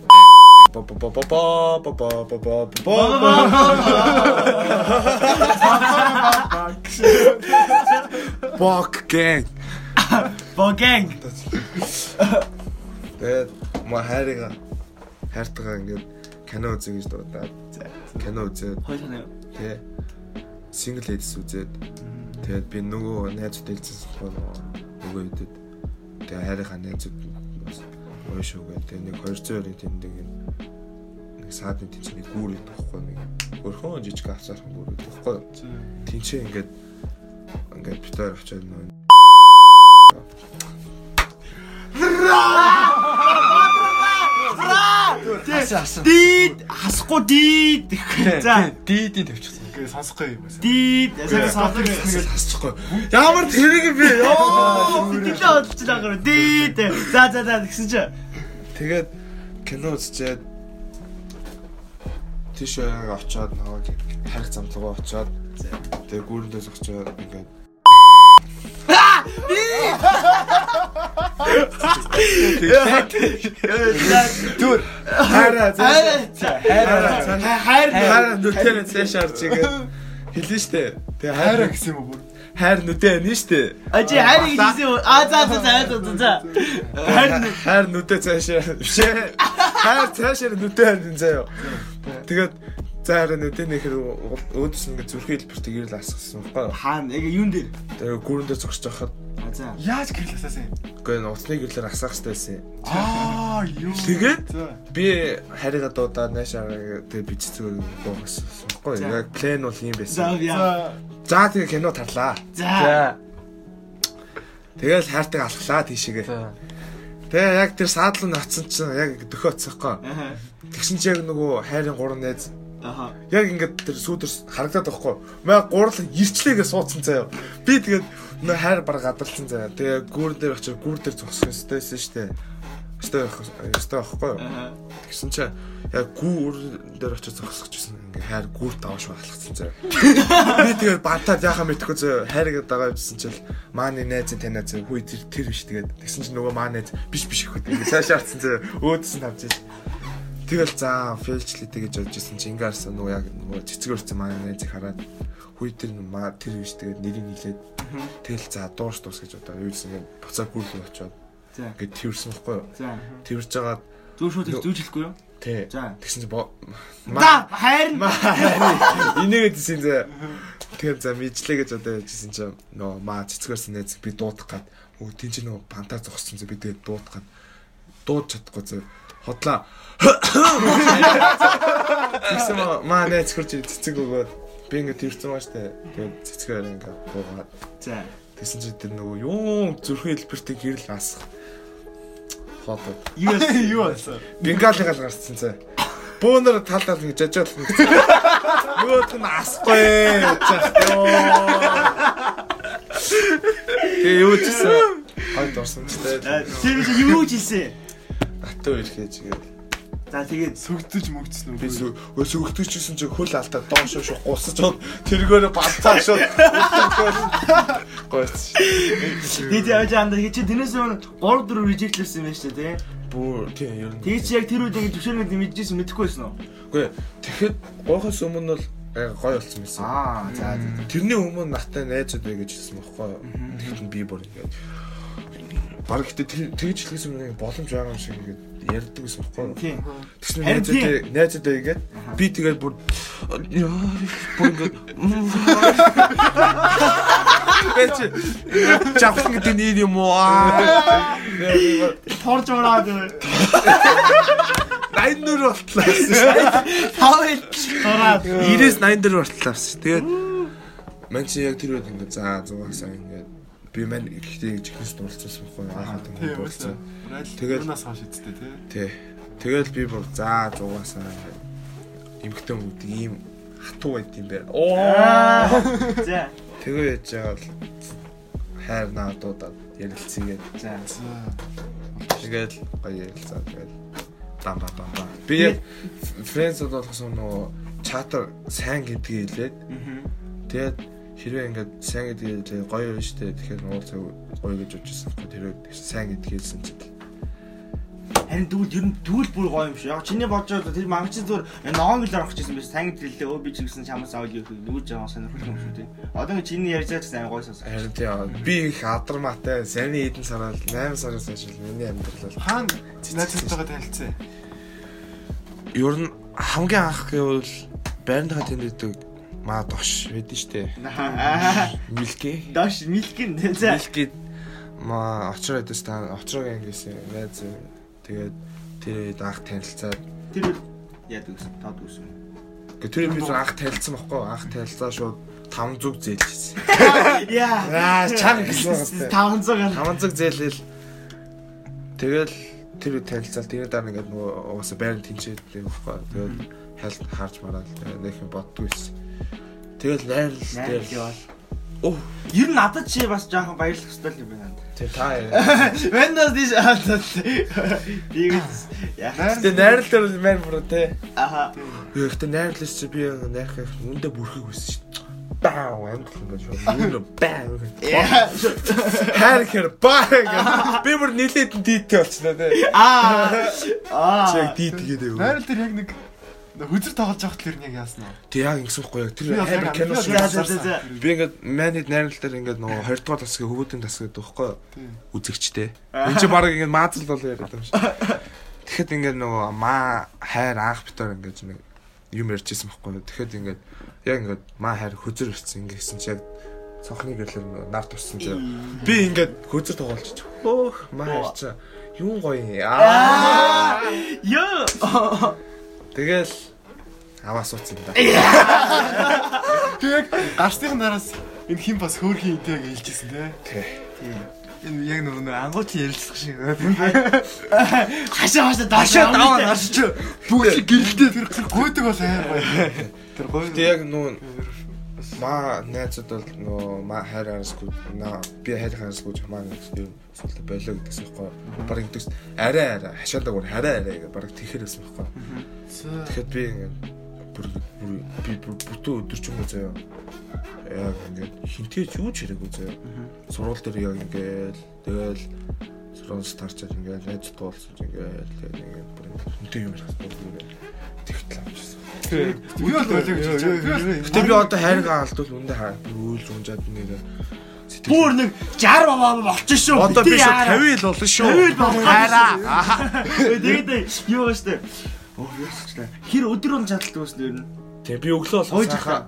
Speaker 2: ба ба ба ба ба ба ба ба ба ба ба бок гэнг.
Speaker 1: Богэн.
Speaker 2: Тэгээд ма хайрыг хайртайгаа ингээд кино үзье гэж дуудаад кино үзээд
Speaker 1: Хоёр хоног.
Speaker 2: тий сингл эдс үзээд тэгээд би нөгөө найзуудтай хэлсэн бол нөгөө хэдэд тэгээд хайрынхаа найзууд бас уушгүй тэгээд нэг 200 өрийн тэнд нэг нэг саадны тэнд нэг гүүр идэх байхгүй нэг өрхөн жижиг хацаархан гүүр идэх байхгүй тэнцээ ингээд ингээд битээр очиад нөгөө
Speaker 1: Дид хасахгүй дид. За.
Speaker 6: Дидийн тавьчихсан.
Speaker 3: Гэ сонсохгүй юм байна.
Speaker 1: Дид. Ясаа савдаг.
Speaker 2: хасчихгүй ямар тэрэг би ёо
Speaker 1: Дидээ олж байгаа. Дид. За за за гэсэн чи.
Speaker 2: Тэгээд кино үзчихэд тийш яг очоод нөгөө тарих замтлагаа очоод тэгээд гүрэндээс очоод ингээд Түр хараа заа
Speaker 1: Хайр. Хайр.
Speaker 2: хараа нүдээр нь цааш орж ингээд хэлэн штэ тэгээд
Speaker 3: Хайраа
Speaker 2: хайр
Speaker 3: гэсэн юм уу бүр?
Speaker 2: хайр нүдээр нь штэ
Speaker 1: Ажи хайр гэсэн. А за за за за за, за. Хайр. нь-
Speaker 2: хайр нүдээ цаашаа биш ээ. хайр цаашаа нүдээ харин заяа тэгээд заараа нүдээ нэхэр өөдөөс ингээ зүрхээ хэлбэр тэгэрэл асгасан байхгүй
Speaker 1: Хаана яг юун дээр?
Speaker 2: тэгээд гүрэн дээр зогсож байхад
Speaker 1: А за.
Speaker 3: Яаж гэрлээсээс юм?
Speaker 2: үгүй н уцны гэрлэр асаах хэрэгтэй байсан
Speaker 3: Аа, юу.
Speaker 2: Тэгээд?
Speaker 3: За.
Speaker 2: би харига дуудаад наашаа тэгээд бич зүгээр гоогсон байхгүй
Speaker 1: За.
Speaker 2: яг план бол ийм
Speaker 1: За
Speaker 2: байсан
Speaker 1: яа.
Speaker 3: За.
Speaker 2: за тэгээд кино тарлаа
Speaker 1: За.
Speaker 2: тэгээд хайртайг алхлаа тийшээгээ тэгээд яг тэр саадлын оцсон чинь яг дөхөөцсахгүй
Speaker 1: Аха.
Speaker 2: тэгсэн чинь яг нөгөө хайрын гурван найз
Speaker 1: Аха.
Speaker 2: яг ингээд тэр сүүдэрс харагдаад байхгүй. Маа гурал ирчлээгээ суудсан заяа. Би тэгээд нөө хайр баг гадарлсан заяа. Тэгээ гүр дээр очиж гүр дээр зогсох ёстойсэн штэ. Ёстой байх- ёстой байхгүй. юу?
Speaker 1: Аха.
Speaker 2: Тэгсэн чи яг гүр дээр очиж зогсох гэсэн ингээ хайр гүр даваш хаалгацсан заяа. Би тэгээд бантаад яхаа мэдхгүй заяа. Хайр гэдэг байгаа юмсэн чил мааны найз танаа заяа. Хүй тэр тэр биш тэгээд тэгсэн чи нөгөө мааны найз биш биш гэхэд ингээ цааш хатсан заяа. Өөдс нь авч ирсэн. Тэгэл за фэйлчлээтэй гэж бодож исэн чи ингээ харсан нөгөө яг нөгөө цэцэг өрцөн маань найзыг хараад хүй тэр нь маа тэр биш тэгээд нэрийг нилээд тэгэл за дуурч дуус гэж удаа юулсан ингээ буцаа гүрлөө очиод
Speaker 1: За.
Speaker 2: ингээ тэрсэн байхгүй юу
Speaker 1: За.
Speaker 2: тэрж жагаад
Speaker 1: Зүүр шууд их зүүжлэхгүй юу?
Speaker 2: тээ
Speaker 1: За.
Speaker 2: тэгсэн чи бо-
Speaker 1: За хайр. нь.
Speaker 2: Энийгээ дсэн зэ. Тэгэхээр за мэдлээ гэж одоо яжсэн чинь нөө маа цэцгэрсэн нээз би дуудах гад. Өө тийм ч нөө пантаа зогссон зэ би тэгээд дуудах гад. Дууд чадахгүй зэ. Хотлаа. Тэгсэн маа- маа нээз хурж цэцэг өгөөд би ингээд тэрцэн маш тэ. Тэгээд цэцгээр ингээд буугаад
Speaker 1: За.
Speaker 2: тэгсэн чи тэр нөгөө юу зүрхэн хэлбэртэй гэрэл асах. Хотлоо.
Speaker 1: Юу яасан?
Speaker 3: Юу болсон?
Speaker 2: Бенгалыг л гарцсан цай. Бөөнөр тал тал гэж жажаал. Нөгөөт нь асахгүй гэж яах вэ? Тэгээ юу ч гэсэн хойд орсон ч
Speaker 1: За,
Speaker 2: тэгээ
Speaker 1: Тэр биш Э, юу ч хийсэн.
Speaker 2: татуу ирэхээ чигээ.
Speaker 1: За тэгээд
Speaker 3: Сүгдэж мөгцсөн үү?
Speaker 2: Би өсөгдөгчсэн чинь хөл алдаа доош шуух гусаж од тэргээр бацаа шууд. Гоц.
Speaker 1: Дид явж андаа хичээ тэрнээс өмнө 3 4 reject лсэн юм байна шүү дээ.
Speaker 2: Бүр тийм ер нь.
Speaker 1: Тэгээд чи яг тэр үед яг төвшөрнөд мэдчихсэн мэдэхгүй байсан уу?
Speaker 2: Үгүй. Тэгэхэд гоохоос өмнө бол э, гой болсон байсан.
Speaker 1: Аа за за.
Speaker 2: Тэрний өмнө нартай найзууд бай гэж хэлсэн байхгүй юу? Тэгэхэд нь би бүр ингээд баг ихтэй тэгж хэлсэн юм нэг боломж байгаа юм шиг ингээд ярьдаг гэсэн байхгүй юу?
Speaker 1: Тийм.
Speaker 2: Тэгсэн
Speaker 1: Харин
Speaker 2: найзууд найзууд бай ингээд би тэгээд бүр яа бүр ингээд Бэч жавхан гэдэг нь юм уу? Аа. Тэгээд би бүр
Speaker 1: Торж ураад.
Speaker 2: Найн дөр болтлаа гэсэн.
Speaker 1: Тавил ураад.
Speaker 2: 90-с 80 дөр болтлаа гэсэн. Тэгээд мань чи яг тэр үед ингээд за 100 сая ингээд би мань ихтэй гэж ихнес дурлцсан байхгүй аахад
Speaker 3: Тийм
Speaker 2: ингээд
Speaker 3: үү?
Speaker 2: дурлцсан.
Speaker 3: Тэгээд
Speaker 2: Тэгээд-
Speaker 3: юунаас хаш идтэй те.
Speaker 2: Тий. Тэгэл би бүр за 100 сая ингээд эмхтэн хүмүүс ийм хатуу байт юм байна. Оо.
Speaker 1: За.
Speaker 2: Тэгээ яж байгаа бол хайр наадуудад ярилцгээд
Speaker 1: За.
Speaker 2: Тэгэл гоё ярилцаад тэгэл дам ба дам ба. Би яг фрэнсд болгосон нөгөө чатар сайн гэдгийг хэлээд тэгээд хэрвээ ингээд сайн гэдгийг хэлээ гоё юм шүү дээ. Тэгэхээр нуул цаг гоё гэж бодчихсон. Тэрөө сайн гэдгийг хэлсэн чинь
Speaker 1: Харин дүүл ер нь дүүл бүр гоё юм шиг. Яг чиний болж байгаа тэр мангачны зүгээр ноон гэл орох гэсэн биш. Сайн гэдрэлээ өө би чигсэн чамаас авал юу гэх нүүж яваа сонирхолтой юм шүү дээ. Одоо ингэ чиний ярьж байгаа ч сайн гоё сонсоо.
Speaker 2: харин тийм би их адарматай сарын эдэн сараар 8 сараас хойш л миний амьдрал бол
Speaker 3: Хаан найзтайгаа танилцсан.
Speaker 2: ер нь хамгийн анх гэвэл байрныхаа тэнд идэг маа дош мэдэн штэ. Милкээ
Speaker 1: Даш милкин за.
Speaker 2: Милкид маа очроо дэс та очроог ангисэн найз юм. тэгээд тэр үед анх танилцаад
Speaker 1: Тэр бол яд үсэн тод үсэн.
Speaker 2: гэ- тэр үед би зөв анх танилцсан баггүй анх танилцаа шууд там зүг зээлчихсэн.
Speaker 1: Яа.
Speaker 2: Аа чанга
Speaker 1: 500 гал.
Speaker 2: Таван цаг зээлэл тэгэл тэр үед танилцаал тэрний дараа ингээд нөгөө угаасаа байрны тэнцээд байхгүй. Тэгээд хальт харж мараад тэгээд нэг юм боддгүй байсан. Тэгэл найрлал
Speaker 1: Найр
Speaker 2: дээр
Speaker 1: явал.
Speaker 2: Оо.
Speaker 1: Ер нь надад чи бас жоохон баярлах хэрэгтэй юм байна.
Speaker 2: тэр та яа.
Speaker 1: Windows диш хатад. Дийг яа.
Speaker 2: Тэ найрлал дээр л мэн бүр тэ.
Speaker 1: Аха.
Speaker 2: Гэхдээ найрлалс чи би найрах их үндэ бүрхэг байсан шүү дээ. Баа амтлан гэж өөрөө баа.
Speaker 1: Яа.
Speaker 2: Хайр хэр баа. гэж. Би бүр нилээд дийтэй болчихлоо тэ.
Speaker 1: Аа. Аа.
Speaker 2: Чи яг дийтгээд байв.
Speaker 3: Найрал тэр яг нэг хүзэр тоглож явах тэр нэг яасан уу?
Speaker 2: Тэ яг ингэсэн байхгүй яг
Speaker 3: Би
Speaker 2: тэр
Speaker 3: бас
Speaker 2: хайр
Speaker 3: яг-
Speaker 2: кино
Speaker 3: би бас
Speaker 2: шиг.
Speaker 1: За за за. за.
Speaker 2: Би ингээд манайд найрлал дээр ингээд нөгөө 20 дугаар тасгийн хөвөтийн тасгад байхгүй
Speaker 3: Тийм.
Speaker 2: үзэгчтэй. Энд чи баг ингээд маазл бол яриад байгаа шүү. Тэгэхэд ингээд нөгөө маа хайр анх битэр ингээд нэг юм ярьжсэн байхгүй. Тэгэхэд ингээд яг ингээд маа хайр хөзөр ирсэн ингээсэн чи яг цонхны гэрлэр нөгөө нар турсан чи. Би ингээд хөзөр тоглолч. Хөөх маа хайр чи юун гоё юм. Аа.
Speaker 1: Йоо.
Speaker 2: Тэгэл аваа суудсан да.
Speaker 3: Тэр яг гарсныхан нараас энэ хин бас хөөрхийн идэ гэж хэлчихсэн те.
Speaker 6: Энэ яг нөгөө нэг ангууч ярилцах шиг.
Speaker 1: Хашаа хашаа дашаа
Speaker 6: Даваа нарч.
Speaker 3: Бүгд гэрэлтэй тэр тэр гүйдэг бол аяа гоё. Тэр гоё.
Speaker 2: Тэг яг нүүн маа найзууд бол нөө маа хайр харсгүй наа би хайр харсгүй ч маа нэг юм суулт болоо гэдэгс байхгүй. Бараг гэдэгс арай арай хашаадаг бүр арай арай гэж бараг тэхэр гэсэн байхгүй. Тэгэхэд би ингээд бүр бүр- би бүр бүтэн өдөр ч юм уу заяа. Яг ингээд хинтээч юу ч хэрэггүй заяа. Сургууль дээр яг ингээд тэгэл сургууль старчаад ингээд найз туулсан ингээд тэгэл ингээд бүр ингээд хинтээ юм хийхгүй ингээд тэгтэл авчихсан.
Speaker 3: Үгүй бол болоо гэж хэлчихсэн.
Speaker 2: Гэтэ би одоо хайргаа алдвал үндэ хаа үйлж унжаад нэрээ
Speaker 1: Бүр нэг 60 бабаа болчихсон шүү.
Speaker 2: Одоо би
Speaker 1: Тэ
Speaker 2: шүү
Speaker 1: яаран.
Speaker 2: 50 ил болсон шүү.
Speaker 1: 50 ил болсон.
Speaker 2: Хайраа.
Speaker 1: Тэгээд юу штэ. Оо яачлаа. Хэр өдөр он чадлт үзсэн ер нь.
Speaker 2: Тэг би өглөө болсон.
Speaker 1: Гойж
Speaker 2: сайхан.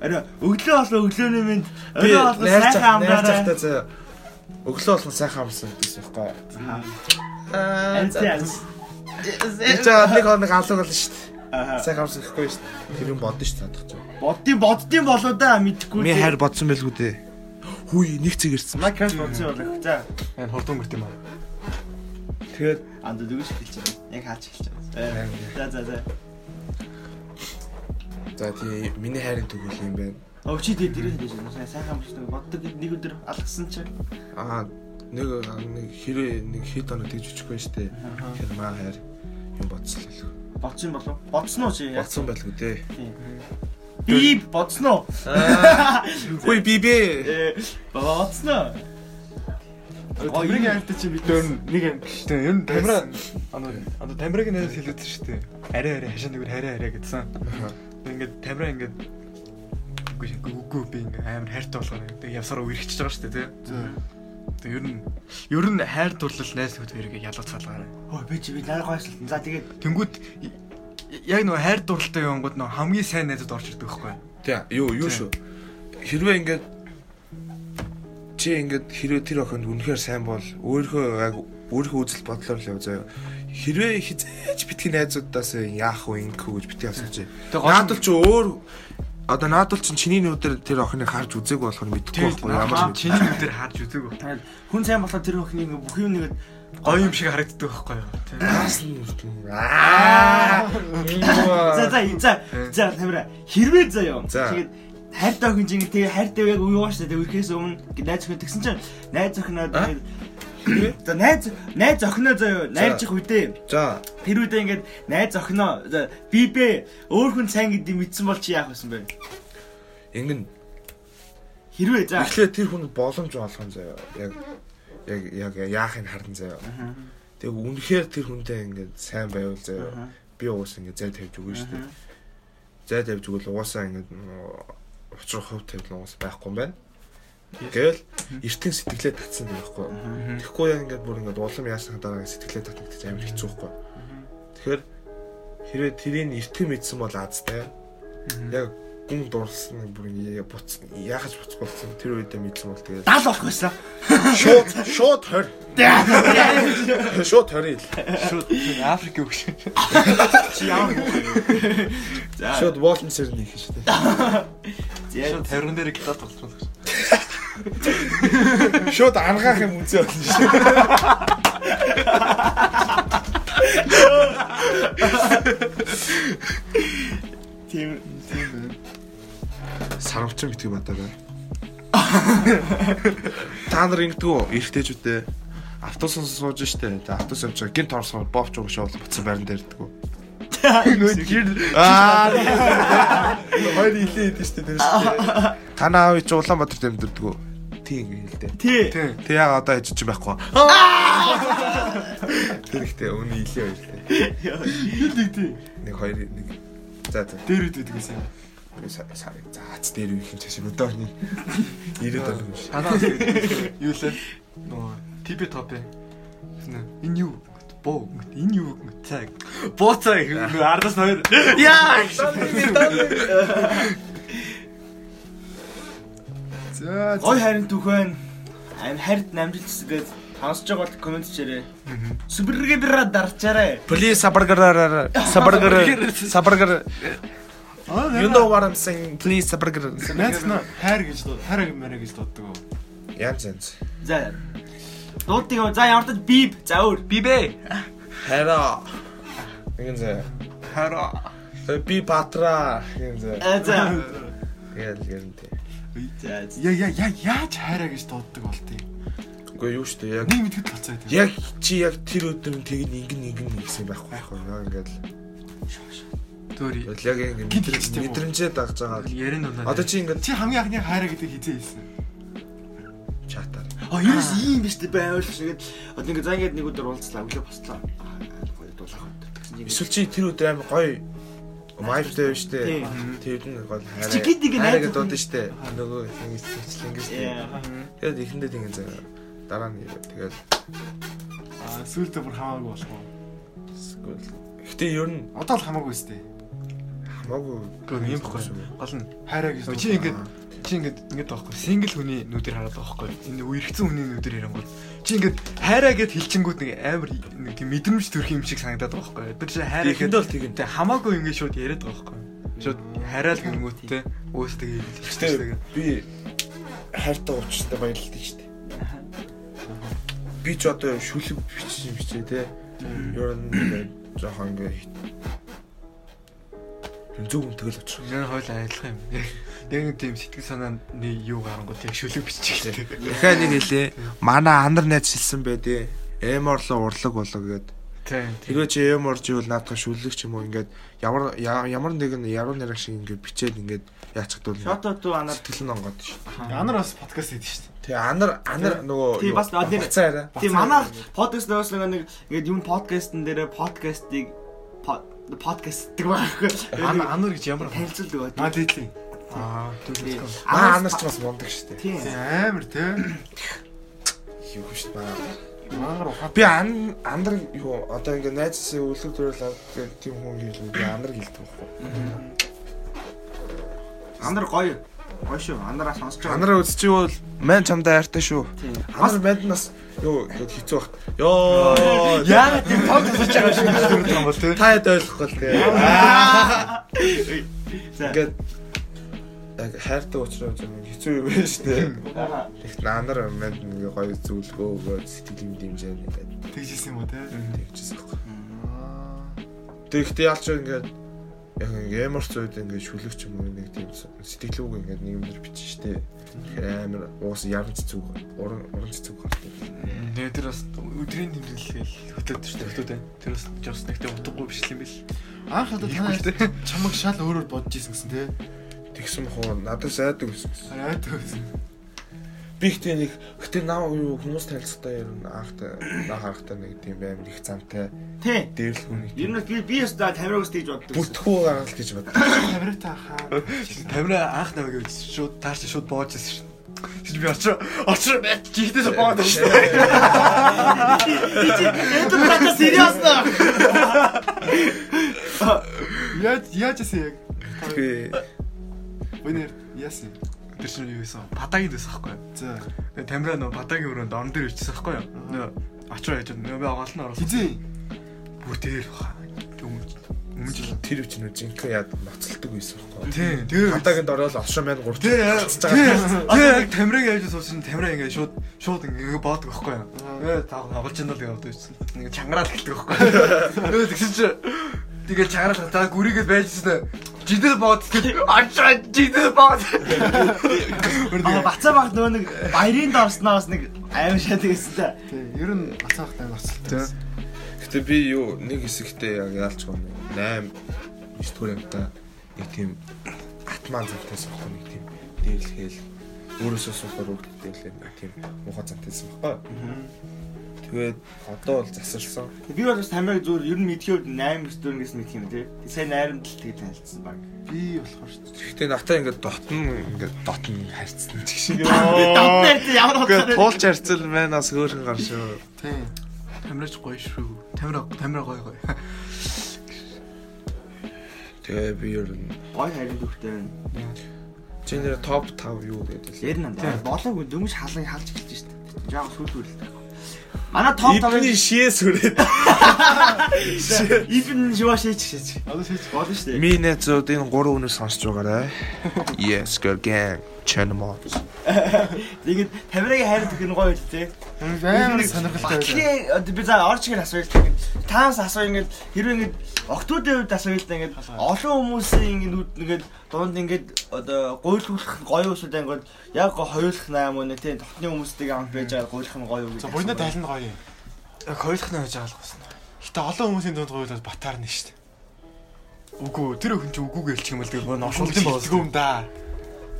Speaker 1: Арай өглөө болоо өглөөний минь
Speaker 2: Би
Speaker 1: орой болоо
Speaker 2: найр
Speaker 1: сайхан
Speaker 2: цах- найр
Speaker 1: амраарай.
Speaker 2: цахтай зөө. Өглөө болсон сайхан амсан гэсэн юм байна. Аа. за.
Speaker 1: Энд
Speaker 2: Энд жаа нэг хоног алга болно шүү дээ.
Speaker 1: Аха.
Speaker 2: Сайхан амсан гэхгүй шүү дээ. Тэр юм бодно шүү дээ цаадах жаа.
Speaker 1: Боддын боддын болоо да мэдхгүй.
Speaker 2: Ми хайр бодсон байлгүй дээ. Хүй нэг цэг ирсэн.
Speaker 1: Майнкрафт болсон болох. За.
Speaker 6: Энэ хурдан өнгөрт юм аа.
Speaker 2: Тэгээд
Speaker 1: Анд дүүж эхэлж байна. Яг хаач эхэлж байна. За за за.
Speaker 2: за тий миний хайрын төгөл юм байна.
Speaker 1: Өвчид дээр хэлж байна. Сайхан амжилттай боддог нэг өдөр алгасан чинь.
Speaker 2: Аа нэг нэг хэрэг нэг хэд оноо тэгж өчөхгүй шүү дээ. Тэр маа хайр юм бодсон л байлгүй.
Speaker 1: Бодсон болов? Бодсон уу чи?
Speaker 2: Бодсон
Speaker 1: Яасан?
Speaker 2: байлгүй дээ.
Speaker 1: Би бодсон уу?
Speaker 2: Хүй би бэ.
Speaker 1: Э, Бодсон уу?
Speaker 3: Тэрийг хайртай чи бид өөр нэг юм биш.
Speaker 6: Тэ ер нь тамира
Speaker 3: Байсан.
Speaker 6: ана ана тамирагийн найз хэлээдсэн шүү дээ. Арай арай хашаа нүгэр арай арай гэдсэн. Тэг Ингээд тамира ингээд үгүй шээ, үгүй үгүй би ингээд амар хайртай болгоно. Тэг явсараа үерхчихэж байгаа шүү дээ тий. Тэг ер нь ер нь хайр дурлал найз нөхд хоёрыг ялгаж салгаарай.
Speaker 1: Оо би чи би нарай гойшлтан. За тэгээд
Speaker 6: Тэнгүүд я- яг нөгөө хайр дурлалтай юмгууд нөгөө хамгийн сайн найзууд орж ирдэг байхгүй.
Speaker 2: Тий юу юу шүү. Хэрвээ ингээд чи ингээд хэрвээ тэр охинд үнэхээр сайн бол өөрийнхөө яг өөрийнхөө үзэл бодлоор л яв заяа. Хэрвээ хизээч битгий найзуудаас яах вэ ингэхүү гэж битгий асууж.
Speaker 6: гол нь-
Speaker 2: Наадвал чи өөр одоо наадвал чи чиний нүдээр тэр охиныг харж үзээгүй болохоор мэдэхгүй байхгүй ямар ч
Speaker 6: чиний нүдээр харж үзээг байх.
Speaker 1: тань хүн сайн болоод тэр их нэг бүх юм нэгэд
Speaker 6: Гоё юм шиг харагддаг байхгүй юу? Тий.
Speaker 2: Аас нь үрдэн. Аа.
Speaker 1: за за за за тамира хэрвээ заяа.
Speaker 2: За.
Speaker 1: Тэгээд хайр доо хинжин тэгээ хайр доо яг уу яаш тэгээ өрхөөс өмнө гэ- найз өхөн тэгсэн чинь найз өхнөө тэгээд За найз найз өхнөө заяо найрчих үдээ
Speaker 2: За.
Speaker 1: тэр үдээ ингээд найз өхнөө за, би бэ өөр хүн сайн гэдэг мэдсэн бол чи яах вэсэн бэ
Speaker 2: Ингэн
Speaker 1: хэрвээ за
Speaker 2: эхлээд тэр хүн боломж олгон заяа. Яг яг яг яахыг харна заяа. Тэгээ үнэхээр тэр хүнтэй ингээд сайн байвал заяа. Би уус ингээд зай тавьж өгнө шүү дээ. Зай тавьж өгвөл уусаа ингээд нөө учир хөв тавьлаа уус байхгүй юм байна. Тэгэл эртэн сэтгэлээ татсан юм байхгүй. Тэгэхгүй яг ингээд бүр ингээд улам яасан дараа сэтгэлээ татна гэдэг чинь амар хэцүү байхгүй. Тэгэхээр хэрвээ тэрийг эртэн мэдсэн бол азтай. Яг гүн дурлсан бүр ингээд буцсан. Яхаж буцахгүй болсон тэр үедээ мэдсэн бол тэгээд
Speaker 1: дал болох байсан
Speaker 2: шууд шууд хор. Шууд хорил.
Speaker 4: Шууд Африк юу гэж.
Speaker 1: чи ямар юм за
Speaker 2: Шууд Волн сэрний их шүү дээ.
Speaker 1: за
Speaker 4: Шууд 50 дээр гитар тоглох гэж.
Speaker 2: Шууд ангаах юм үзээ болно шүү.
Speaker 1: тийм
Speaker 2: Сарамчин битгий бадараа. Та нар ингэдэггүй эргэжтэй автобусын сууж штэ. Тэ автобус явж байгаа гинт орсон бовч угш бол буцсан байран дээр дэггүй. Аа. Хоёр хилээ идэв штэ тэр штэ. Танаа авч Улаанбаатар тэмдэрдэггүй. Тийм хэлдэ.
Speaker 1: тий
Speaker 2: Тэг яг одоо ижиж юм байхгүй. Тэрхтээ өөний хилээ баярлаа. Нэг хоёр нэг. За за.
Speaker 3: Дээр үд гэдэг юм.
Speaker 2: Би са- са- Заац дээр үх юм чашаа өдөөрний 90 доллар юм шиг.
Speaker 6: Танаас юу лээ? Нөө типи топи. Энэ юу? Боо. Энэ юу? Цаг. Боо цаг. Ардас хоёр. Яа!
Speaker 3: За
Speaker 1: Гой харин түүхэн ам хард намжилс гэж тансаж байгаа бол комент чирээ. Сүбэргээ бира дарчаарэ.
Speaker 2: Please сабаргар сабаргар сабаргар
Speaker 3: аа
Speaker 2: you know what I'm saying please сабаргар.
Speaker 3: найз нь хайр гэж дуу хайр гэмээр гэж дууддаг.
Speaker 2: Яан зэнц.
Speaker 1: За. Дуудтыг юм. за ямар ч бип. За өөр. Бибэ.
Speaker 2: Хара. Ингэн зэ. Хара. Би патра ингэн зэ.
Speaker 1: А, Э, За.
Speaker 2: Ял гэнтэй.
Speaker 1: За. за.
Speaker 3: Я я я яаж хайраа гэж дууддаг болтыг.
Speaker 2: Уу юу штэ яг
Speaker 3: Нэг мэдгэд болцоо гэдэг.
Speaker 2: Яг чи яг тэр өдөр нь тэгин ингэн ингэн гэсэн байхгүй байхгүй яа ингээд л.
Speaker 6: Төри.
Speaker 2: Тэгэл яг ингэ
Speaker 3: Гинт хэлсэн юм уу?
Speaker 2: мэдрэмжээ дагж байгаа.
Speaker 6: Ярин байна.
Speaker 2: Одоо чи ингээд
Speaker 3: Чи хамгийн анхны хайраа гэдэг хизээ хэлсэн.
Speaker 2: чатаар.
Speaker 1: А юус ийм биш үү байвал шигэд одоо ингэ за ингэ нэг өдөр уулзлаа. Өглөө бослоо. Аа, гоё дуулах өдөр. Тэгсэн чинь
Speaker 2: Эсвэл чи тэр өдөр амар гоё майвтай байж тээ.
Speaker 1: Тийм.
Speaker 2: Тэр нь гоё хайраа.
Speaker 1: Чи гид ингэ
Speaker 2: хайраа
Speaker 1: найз
Speaker 2: гэдэг дуудаа штэ. Нөгөө ингэ сэтгэл ингэ штэ.
Speaker 1: Яа.
Speaker 2: Тэгэд эхэндээ ингэ заа. Дараа нь ирээд тэгэл
Speaker 3: Аа сүйдээ бүр хамаагүй болох уу?
Speaker 2: эсвэл Гэтэ ер нь
Speaker 3: Одоо л хамаагүй сте.
Speaker 2: хамаагүй
Speaker 6: Гүн юм баггүй. Гол нь
Speaker 3: Хайраа гэж.
Speaker 6: чи ингээд чи ингээд ингээд байхгүй. Сингл хүний нүдээр хараад байгаа байхгүй. Энэ үерхсэн хүний нүдээр ярангуул. Чи ингээд хайраа гэд хэлчингүүд нэг амар нэг тийм мэдрэмж төрөх юм шиг санагдаад байгаа байхгүй. Тэр чи хайраа
Speaker 2: Эхэндээ бол тэгин.
Speaker 6: Тэ хамаагүй ингээд шууд яриад байгаа байхгүй. Шууд хараал гингүүттэй өөсдөг юм л
Speaker 2: Гэтэ би хайртай уучтай баярлалтай штэ. Би ч одоо шүлэг бичсэн юм бичээ те. Ер нь ингээд жоохон ингээд хит. Зөв юм тэгэл очих.
Speaker 6: Энэ хойл айлах юм. Яг нэг тийм сэтгэл санааны юу гарангууд яг шүлэг биччихлээ.
Speaker 2: Дахиад нэг хэлээ. Манай анар найз хэлсэн байд ээ. Эморло урлаг болоо гэд.
Speaker 6: Тийм.
Speaker 2: Тэрвээ чи эморж ивэл наадах шүлэг ч юм уу ингээд ямар я- ямар нэгэн яруу найраг шиг ингээд бичээд ингээд яачихдаг бол
Speaker 1: Шото туу анаар.
Speaker 2: сэтгэл нь онгоод ш.
Speaker 3: Анар бас подкаст хийдэг шүү дээ.
Speaker 2: Тэ анар анар нөгөө
Speaker 1: Тий,
Speaker 2: юу,
Speaker 1: бас над-
Speaker 2: буцаарай.
Speaker 1: Тийм манай подкаст нөөс нэг нэг ингэ юм подкастн дээр подкастыг под- подкаст гэдэг байхгүй.
Speaker 6: Ана анар гэж ямар
Speaker 1: танилцуулдаг
Speaker 3: Маа
Speaker 1: байдаг.
Speaker 3: дээдлийн.
Speaker 1: Тийм.
Speaker 2: Аа анар ч бас мундаг штэ.
Speaker 1: Тийм.
Speaker 3: Амар те.
Speaker 2: Юу штэ баа.
Speaker 3: Маагаар ухаад.
Speaker 2: Би ан андар юу одоо ингээд найзсаа өвлөг төрөл авдаг гэдэг тийм хүн хэлээ. Би андар хэлдэг байхгүй.
Speaker 1: Андар гоё. Гоё шүү. Андараа сонсож байгаа.
Speaker 2: Анараа үзчихвэл мэн чамдаа хайртай шүү.
Speaker 1: Тийм.
Speaker 2: Анар мэд нас юу гэд хэцүү баг. Йоо.
Speaker 1: Яа тийм тог сонсож байгаа шүү.
Speaker 2: Та хэд ойлгохгүй л тэгээ.
Speaker 1: За.
Speaker 2: Ингээд яг хайртай уучраа юм хэцүү юм байна шүү дээ. Тэгт анар мэд нэг гоё зөвлөгөө өгөөд сэтгэл юм дэмжээ ингээд
Speaker 3: Тэгж хэлсэн юм уу те?
Speaker 2: тэгчихсэн байхгүй. Тэгт ялч ингээд яг ингээ ямар ч үед ингээ шүлэгч юм уу нэг тийм с- сэтгэлүүг ингээ нэмэр бичсэн штэ. Тэгэхээр амар уус явж зүг уран уран зүг гардаг.
Speaker 4: Нэ тэр бас өдрийн тэмдэглэл хөтлөөд шүү дээ хөтлөөд байна. Тэр бас жос нэгтэй утгагүй биш юм бэл.
Speaker 3: Анх надад танай чамаг шал өөрөөр бодож исэн гэсэн тий.
Speaker 2: Тэгсэн хоо надад сайдаг байсан.
Speaker 3: Арай төвс.
Speaker 2: Би ихтэй нэг гэтээ наа юу хүмүүс танилцдаг ер нь анхтай наа харахтай нэг тийм амар их замтай
Speaker 1: Тий.
Speaker 2: дээрлэх хүн нэг
Speaker 1: Ер нь би би өстө тамираа өстө гэж боддог. гэсэн.
Speaker 2: бүртгэхүү гаргал гэж бод.
Speaker 3: Камерата хаа.
Speaker 4: Тамира анх наваг явж шууд таарч шууд боож ирсэн шин. Шин би очроо очроо бай. Чихдээс боод ирсэн.
Speaker 1: Энд тата сериус наа.
Speaker 3: Яаж яаж яасан яг?
Speaker 2: Тэгээ
Speaker 3: Өнөр яасан.
Speaker 4: Тэр чинь юу байсан? Бадагид байсан байхгүй юу?
Speaker 3: За.
Speaker 4: Тэгээ Тамира нөө бадагийн өрөөнд орон дээр ичсэн байхгүй юу? Нөө очроо яж нөө би оголн орсон.
Speaker 3: Хизээ.
Speaker 4: бүр дээр баха. Өмнө жил.
Speaker 2: тэр үч нь жинхэнэ яд ноцолдог байсан байхгүй.
Speaker 4: Тий, тэр
Speaker 2: Хатагийн дөрөөл овшин байна гурт.
Speaker 4: Тий, яа.
Speaker 2: цацж
Speaker 4: Тий,
Speaker 2: байгаа.
Speaker 4: тий, яг Тамираг яаж суусан Тамира ингээ шууд шууд ингээ боодог байхгүй юу? Э тав тоглож юм л яваад байсан. Ингээ чангараал гэлдэг байхгүй юу? Э тэгсэн чи тэгээ чангараал таа гүрийгээд байжсэн. Жидэл боод тэр ачаа жидэл боод.
Speaker 1: Аа бацаа баг нөгөө нэг баярын дорсноо бас нэг аим шатдаг гэсэн та.
Speaker 3: Тий. Ер нь бацаахтай бацалтай.
Speaker 2: Гэтэ би юу нэг хэсэгтээ яг яалч гоо 8 9 дугаар юмтай нэг тийм атман зантайсан байхгүй юу? нэг тийм дээрлэхэл өөрөөсөө сухаар өгдөлтэй л нэг тийм муха зантайсан байхгүй. юу? Тэгээд одоо бол засалсан.
Speaker 1: Би бол бас тамираг зүгээр ер нь мэдхийд 8 өстөр гэсэн мэт юм тий. Сайн найрамдалт гэж танилцсан баг.
Speaker 3: Би болохоор шүү дээ.
Speaker 2: Гэтэ натаа ингээд дотн ингээд дотн хайрцсан ч гэсэн.
Speaker 1: Давтар тий ямар
Speaker 7: Гэхдээ
Speaker 1: утгаар.
Speaker 7: туулж харцал манаас өөр хүн гарч шүү.
Speaker 3: Тий.
Speaker 4: Тамирач гоё шүү. Тамира Тамира гоё гоё.
Speaker 2: Тэгээ би ер нь
Speaker 1: Гой харин дөхтэй байна.
Speaker 2: чи нэр топ 5 юу гэдэг
Speaker 1: Ер нь надаа болоог дөнгөж халан халж эхэлж штэ. Жаа сүүл хүрэлтэй. Манай топ топ
Speaker 2: Эдний шиэс үрээд
Speaker 1: ивэн жива шийч шийч.
Speaker 3: Одоо шийдэж
Speaker 1: Болно штэ.
Speaker 7: Миний зүүд энэ 3 хүнээс сонсож байгаарай. Yes girl gang channel.
Speaker 1: Тэгээд тамирагийн хайр дөх нь гоё л тий.
Speaker 3: амар сонирхолтой байлаа.
Speaker 1: Батлын одоо би за орч гэн асууя л та ингээд таанс асууя ингээд хэрвээ ингээд октоодын үед асууя л та ингээд олон хүмүүсийн ингээд нүд ингээд дунд ингээд одоо гуйлуулах нь гоё усуд ингээд яг гоо хоёулах найм уу нэ тийм тотны хүмүүстэйг амт байж байгаа гуйлах нь гоё үү
Speaker 3: За буйна тайлна гоё юм.
Speaker 4: Хоёулах нь байж аалгасан.
Speaker 3: Гэтэ олон хүмүүсийн дунд гоё бол батарна шүү дээ.
Speaker 4: Үгүй тэр өхөн чи үгүй гэлчих юм л тэгээ
Speaker 3: Шууд
Speaker 4: ношуулсан
Speaker 3: болсгүй
Speaker 4: болсон.
Speaker 3: юм да.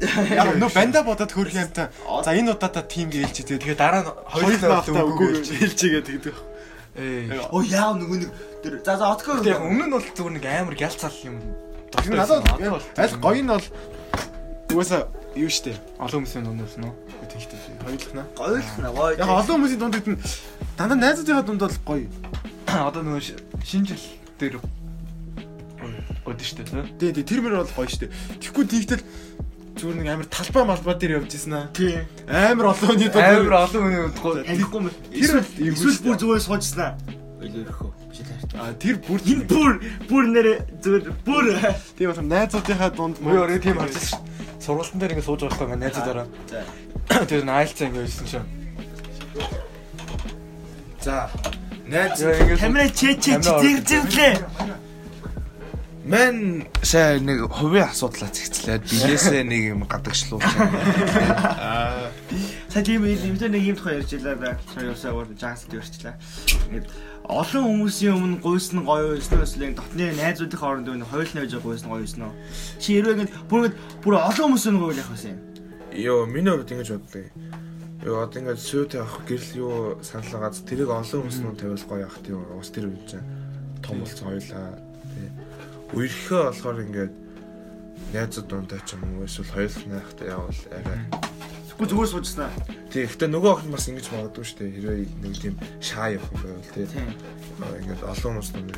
Speaker 3: Яг нөө банда бодоод хөрөх юм та. За энэ удаадаа тийм ээлж дээ.
Speaker 4: Тэгээ дараа нь
Speaker 3: Хоёр
Speaker 4: хоёулах нь
Speaker 3: наалтаа
Speaker 4: үгүй
Speaker 3: үгүй
Speaker 4: гэлчих.
Speaker 3: ээлжээгээ тэгдэг.
Speaker 4: Ээ.
Speaker 1: оо яа нөгөө нэг тэр за за отко
Speaker 4: Тэгээ яг өмнө нь бол зүгээр нэг амар гялцал юм.
Speaker 3: Тэр надад яг аль гоё нь бол угаасаа юу шүү дээ.
Speaker 4: олон хүмүүсийн дундаас нь.
Speaker 3: Тэгтэй. Хоёулахна.
Speaker 1: гойлох нь гоё
Speaker 3: Яг олон хүмүүсийн дунд гэдэг нь дандаа найзуудынхаа дунд бол гоё.
Speaker 4: Одоо нөгөө ши- шинэ жил дээр өдөн штэ. тэ?
Speaker 3: Тий, тий, тэр мөр бол гоё шүү дээ. Тэгэхгүй тийгтэл зүгээр нэг амар талбай малбаа дээр явж ирсэн аа.
Speaker 1: тий
Speaker 3: Амар олон хүний дунд.
Speaker 4: Амар олон хүний удахгүй.
Speaker 1: амжихгүй юм
Speaker 3: Тэр бол юм
Speaker 1: эсвэл
Speaker 3: шүү
Speaker 1: бүр
Speaker 3: дээ.
Speaker 1: зүгээр суужснаа өлөрхөө биш таартай
Speaker 3: А тэр бүр
Speaker 1: энэ бүр бүр нэр зүгээр бүр
Speaker 3: тийм болохоор найзуудынхаа дунд
Speaker 4: Муу өөрөө тийм харж штэ. Сургалтын дээр ингэ сууж байгаа байхгүй найзаараа.
Speaker 1: За.
Speaker 4: Тэр найлцаа ингэ хэлсэн чинь.
Speaker 2: За. Найз
Speaker 4: Яа ингэ
Speaker 1: камера чээ чээ зэр зэрлээ
Speaker 7: Мэн сая нэг хувийн асуудлаа цэгцлээд билээсээ нэг юм гадагшлуулсан.
Speaker 1: Сая тийм юм нэг юм тухай ярьж илаа да. Сая юусаа өөр жагсд ярьчлаа. Ингээд олон хүмүүсийн өмнө гуйсан гоё эсвэл дотны найзуудын хооронд өнө хойлно гэж гуйсан гоё юусноо. Чи хэрвээ ингээд бүр ингээд бүр олон хүмүүс өнө гоё л явах байсан юм.
Speaker 2: Йоо, миний хувьд ингэж бодлоо. Йоо, одоо ингэж сүйт авах гэрэл юу санал гац тэрийг олон хүмүүс нь тавиул гоё явах тийм уус тэр үн чинь том болсон хоёлаа. Тэ. Үерхээ болохоор ингэж найзууд дунтай ч юм уу эсвэл хоёулах найхтай явал арай.
Speaker 1: Тэгвэл зүгээр суужснаа.
Speaker 2: Тий, гэхдээ нөгөө охин бас ингэж магадгүй шүү дээ. Хэрвээ нэг тийм шаа явах юм байвал тий.
Speaker 1: Тийм.
Speaker 2: Аа, Ингэж олон хүмүүс нь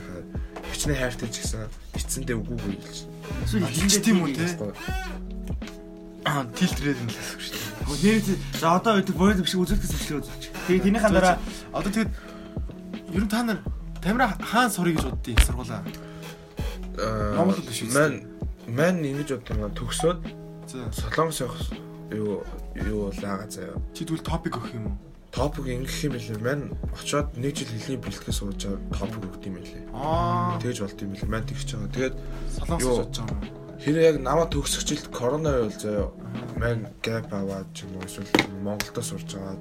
Speaker 2: хичнээн хайртай ч гэсэн эцэндээ үгүй гэж хэлсэн.
Speaker 1: Эсвэл хинжээ тийм үү те.
Speaker 2: Гоё.
Speaker 4: тилтрээд юм л гэсэн штэ.
Speaker 1: Нэр чи за одоо үед боёд биш үзүүлэх гэсэн үг үзүүлчих. Тэгээ тэнийхэн дараа
Speaker 3: одоо тэгэд ер нь та нар Тамира хаан сурыг гэж боддیں۔ Сургуулаа. Номлол биш
Speaker 2: Э,
Speaker 3: үү?
Speaker 2: Мэн мэн ингэж бодсон юм төгсөөд
Speaker 3: За.
Speaker 2: солонгос явах юу юу лаага заяа.
Speaker 3: Чи тэгвэл топик өгөх юм уу?
Speaker 2: топик ингэх юм билээ. Мань очоод нэг жил хэлний бэлтгэл сууж байгаа топик өгд юм билээ.
Speaker 3: Аа,
Speaker 2: Тэгж болд юм билээ. Мань тэгж байгаа. Тэгээд
Speaker 3: солонгос
Speaker 2: Юу?
Speaker 3: бодож байгаа юм.
Speaker 2: Хэрэг яг намаа төгсөх жилд корона байвал заяа мань гэп аваад ч юм уу эсвэл Монголдо сурж аваад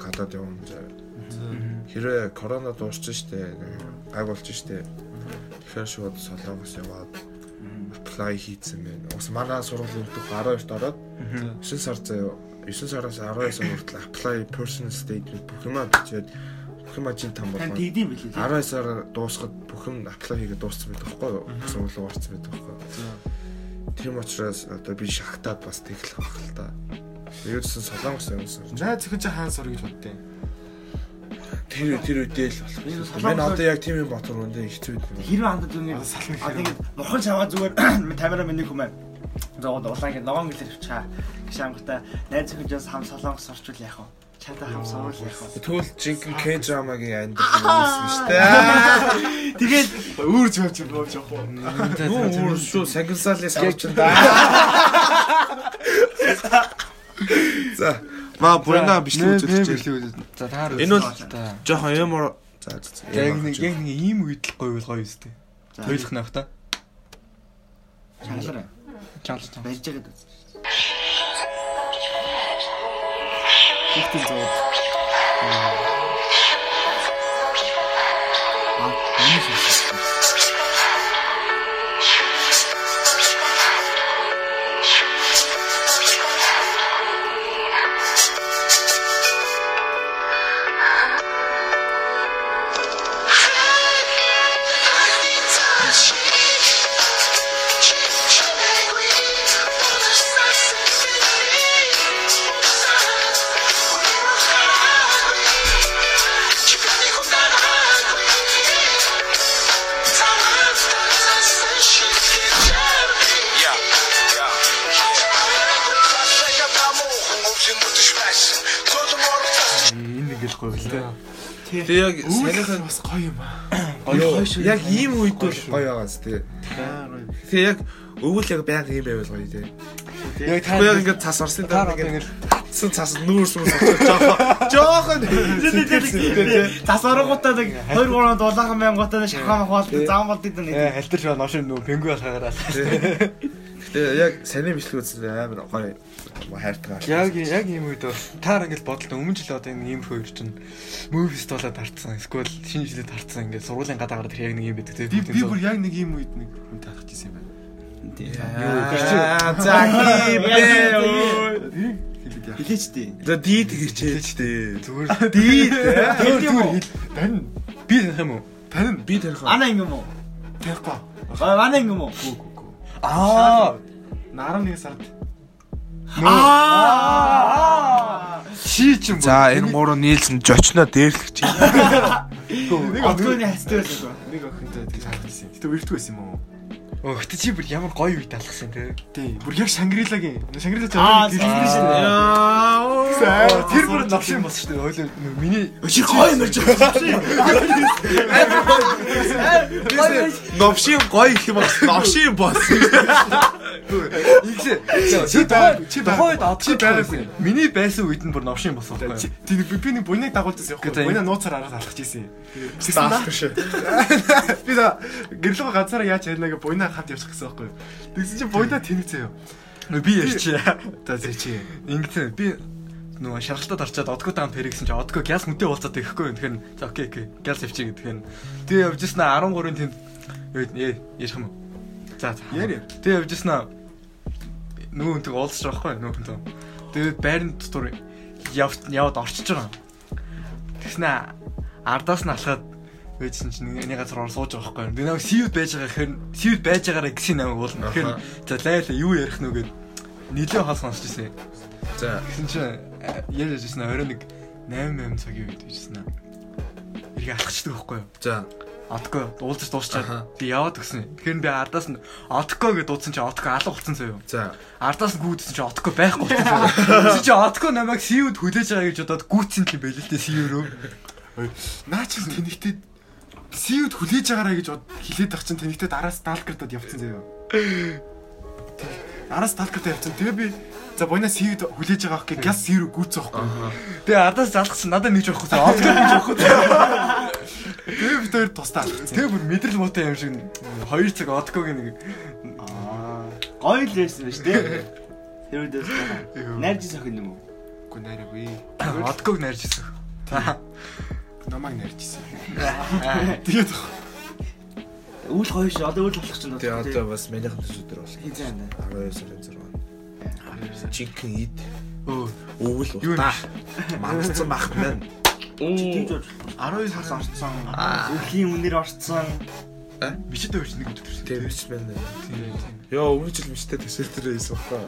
Speaker 2: гадаад явна заяа. Хэрэг корона дуусчихсан шүү дээ. нэг Гай болчихсон шүү дээ. Тэгэхээр шууд солонгос яваад apply хийцэн байна. Ус манай сургуулийн хөтөх 12-т ороод 9 сар заяа 9 сараас 12 сар хүртэл apply personal statement бүх юм бичээд бүх юм ажил там
Speaker 3: Тань
Speaker 2: болгоо.
Speaker 3: тэгдэм билээ.
Speaker 2: 12 сар дуусахад бүх юм apply хийгээд дууссан байдаг хгүй юу? Сургууль уурцсан байдаг хгүй юу? Тийм учраас одоо би шахтаад бас тэглэх байх л да. Юусэн солонгос юмсан.
Speaker 3: Найз зөвхөн чи хаан сур гэж боддیں۔
Speaker 2: Тэр тэр үдэл болох.
Speaker 1: Энэ
Speaker 2: юм.
Speaker 1: солонгос-
Speaker 2: Мен одоо яг тийм юм бодох юм дэ хэцүү үү.
Speaker 1: Хэрвээ хандад үнийг
Speaker 3: Аа, сална хэрэг.
Speaker 1: аа тэгээд бурхан шаваа зүгээр тамира миний хүмээ. Зогоод улаан гээ ногоон гэлэр авчаа. Гэж амгатай найз хөнжөөс хам солонгос орчвол яах вэ? Чатаа хам сурвал яах вэ?
Speaker 2: Тэгвэл жинхэнэ K-drama-гийн амьд байсан шүү дээ.
Speaker 1: Тэгээд
Speaker 3: Өөрч явж явж явах уу?
Speaker 2: Юу өөр шүү, сагилсаалын савчин да. За, маа бүрэнэ бичлэг үзүүлчих.
Speaker 8: За таар
Speaker 2: Энэ бол
Speaker 8: та.
Speaker 2: жоохон юм уу. За, за, за.
Speaker 4: Яг нэг яг нэг ийм үйдэл гоёл гоё өстэй. Тойлох нөх та.
Speaker 1: шаналаа.
Speaker 4: Чанал чанал.
Speaker 1: Барьж байгаа дээ.
Speaker 9: Todo mundo tá se
Speaker 4: Энэ нэг л гоё л та.
Speaker 2: Тэг яг санийхан
Speaker 3: бас гоё юм аа.
Speaker 2: Гоё шүү. Яг ийм үед бол гоё байгаас тий. Тэг яг өвөл яг баян ийм байвал гоё тий.
Speaker 4: Яг
Speaker 2: Тэгэхгүй яг ингээд цас орсын дараа
Speaker 4: Таар
Speaker 2: ингээд цэн цас нүүрс мөс очиж жоохон жоохон
Speaker 1: Зас оронгуудаа нэг 2 3 дулаахан мянгуудаа шахаа махвал зам болдог дээ.
Speaker 4: халтарч байна машин нөө пингүү болохоораа.
Speaker 2: Гэтэ яг саний бичлэг үзсэн амар гоё хайртайгаар.
Speaker 4: Яг яг ийм үед бол таар ингээд бодлоо өмнө жил одоо энэ ийм хоёр чинь movies болоод тарцсан. Эсвэл шинэ жилд тарцсан ингээд сургуулийн гадаагаар тэр яг нэг юм байдаг тийм.
Speaker 3: Би би бүр яг нэг юм үед нэг хүн тарах гэсэн юм байна.
Speaker 2: Аа, За
Speaker 1: Э,
Speaker 2: хийбэ.
Speaker 1: Хилээч дээ.
Speaker 2: За дид гэчээч дээ.
Speaker 4: зүгээр
Speaker 1: Э.
Speaker 2: Дид.
Speaker 4: зүгээр хэл.
Speaker 3: Тань
Speaker 4: Би танах юм уу?
Speaker 3: тань
Speaker 2: Би тарих.
Speaker 1: Ана ингэ юм уу?
Speaker 3: тайхгүй.
Speaker 1: Ана ингэ юм уу?
Speaker 4: Аа.
Speaker 3: 11 сард
Speaker 1: Аа.
Speaker 4: Чи ч юм
Speaker 10: За энэ гурав нийлсэн жочно дээрлэх чинь.
Speaker 1: Нэг огтны хастай байсан.
Speaker 3: нэг охинтой тэгж харах гэсэн. Гэтэ өртгөө байсан юм уу?
Speaker 4: Өгт чи бүр ямар гоё үед алхсан те.
Speaker 3: Тий. Бүр яг Шангрилагийн Шангрилаг
Speaker 1: Аа,
Speaker 3: жавны дэлгэн
Speaker 1: Шангрила.
Speaker 3: шин. Яа.
Speaker 4: Тэр бүр навшин болсон шүү дээ. Хойлоо нөө миний
Speaker 1: Өчиг гоё мэрч байна.
Speaker 2: Новшийн гоё их юм бас. Новшийн бас.
Speaker 4: чи
Speaker 3: байг- чи байг-
Speaker 4: тухайд
Speaker 3: чи байгаагүй.
Speaker 4: одоо байгаагүй. Миний байсан үед нь бүр навшин болсон байхгүй. юу?
Speaker 3: Тий би би нэг буйныг дагуулдсан явахгүй.
Speaker 4: Гэтэ-
Speaker 3: Буйна нууцаар араас алхаж ийсэн. Даах шүү. Би да гэрлэг газараа яаж ярина гэ буйна хамт явчих гэсэн байхгүй. Тэгсэн чинь буйна тэнэг заяа.
Speaker 4: Нөө би ярьчих.
Speaker 3: За зэчи.
Speaker 4: Ингэсэн би нөгөө шаргалтад орчоод одгоо таам тэр гэсэн чи одгоо гял мөнтэй уулзаад ирэхгүй юм. Тэгэхээр за окей окей. Гял авчи гэдгээр. Тэгээ явж ирсэн 13-ын тэнд юу ээ ярих юм уу? За за.
Speaker 3: Яри.
Speaker 4: Тэгээ явж ирсэн аа. нөгөө хүнтэй уулзчих واخхой нөгөө хүнтэй. Тэгээд байрны дотор явт явд орчиж байгаа. Тэгснэ ардаас нь алхаад байжсэн чинь нэг- нэг газар ор сууж байгаа байхгүй. Би нэг сивд байж байгаа гэхээр сивд байж байгаараа гэсэн намайг уулна. Тэгэхээр за лайла юу ярих нү гэд нилээ хаал сонсч ирсэн.
Speaker 2: За.
Speaker 4: Тэгсэн чинь э, а, ярьж ирсэн 21 88 цагийн үед ирсэн аа. Иргэ алхчихдаг байхгүй юу?
Speaker 2: За.
Speaker 4: Одко
Speaker 2: Аха.
Speaker 4: уулзаж дуусчаад би яваад өгсөн. Тэгэхээр би ардаас нь одко гэдээ дуудсан чинь одко алга болсон заяа.
Speaker 2: За.
Speaker 4: Ардаас нь гүйдсэн чи отко байхгүй болсон. Чи чи отко намайг сиуд хүлээж байгаа гэж бодоод гүйдсэн юм байл л дээ сиурөө.
Speaker 3: Наа чи тэнэгтэй сиуд хүлээж агараа гэж бод- хэлээд байх чинь тэнэгтэй араас даалгартад явцсан заяа. Араас даалгартад явцсан. Тэгээ би За буйнаа сивд хүлээж байгаа хэрэг гял сир гүцсэн байхгүй.
Speaker 4: Тэгээ ардаас залхсан надад нэг жоох хөсөн. Оос гэж жоох
Speaker 3: Тэгээ бид хоёр тусдаа алхсан.
Speaker 4: Тэгээ бүр мэдрэл муутай юм шиг хоёр цаг одкогийн нэг
Speaker 1: Аа. Гоё л байсан ба шүү дээ. Тэр үед байсан. Найрж сохин юм уу?
Speaker 3: Үгүй нэрээ.
Speaker 4: одког нарж ирсэн.
Speaker 3: Намайг нарчсан. Тэгээд
Speaker 1: Үйл гоё шүү. Одоо үйл болох ч юм уу.
Speaker 2: Тэгээ одоо бас манийх төс өдөр бол
Speaker 1: Хин зэн.
Speaker 2: 12 сарын 6. Чикен ид
Speaker 4: Өө
Speaker 2: өвөл утаа. Мандсан бахт байна.
Speaker 1: Тэгж болж
Speaker 3: 12 сар орцсон.
Speaker 1: үеийн үнээр орцсон.
Speaker 4: бичээд өгч нэг өдөр.
Speaker 2: Тийм биш байна. Йоо өмнө жил мчтэй төсөл төр байсан байхгүй.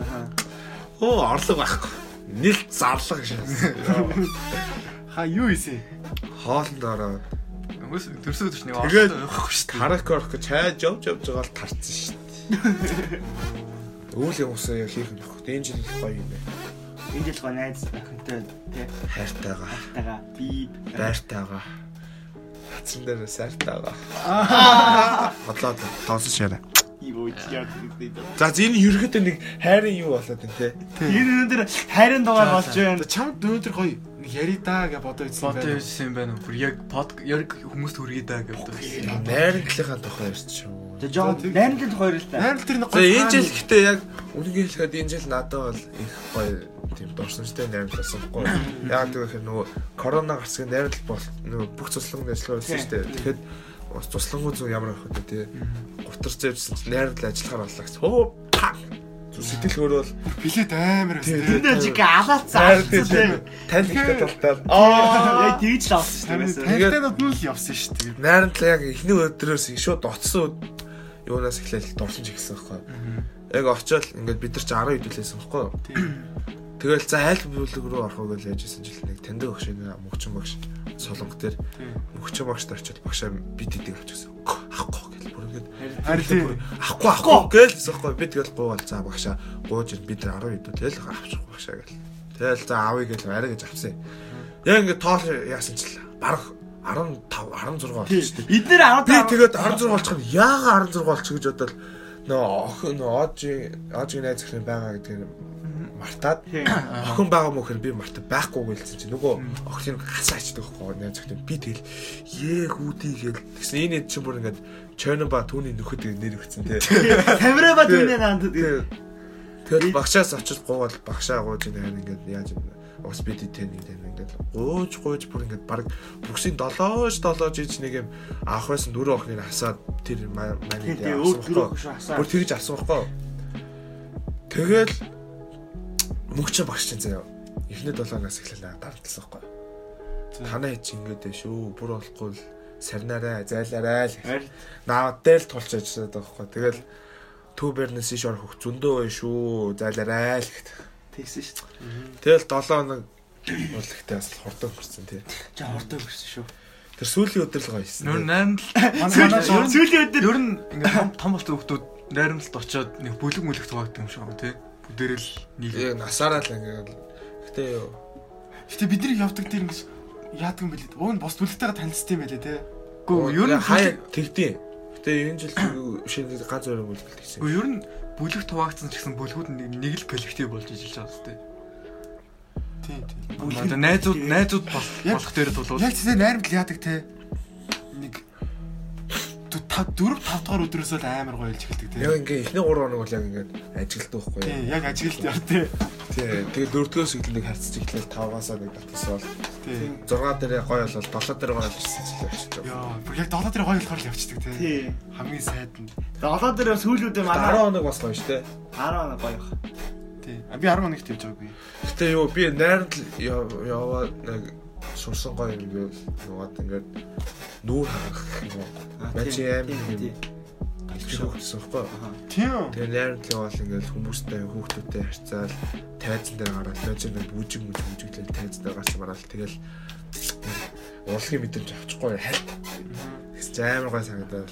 Speaker 2: Оо орлого байхгүй. Нилт зарлаг шээ.
Speaker 3: Ха юу ийсэн?
Speaker 2: Хоолнд ороод
Speaker 4: Өөс төрсөө өдөрч нэг
Speaker 2: Тэгээд
Speaker 4: орлоо явахгүй шүү дээ.
Speaker 2: Тарак орох гэж хайж явж явж байгаа л тарцсан шүү дээ. Үйл явуулсан яа хийх юм бэ? Энэ жил их гоё юм байна.
Speaker 1: Энэ жил гоо найз охинтой тий.
Speaker 2: Хайртайгаа,
Speaker 1: Тагаа би
Speaker 2: байртайгаа. Хацсан дээр сайртайгаа. Хотлоод тоосон шаарай.
Speaker 1: юу яах вэ?
Speaker 2: За энэ ерөөхдөө нэг хайрын юу болоод байна те.
Speaker 1: Энэ өнөдөр хайрын дугаар болж байна.
Speaker 3: Чамд өнөөдөр гоё яри даа гэж бодоо ийсэн
Speaker 4: Бот
Speaker 3: байна.
Speaker 4: хийсэн юм байна уу? Бүр яг под яг хүмүүст хүргэе даа гэдэг.
Speaker 2: Найрлагийнхаа тухай ярьчих юм.
Speaker 1: Тэ жоо
Speaker 3: За, тэг-
Speaker 1: найрлын тухай ярил та.
Speaker 3: Найр л тэр нэг
Speaker 2: За энэ жил
Speaker 3: хаан-
Speaker 2: гэхдээ яг үнэхээр хэлэхэд энэ жил надад бол их гоё тийм дурсамжтай найрлалсахгүй. Яг тэгэхээр нөгөө корона гарсгийн найрлал бол нөгөө бүх цуслангийн ажиллагаа байсан шүү дээ. Тэгэхэд ус цуслангийн зүг ямар байх вэ тий. Гутарч явжсан чинь найрлал ажиллахаар боллоо гэсэн. Хөө паг. Зүг сэтгэлгөөр бол
Speaker 3: билет амар байсан.
Speaker 1: Эндээ чиг алаацсан.
Speaker 2: найрлал тий. Танилтай талтал. Аа.
Speaker 1: Яа тэгж л авсан шүү дээ. байсан.
Speaker 3: Танилтанд нь л явсан шүү дээ.
Speaker 2: Найрлал яг эхний өдрөөс шүү дотсон өд- юунаас эхлээл дурсамж ихсэн байхгүй. Яг очиод ингээд бид нар ч 10 хэдүүлсэн байхгүй юу? Тэгэл за айл бүлэг рүү орох уу гэж яжсэн жил нэг таньдаг багш нэг мөгчин багш солонгот төр мөгчин багшд орчод багшаа бид идэг авчихсан. Ахгүй гэл бүр ингээд
Speaker 3: Харин
Speaker 2: ахгүй ахгүй гэл зөхгүй бид тэгэл гуул за багшаа гууж ир бид 10 хэдүүлэл авчихгүй багшаа гэл. Тэгэл за аавыг гэл арай гэж авсан. Яг ингээд тоол яасан жил баг 15 16 болчихсон.
Speaker 1: Бид нэр
Speaker 2: Би
Speaker 1: 15
Speaker 2: тэгээд 16 болчих нь яага 16 болчих гэж бодоод нөө охин нөө ожи ожи найз ихний байгаа гэдэг нь мартаад охин байгаа мөхөр би март байхгүй гэлсэн чи нөгөө охин гасаа ичдэг байхгүй найз ихний би тэгэл ээ хүүдий гэл тэгсэн энэ эд чинь бүр ингээд чойно ба түүний нөхөд гэж нэр өгсөн те
Speaker 1: камера ба дүнээ наандад.
Speaker 2: Тэгээд тэгэл багшаас очиж гуул багшаа гууж ин харин ингээд яаж юм ус бид итэн ингээд ингээд гууж гууж бүр ингээд баг бүксийн долоож долоож ич нэг юм авах байсан дөрөв охныг хасаад тэр маань
Speaker 1: Тэгээд өөр дөрөв охин шүү хасаад.
Speaker 2: Бүр тэгж авсан байхгүй. Тэгэл мөнгөч багш чинь заяа. Эхний долоонаас эхлэлээ дардсан байхгүй. Танаа чи ингээд ээ шүү. Бүр болохгүй л сарнараа, зайлаарай л
Speaker 1: Харин
Speaker 2: Навад дээр л тулч ажиллаад байгаа хөөе. Тэгэл Түбернэс иш орох хөх зөндөө байна шүү. Зайлаарай л гэт.
Speaker 1: тэгсэн шүү
Speaker 2: Тэгэл
Speaker 1: дээ.
Speaker 2: 7 хоног урлагтай бас хурдан хурцсан тий.
Speaker 1: Жаа хортой гэсэн шүү.
Speaker 2: Тэр сүүлийн өдөр л гоё
Speaker 4: Нөр
Speaker 2: хийсэн. тий.
Speaker 4: найрамд
Speaker 1: Сүүлийн сүүлийн өдөр
Speaker 4: ер нь ингээд том- том болсон хүмүүс найрамдалд очоод нэг бүлэг мүлэг тугаагдсан юм шиг байна тий. Бүдэрэл нэг
Speaker 2: Яг насаараа л ингээд л. Гэтэ юу.
Speaker 3: Гэтэ бид нар явдаг тийм ингэж яадаг юм бэлээ. Уг нь бос бүлэгтэйгээ танилцсан юм байлээ те.
Speaker 4: Гүү ер нь
Speaker 2: хаяа тэгдэв. Гэтэ энэ жил шинэ ганц өөр үйлдэл хийсэн.
Speaker 4: Гүү ер нь бүлэг тугаагдсан ч гэсэн бүлгүүд нэг нэг л коллектив болж ажиллаж байгаа зү тий.
Speaker 3: Тийм тийм.
Speaker 4: Одоо найзууд найзууд бол-
Speaker 3: Яг-
Speaker 4: болох дээр тулвал
Speaker 3: Яг тийм найрамд яадаг те. Нэг 4 5 дахь өдрөөсөө л амар гоё илж эхэлдэг те.
Speaker 2: Яг ингээ эхний 3 хоног бол яг ингээд ажилтдаг байхгүй юу?
Speaker 3: Тийм яг ажиглалт яв те.
Speaker 2: Тий. Тэгээ дөрөвдөөс эхлээд нэг харцж эхлээл 5-аас нэг татсан бол
Speaker 3: Тийм.
Speaker 2: 6 дээрээ гоё болол 7 дээрээ гоё болчихсон ч юм.
Speaker 3: Яа, бүр яг долоо дээр гоё болохоор л явчихдаг те.
Speaker 1: Тий.
Speaker 3: Хамгийн сайд нь.
Speaker 1: Тэгээд Олон дээр сүүлүүдээ манай
Speaker 2: 10 хоног бас гоё шүү дээ.
Speaker 1: 10 оноо гоё бах.
Speaker 3: Тийм. А, Би 10 хоногт явж байгаагүй.
Speaker 2: Гэтэ юу би найранд л яв- яваа нэг сурсан гоё юм гээд нугаад ингээд нүүр харах юм. Бачи аим юм. Хөвчсөн хөөхгүй.
Speaker 3: Тийм.
Speaker 2: Тэгээ найранд л яваал ингээд хүмүүстэй хүүхдүүдтэй харьцаал тайзан дээр гараад лож ингээд бүжиг мүжиг бүжиглээ тайзан дээр гарч мараал тэгэл урлагийн мэдрэмж авчихгүй хальт. Тэгс чи амар гой санагдаад.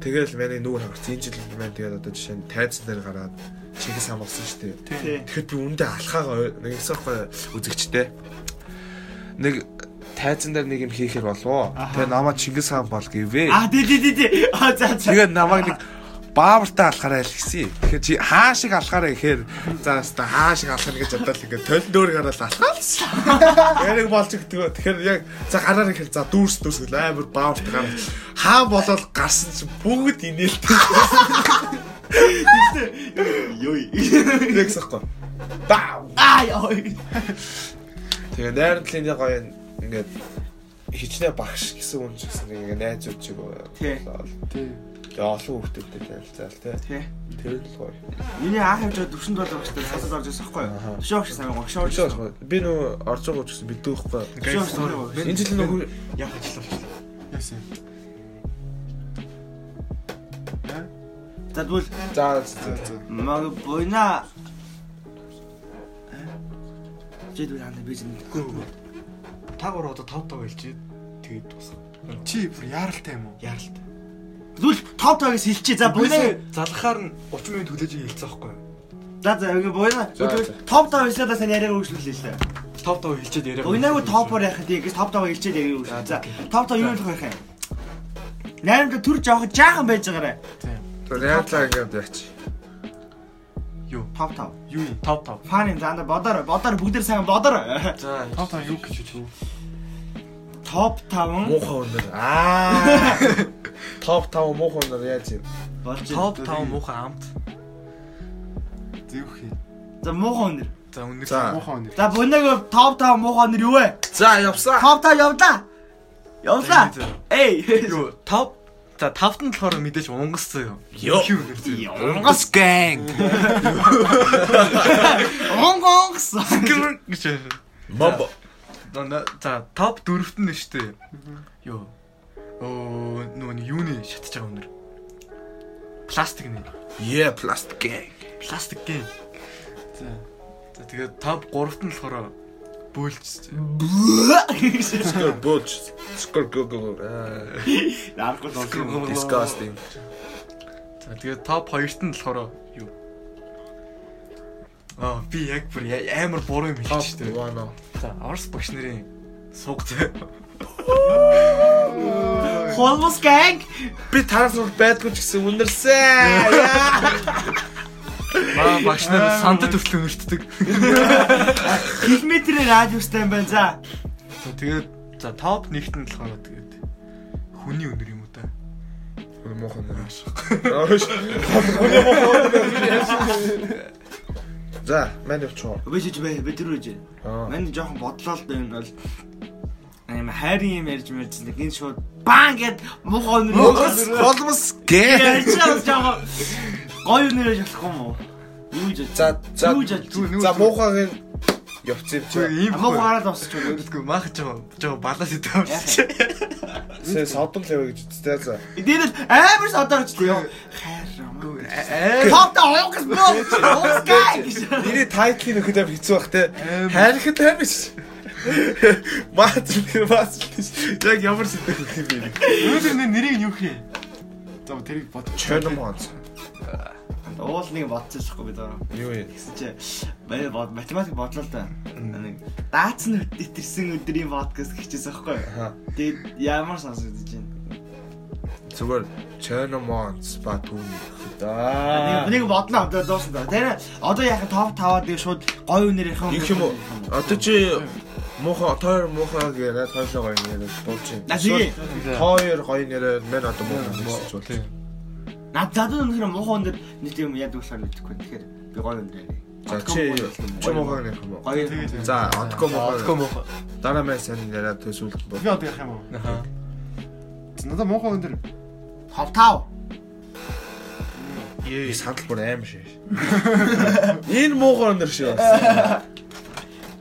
Speaker 2: Тэгэл миний нүүр харах. Энэ жил маань тэгээд одоо жишээ нь тайзан дээр гараад чигээс хамгаалсан шүү дээ.
Speaker 1: Тий.
Speaker 2: Тэгэхэд би үндэ алхаагаа нэгээс байхгүй үзэгчтэй. Нэг тайзан дээр нэг юм хийхэр болов. Тэгээ намаа Чингис хаан бол гэвээ.
Speaker 1: А тий тий тий тий. А за за.
Speaker 2: Тэгээ намайг нэг
Speaker 11: баавартаа алхаарай л гэсэн.
Speaker 2: Тэгэхээр чи хаа шиг алхаарэ гэхээр за хаста хаа шиг алхах гэж бодлоо ингээд толь дөөр гараад алхаалсан. Яриг болж өгдөг. Тэгэхээр яг за гараар ихэл за дүүрс дүүрс гэл амар баавт гараад хаа болол гарсан чи бүгд инээлдэг. Йой. Тэгсэхгүй. Баа.
Speaker 1: Аа ёо.
Speaker 2: Тэгээ найрдлын нэг гоё ингээд хичнээн багш гэсэн хүн ч гэсэн ингээд найз үүд чиг болоо.
Speaker 1: Тий.
Speaker 2: Тэгээ олон хүмүүстэй танилцал тий.
Speaker 1: Тэ.
Speaker 2: Тэр л гоё.
Speaker 1: Миний аах хэмжээ 47 багштай сасад орж ирсэн байхгүй юу? Төшөө багш сайн гогшоо орж
Speaker 2: Өчөөс
Speaker 1: ирсэн.
Speaker 2: би нөө орж байгаа учраас мэдээхгүй.
Speaker 1: Төшөө багш сайн гогшоо.
Speaker 2: Энэ жил нөгөө
Speaker 4: Яг ажиллаж байна.
Speaker 3: Яасан.
Speaker 1: За тэгвэл
Speaker 2: за за за.
Speaker 1: мага буйна. Э? Жид үл ханд бич нэггүй.
Speaker 4: Та гур одоо 5 5 хэлж тэгээд дуусна.
Speaker 3: Чи бүр яаралтай юм уу?
Speaker 4: Яралт.
Speaker 1: Тэгвэл топ тоогоос хэлчихье. За буйна.
Speaker 4: залгахаар нь 30 минут хүлээж хэлцээ байхгүй.
Speaker 1: За за ингээ буйна. Тэгвэл топ тоо хэлсээр сайн яриаг үйлчлүүлээ л дээ.
Speaker 4: Топ топ хэлчихэд яриа.
Speaker 1: Буйнаг топор яхад яг топ тоо хэлчихээд яриаг үйлчлээ. За топ тоо юу л байх юм? Найрамд төр жоохон жаахан байж байгаарэ.
Speaker 2: Тэр яатлаа ингээд яач.
Speaker 1: Топ тоо.
Speaker 4: Юу юм? Топ топ.
Speaker 1: Фаны заанда бодорой. Бодорой бүгд сайн бодорой.
Speaker 4: За.
Speaker 3: Тоо тоо юу гэж үү?
Speaker 1: Топ 5
Speaker 2: Муухай өндөр. Аа. Топ 5 муухай өндөр яаж юм?
Speaker 1: болж байна.
Speaker 4: Топ 5 муухай амт.
Speaker 3: Зэвх юм.
Speaker 1: За муухай өндөр.
Speaker 4: За үнэ
Speaker 2: За.
Speaker 3: Муухай өнөр.
Speaker 1: За буйнаг топ 5 муухай өндөр юу вэ?
Speaker 2: За явсаа.
Speaker 1: Топ 5 явлаа. Явлаа. Эй.
Speaker 4: юу топ за тавт нь болохоор мэдээж унгассан юм.
Speaker 2: Йоо.
Speaker 4: Юу гэрчээ.
Speaker 11: Унгас гэнг.
Speaker 1: Онгонгс.
Speaker 4: гэж.
Speaker 2: Мамба.
Speaker 4: За, на- За топ дөрөвт нь штэ. Юу. Оо нүг юуны шатж байгаа өнөр. Пластик нэ.
Speaker 2: Yeah, plastic gang.
Speaker 4: Пластик гэм. За. За тэгээд топ 3-т нь болохоор бөөлч.
Speaker 2: Score boots. Score go go. go. Аа.
Speaker 1: Наахгүй болсон.
Speaker 2: Disgusting.
Speaker 4: За тэгээд топ 2-т нь болохоор юу? Аа би яг бүр я- амар буруу юм
Speaker 2: Top
Speaker 4: хэлчихсэн.
Speaker 2: 1.
Speaker 4: За Орос багш нарын суг зэ.
Speaker 1: Холмос гэнг.
Speaker 2: Би тараас бол байдгүй ч гэсэн үнэрсэн.
Speaker 4: Маа багш нар сандад хүртэл өнөртдөг.
Speaker 1: Километрээр радиустай юм байна. За.
Speaker 4: За тэгээд за топ нэгт нь болохоор тэгээд хүний өнөр юм уу та?
Speaker 2: Муухай өндөр. Ааш. За, мань явчихоо.
Speaker 1: Өбөж бай, бид рүү ижээ.
Speaker 2: Аа.
Speaker 1: Манай жоохон бодлоо л да энэ бол юм хайрын юм ярьж мэрч нэг энэ шууд баан гэд муухай өнөр.
Speaker 11: Унгас голмос гэнг.
Speaker 1: Ярьж байгаа жоохон гоё өнөрөө шалахгүй юм уу? Юу гэж
Speaker 2: За, за.
Speaker 1: Юу жаж-
Speaker 2: За, муухайг нь явчих юм чи.
Speaker 4: ийм
Speaker 1: Амаа
Speaker 4: хөө
Speaker 1: гараад босч байна.
Speaker 4: өөртгөө маахаж байгаа жоо балаас идэв.
Speaker 2: Сэ содон л яваа гэж үзтээ за.
Speaker 1: Эдгээр л амар содорч л ёо. Хайрам.
Speaker 4: Ээ
Speaker 1: Топта онгос бөө. Онгос гэнг.
Speaker 2: Миний тайтлын өгөхөд амар хэцүү бах те. Хайрхад амар ш. Маац тэр маац биш. Яг ямар сэтгэл хөдлөл юм бэ?
Speaker 4: өнөрний нэрийг нь юу хээ?
Speaker 3: За тэрийг бод.
Speaker 2: Чоном хонц.
Speaker 1: Уул нэг бодчихсохгүй бид ороо.
Speaker 2: Юу юм?
Speaker 1: Гэсэн чи манай бод математик бодлоо л да. Нэг даацны өдөрсөн өдрийн подкаст хийчихсэн байхгүй юу?
Speaker 2: Аха.
Speaker 1: Тэгээд ямар сонсогдож байна?
Speaker 2: Зүгээр чоном хонц ба түүний. Аа.
Speaker 1: Нэг- Нэг бодлоо одоо дуусан да. Тэр одоо яг топ таваад нэг шууд гоё үнээр яхан.
Speaker 2: Их юм уу? Одоо чи муухай тойр муухай гэрээ тойрлоо гоё нэрээр дуучин.
Speaker 1: На зиги.
Speaker 2: Тойр гоё нэрээр мэн одоо муухай болчихвол.
Speaker 1: Над задад өнөхөр муухай өндөр нийт юм яд болохоор мэдэхгүй. Тэгэхээр би гоё өндөр.
Speaker 2: За чи чи муухай нэрх юм уу?
Speaker 1: Гоё.
Speaker 2: За, онтко муухай.
Speaker 4: мохо.
Speaker 2: Дараа мэн сайн яриа төсөөлт бол.
Speaker 3: Би одоо ярих юм уу?
Speaker 4: Аха.
Speaker 3: Надаа муухай өнөр.
Speaker 1: Топ тав.
Speaker 2: Ээ санал бүр аим шээ. Энэ муухай өндөр шээ бас.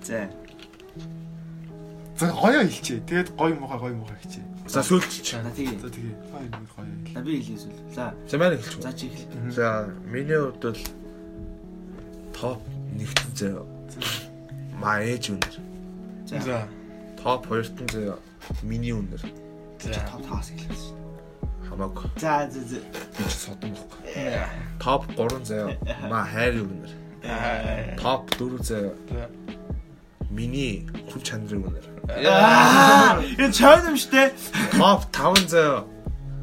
Speaker 1: За.
Speaker 3: За гоё хэлчээ. Тэгээд гоё муухай гоё муухай хэлчээ.
Speaker 2: За сүүлчилч.
Speaker 1: За тэгээ.
Speaker 3: За тэгээ. Хоёр нэг гоё. хэл.
Speaker 1: За би хэлээс үл. За.
Speaker 2: За маань хэлчих.
Speaker 1: За чи хэл.
Speaker 2: За миний хувьд бол топ нэгтэн зөө. Маа ээж өндөр.
Speaker 1: За.
Speaker 2: Топ хоёртэн зөө. Миний өндөр.
Speaker 1: Топ таваас хэлээс.
Speaker 2: Хамаагүй.
Speaker 1: За за за.
Speaker 2: Би ч содон байхгүй. Топ 3 зөө. Маа хайр өндөр. Топ 4 зөө. Миний хүн чанарын өндөр.
Speaker 1: Аа, энэ чойн юм штэ.
Speaker 2: Топ 5 зөө.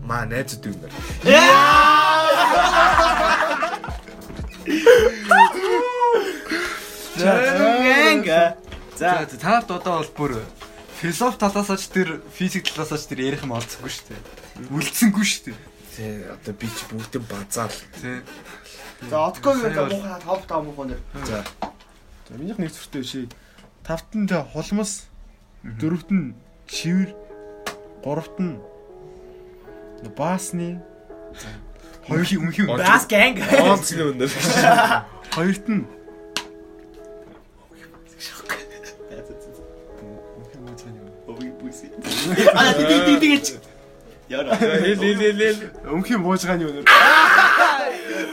Speaker 2: Маа найзууд өндөр.
Speaker 1: Яа! Чарнганга. За
Speaker 4: За за, та нарт одоо бол бүр философи талаас ч тэр физик талаас ч тэр ярих юм олцгүй шүү дээ. Үлдсэнгүй шүү дээ.
Speaker 2: Тэ одоо би ч бүгдэн базаал.
Speaker 4: Тэ.
Speaker 1: за откон гэдэг муу хаа топ таа муу нэр.
Speaker 2: За.
Speaker 3: За минийх нэг зүртэй биш. Тавт нь тэ холмос, дөрөвт нь чивэр, гуравт нь баасны,
Speaker 4: Хоёулын өмнөх юм.
Speaker 1: Бас ганг.
Speaker 2: Онцгийн өндөр.
Speaker 3: хоёрт нь
Speaker 1: Аа тий тий тий гэж. Яра.
Speaker 3: Эл эл эл эл өмхийн буужгааны өнөр.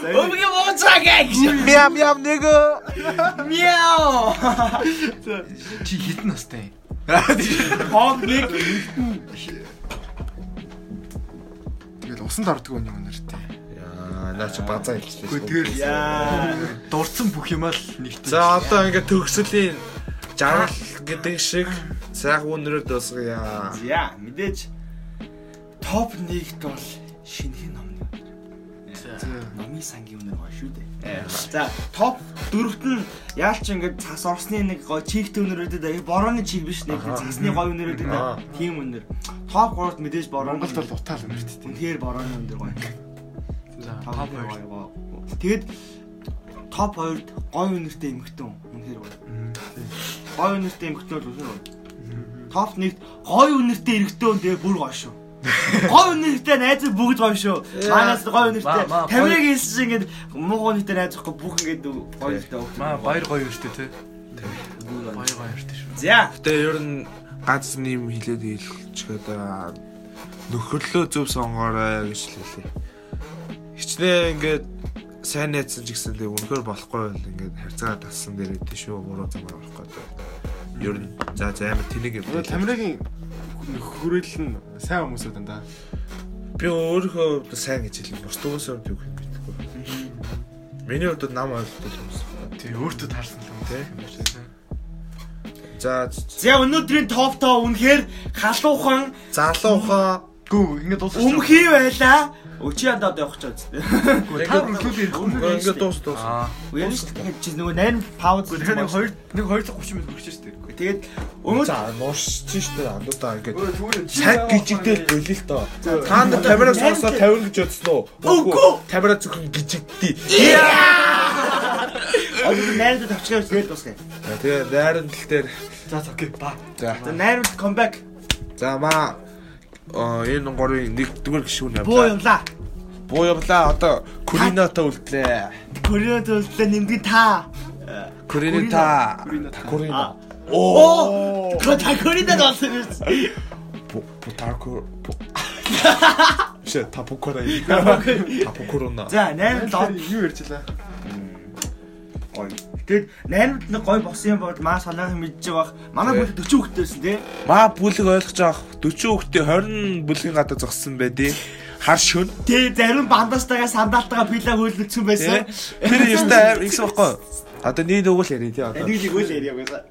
Speaker 1: Өвгөө мууцаа гэж.
Speaker 12: Мям мям нэг
Speaker 1: Мяу.
Speaker 4: Чи хитэн настай.
Speaker 1: Хоон нэг.
Speaker 3: Тэгэл усанд ордог өний өнөртэй.
Speaker 2: Яа, наа чи базаа хэлчихлээ.
Speaker 4: Тэгэл
Speaker 1: Яа.
Speaker 4: дурдсан бүх юм л нэгтэн.
Speaker 2: За одоо ингээд төгсөлийн 60 гэдэг шиг цаг өнөрөд дуусгая.
Speaker 1: За мэдээж топ 1-т бол шинэ ном. Номын сангийн өнөр гоё шүү
Speaker 3: Э,
Speaker 1: дээ. За топ 4-т нь яалч ингээд цас орсны нэг гоё чигт өнөрөдөд аа борооны чиг биш нэг цасны гоё өнөрөдөд аа тийм өнөр. Топ 3-т мэдээж борооны
Speaker 3: Монголд бол утаал өнөрт тийм.
Speaker 1: үнээр борооны өндөр гоё.
Speaker 4: За,
Speaker 1: Топ 2 гоё. Тэгэд топ 2-т гоё өнөртэй эмхтэн үнээр гоё. Гоё өнөртэй эмхтэн бол үнээр гоё. Топ 1-т гоё өнөртэй эрэгтэн тэгээ бүр гоё шүү. Гоё өнөртэй найз бүгд гоё шүү. Манаас гоё өнөртэй.
Speaker 4: Маа, маа,
Speaker 1: Тамирыг хэлсэн чинь ингээд муу өнөртэй найз ихгүй бүх ингээд гоё өнөртэй
Speaker 4: Маа
Speaker 1: хөөх.
Speaker 4: баяр гоё өртөө те. Баяр гоё өртөө шүү.
Speaker 1: За.
Speaker 2: Гэтэ ер нь ганц нэм хилээд хэлчихэд аа, нөхөрлөө зөв сонгоорой гэж хэлээ. Хичнээн ингээд сайн найзсан ч гэсэн тэг үнэхээр болохгүй байл ингээд харьцаа тассан дээр өгдөө шүү буруу замаар болохгүй дээ. Ер нь за за амар тэнэг юм.
Speaker 3: Одоо тамирагийн хүрээлэл нь сайн хүмүүс үү дандаа.
Speaker 2: Би өөрөө хувьд сайн гэж хэлээ. Бусд хүмүүсийн хувьд юу гэж мэдэхгүй. Миний хувьд нам ойлтол юмс.
Speaker 4: Тэ өөртөө таарсан л юм те.
Speaker 2: За
Speaker 1: За өнөөдрийн топ тоо үнэхээр халуухан
Speaker 2: залуухаа
Speaker 4: Гүү ингэ дуусах.
Speaker 1: өмхий байла. Өчи андаа одоо явах гэж байна.
Speaker 4: та өртөө
Speaker 2: ингээд дуус дуус.
Speaker 4: Аа.
Speaker 1: Уян шүү дээ. Чи нөгөө 8 паунд
Speaker 4: Тэгэхээр нэг 2 нэг 230 минут хүрчихэж штэ.
Speaker 1: Тэгээд өмнө
Speaker 2: За нуурч чинь шүү дээ андуудаа ингээд
Speaker 4: Түүгээр
Speaker 2: цаг гжигдэл болил л доо. Та нар камераг сонсоод 50 гэж бодсон уу?
Speaker 1: Үгүй.
Speaker 2: Камера зөвхөн гжигддээ.
Speaker 1: Аюу найрд тавчгаа тэгээд дуусгая.
Speaker 2: Тэгээ найрын тал дээр
Speaker 4: За за окей ба.
Speaker 2: за
Speaker 1: За найрд comeback
Speaker 2: за маа а энэ горын нэгдүгээр гişүүн
Speaker 1: буу
Speaker 2: явлаа.
Speaker 1: явла.
Speaker 2: Буу явлаа. Одоо Курината үлдлээ.
Speaker 1: Корейд төлөвлөлтөө нэмгэн та.
Speaker 2: Курината.
Speaker 1: А.
Speaker 2: Курина.
Speaker 1: Оо. Та корейд болсон юм чи.
Speaker 2: Путаку. Шэ тапукора. Тапукорона.
Speaker 1: За найрд лод.
Speaker 3: юу ярьж илаа?
Speaker 1: Тэгээд найрд нэг гой босон юм бол маа санаах мэдж байгаах. Манай бүл 40 хүнтэйсэн тий.
Speaker 2: Маа бүлэг ойлгож авах 40 хүүхдээ 20 бүлгийн гадаа зогссон байдیں۔ Хар шөн.
Speaker 1: Тэ зарим бандастайгаа сандалтайгаа пила хөөлөлдсөн байсан.
Speaker 2: Тэр ёстой аим ихсэн баггүй. Одоо нэг нэг л ярив тий одоо.
Speaker 1: Нэг нэг үл ярья байсаа.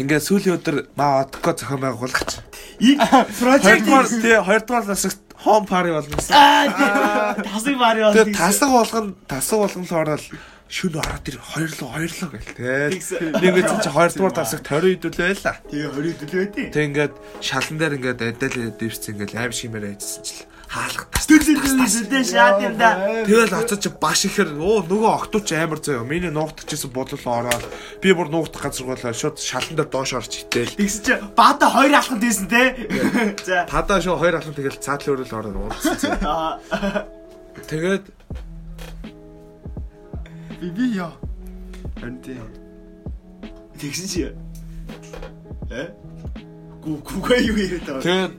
Speaker 2: Ингээ сүүлийн өдөр маа одко зохион байгуулгач.
Speaker 1: Ийг project
Speaker 2: Хоёрдугаар тий хоёрдугаар насагт хом пари болгосон.
Speaker 1: аа тий. тасыг мари бол.
Speaker 2: Тэгээ тасаг болгон тасаг болгонлоор л шүн ороод ир хоёрлоо хоёрлоо гэл тий. Нэг үсэн чи хоёрдугаар тасаг 20 хэдүүлээ байла.
Speaker 1: Тэгээ 20 төлөө тий.
Speaker 2: Тэг ингээд шалан дээр ингээд адил дэвс ингээд аим шимээр айдсан чил хаалга тас.
Speaker 1: Төлөвлөлтөө шаад юм да.
Speaker 2: Тэгэл очиж чи баш ихэр оо нөгөө октооч амар заяа. Миний нуугдчихсэн бодлол ороод би бүр нуугдах газар болоо шууд шалан дээр доош орч итэл.
Speaker 1: Тэгс чи баада хоёр алханд байсан те. За.
Speaker 2: Тадаа шоо хоёр алхам тэгэл цаатал өрөөл ороод уулзсан. заяа.
Speaker 1: аа,
Speaker 2: Тэгээд
Speaker 3: Би би яа. Анти.
Speaker 1: Тэгсэн чи. Э? Гү гүгээ юу яриад байгаа.
Speaker 2: тэгээд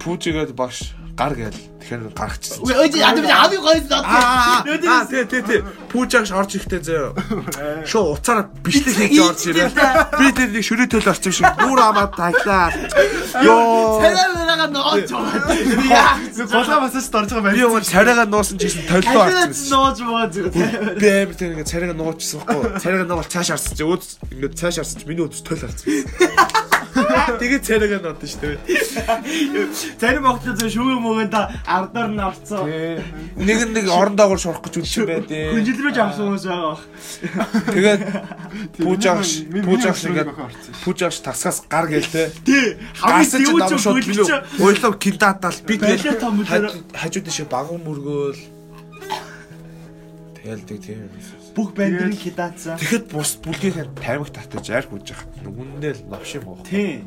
Speaker 2: пүүжигээд баш гар гээл. Тэгэхээр гарчихсан.
Speaker 1: Үгүй ээ яа дэмж аав гойс
Speaker 2: Аа,
Speaker 1: дот.
Speaker 2: аа, тий, тий, тий. Пүүжагш орж ихтэй зөө. Шоо уцаараа бичлэг хийж орж ирээ. Би тэр нэг шүрээ төл орчих шиг бүр амаад таглаа. Йоо.
Speaker 1: Тэрээр байгаа нооч байгаа.
Speaker 3: Нэг голоо масаж дорж байгаа
Speaker 2: Би
Speaker 3: байх.
Speaker 2: юм царайгаа нуусан ч гэсэн толгоо
Speaker 1: Тэрээр
Speaker 2: орчихсон.
Speaker 1: нооч байгаа зүгээр.
Speaker 2: Би амар тэр ингээ царайгаа нуучсан байхгүй. Царайгаа нуувал цааш арсан чи өөд ингээ цааш арсан чи миний өөдс төл арсан.
Speaker 13: Тэгээд цайрагаа нодсон шүү дээ.
Speaker 1: Зарим охтлоо зөв шүүгэн мөгөн да ардаар нь авцсан.
Speaker 2: Нэг нь нэг орон доогоор шурах гэж үлсэн байд. ээ.
Speaker 1: Хүнжилмэж авсан хүмүүс байгаа бах.
Speaker 2: Тэгээд пүүж агш
Speaker 3: Миний-
Speaker 2: пүүж агш
Speaker 3: миний
Speaker 2: ингээд
Speaker 3: охин орсон.
Speaker 2: пүүж агш тасгаас гар гэлтэй.
Speaker 1: Тий.
Speaker 2: Гасч
Speaker 1: Хамгийн дээд
Speaker 2: давш
Speaker 1: шууд
Speaker 2: шууд
Speaker 1: хөлчөө.
Speaker 2: ойлоо киндатаал би
Speaker 1: Байлаа
Speaker 2: тэгэл
Speaker 1: том мөрөөр
Speaker 13: Хажууд дэше баган мөргөөл. Тэгэл тэг тийм.
Speaker 1: бүх бандрыг хидаацсан.
Speaker 2: тэгэхэд бус бүлгийн тамиг татаж арх хүж хат. Нүгэндээ л навшиг гоох.
Speaker 1: Тий.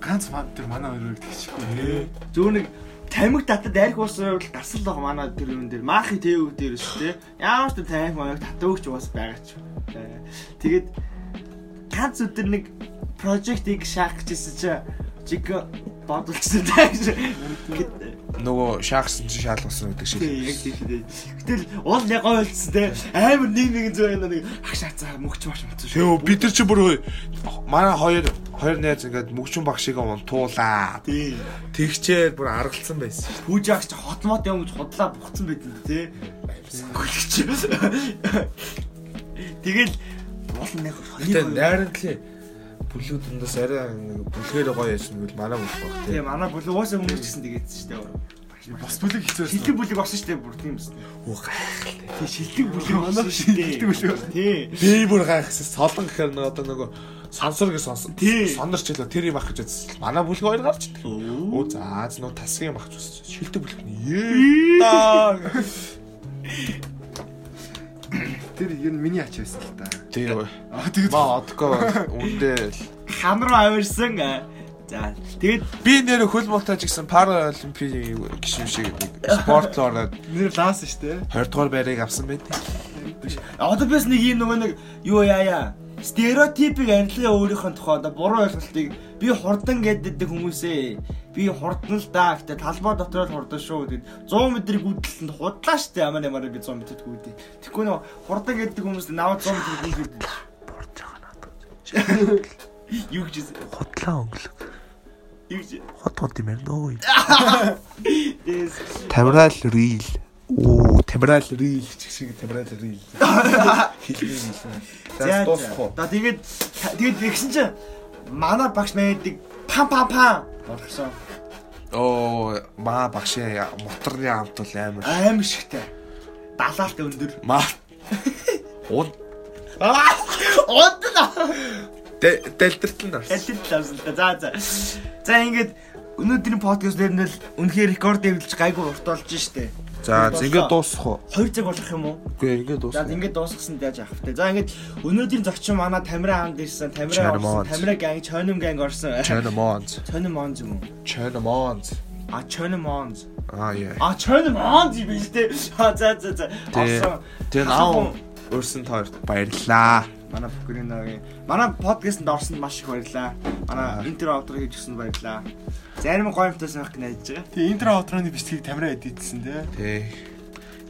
Speaker 3: Ганц ман тэр манай хоёр тэгчихгүй.
Speaker 1: Зөв нэг тамиг татад арх уусан бол гарсал л манай тэр юм дээр махи тэвэг дээр шүү дээ. Ямар ч тамиг маяг татагч бас байгаа ч. Э, Тэгээд ганц өдөр нэг прожектыг шаах гэжсэн чи чиг бодолчсон тааш.
Speaker 2: Нөгөө шаахсан чи шаалгасан гэдэг шиг.
Speaker 1: Тий, яг тийм шүү дээ. Гэтэл уул яг гоё болцсон те. Амар нэг нэгэн зөө байна нэг агшаа цаа мөгч маш мөцсөн
Speaker 2: Тэв бид нар чи бүр хөө- манай хоёр хоёр найз ингээд мөгчөн багшиг унтуулаа.
Speaker 1: Тий.
Speaker 13: Тэгчээл бүр аргалцсан байсан шүү
Speaker 1: Пүүж агч хотмот юм гэж худлаа буцсан байт энэ тий. Гүлгч. Тэгэл уул нэг
Speaker 13: дээ. Тэгээд найрантлын бүлүү дундаас арай нэг бүлгээр гоё ясна гэвэл манай бүлэг баг
Speaker 1: Тий
Speaker 13: тийм.
Speaker 1: манай бүлэг уусаа хүмүүс ч гэсэн тэгээдсэн шүү дээ.
Speaker 3: Бас бүлэг хичээсэн.
Speaker 1: Шилдэг бүлэг болсон шүү дээ бүр тийм шүү дээ.
Speaker 13: Үгүй гайхалтай.
Speaker 1: Тий шилдэг бүлэг
Speaker 3: Манай
Speaker 1: болсон шүү дээ.
Speaker 3: шилдэг бүлэг болсон.
Speaker 1: Тий.
Speaker 2: Би бүр гайхсан. Солон гэхээр нөгөө одоо нөгөө сансар гэж сонсон.
Speaker 1: Тий.
Speaker 2: Сонорч хэлээ тэр юм ах гэж үзсэн. Манай бүлэг хоёр гарч ирдэг. Оо заа зно тасгийн юм ах гэж үзсэн. Шилдэг бүлэгний. Ее. даа.
Speaker 3: Тэр ер нь миний ач байсан л та.
Speaker 2: Тэр
Speaker 3: Аа тэгээд
Speaker 2: маа одко үндэ л.
Speaker 1: Хам руу авирсан. За тэгэд
Speaker 2: Би нэр хөл монтаж гэсэн пара олимпийн гişim шиг нэг спортлоор ороод
Speaker 3: нэр лаасан шүү дээ.
Speaker 2: 20 дугаар байрыг авсан байт.
Speaker 1: одоо бис нэг юм нөгөө нэг юу яая стереотипик арилгаа өөрийнхөө тухай одоо буруу ойлголтыг би хурдан гэдэг хүмүүсээ би хурдан л даа гэхдээ талбай дотор л хурдан шүү гэдэг 100 метрийг гүйдэлтэнд худлаа штэ ямар ямар би 100 метрийг гүйдээ тэггүй нөө хурдан гэдэг хүмүүс наваад 100 метрийг гүйдээ бурж байгаа надад юу гэж худлаа өнгөлөг юу гэж хот хот юм ярина ой
Speaker 2: Тамираал рил. Оо, тамираал рил.
Speaker 13: Чих шиг тамирал ирээ. Хэлний хэлсэн. За
Speaker 1: За
Speaker 13: дуусах уу?
Speaker 1: За тэгээд тэгээд тэгсэн чинь манай багш мэддэг пам пам пам болгосон.
Speaker 2: Оо, маа багш яа, моторны амт бол амар.
Speaker 1: Аим шигтэй. Далаалт өндөр.
Speaker 2: Маа. Уу
Speaker 1: Онд нь
Speaker 13: Дэлдэртэл нь орсон.
Speaker 1: алил тавсан л да. За за. За ингээд өнөөдрийн подкаст дээр нь л үнэхээр рекорд дэвлж гайгүй урт болж штэ.
Speaker 2: За,
Speaker 1: зингээ
Speaker 2: дуусах уу?
Speaker 1: 2 цаг болох юм уу?
Speaker 2: Үгүй, ингээд
Speaker 1: За ингээд дуусгасан яаж авах вэ? За ингээд өнөөдрийн зочин манай Тамира хаанд ирсэн. Тамира орсон.
Speaker 2: Чанамонз.
Speaker 1: Тамира ганг, Чоним ганг орсон.
Speaker 2: China Mons.
Speaker 1: Чоним онз юм уу?
Speaker 2: China Mons.
Speaker 1: А Чоним онз.
Speaker 2: Аа яа.
Speaker 1: А Чоним онз юм биш үү? За за за. Орсон.
Speaker 2: Тэгээ
Speaker 1: Асуух
Speaker 2: наа
Speaker 1: уу?
Speaker 2: өөрсөн та хоёрт баярлаа.
Speaker 1: манай Бүкриногийн манай подкастэнд орсонд маш их баярлаа. Манай интро аутро хийж өгсөнд баярлаа. Зарим гоёмтойс байх гэж найдаж
Speaker 3: тэгээд интро отрооны бичлэгийг тамираа эдитсэн дээ.
Speaker 2: Тий.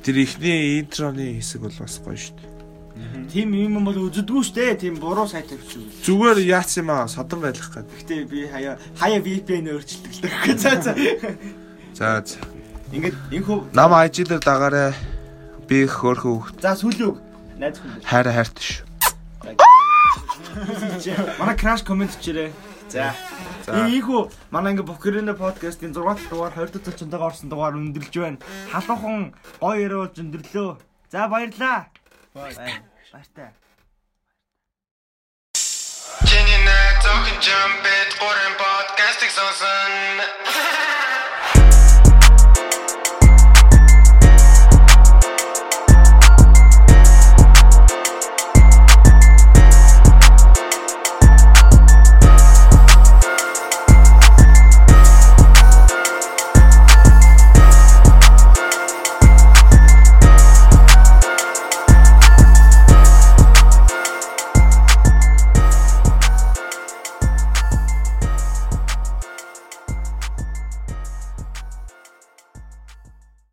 Speaker 2: Тэр ихний интроны хэсэг бол бас гоё шүү дээ.
Speaker 1: байгаа. Тим юм юм бол үзэдгүй шүү дээ. Тим буруу сайт авчихв.
Speaker 2: Зүгээр яац юм аа, содон байх гад.
Speaker 1: Гэхдээ би хаяа хаяа VPN өөрчилдөг л гэх. За за.
Speaker 2: За за.
Speaker 1: Ингээд энхүү
Speaker 2: Нам ажил дээр дагаарэ. Би их хөөрхөн хөх
Speaker 1: за сүүлийн үг найз хүмүүс.
Speaker 2: хайр хайрт шүү.
Speaker 1: Манай crash comment хийрээ. За. Энэ ийхүү манай ингээ Букрино подкастын 6 дахь дугаар 20 дахь зочинтойгоор орсон дугаар өндөрлж байна. Халуухан гоё ярилж өндөрлөө. За баярлаа. Баярлалаа. Баяртай.
Speaker 5: Чиний найз охин жамбит гурван бод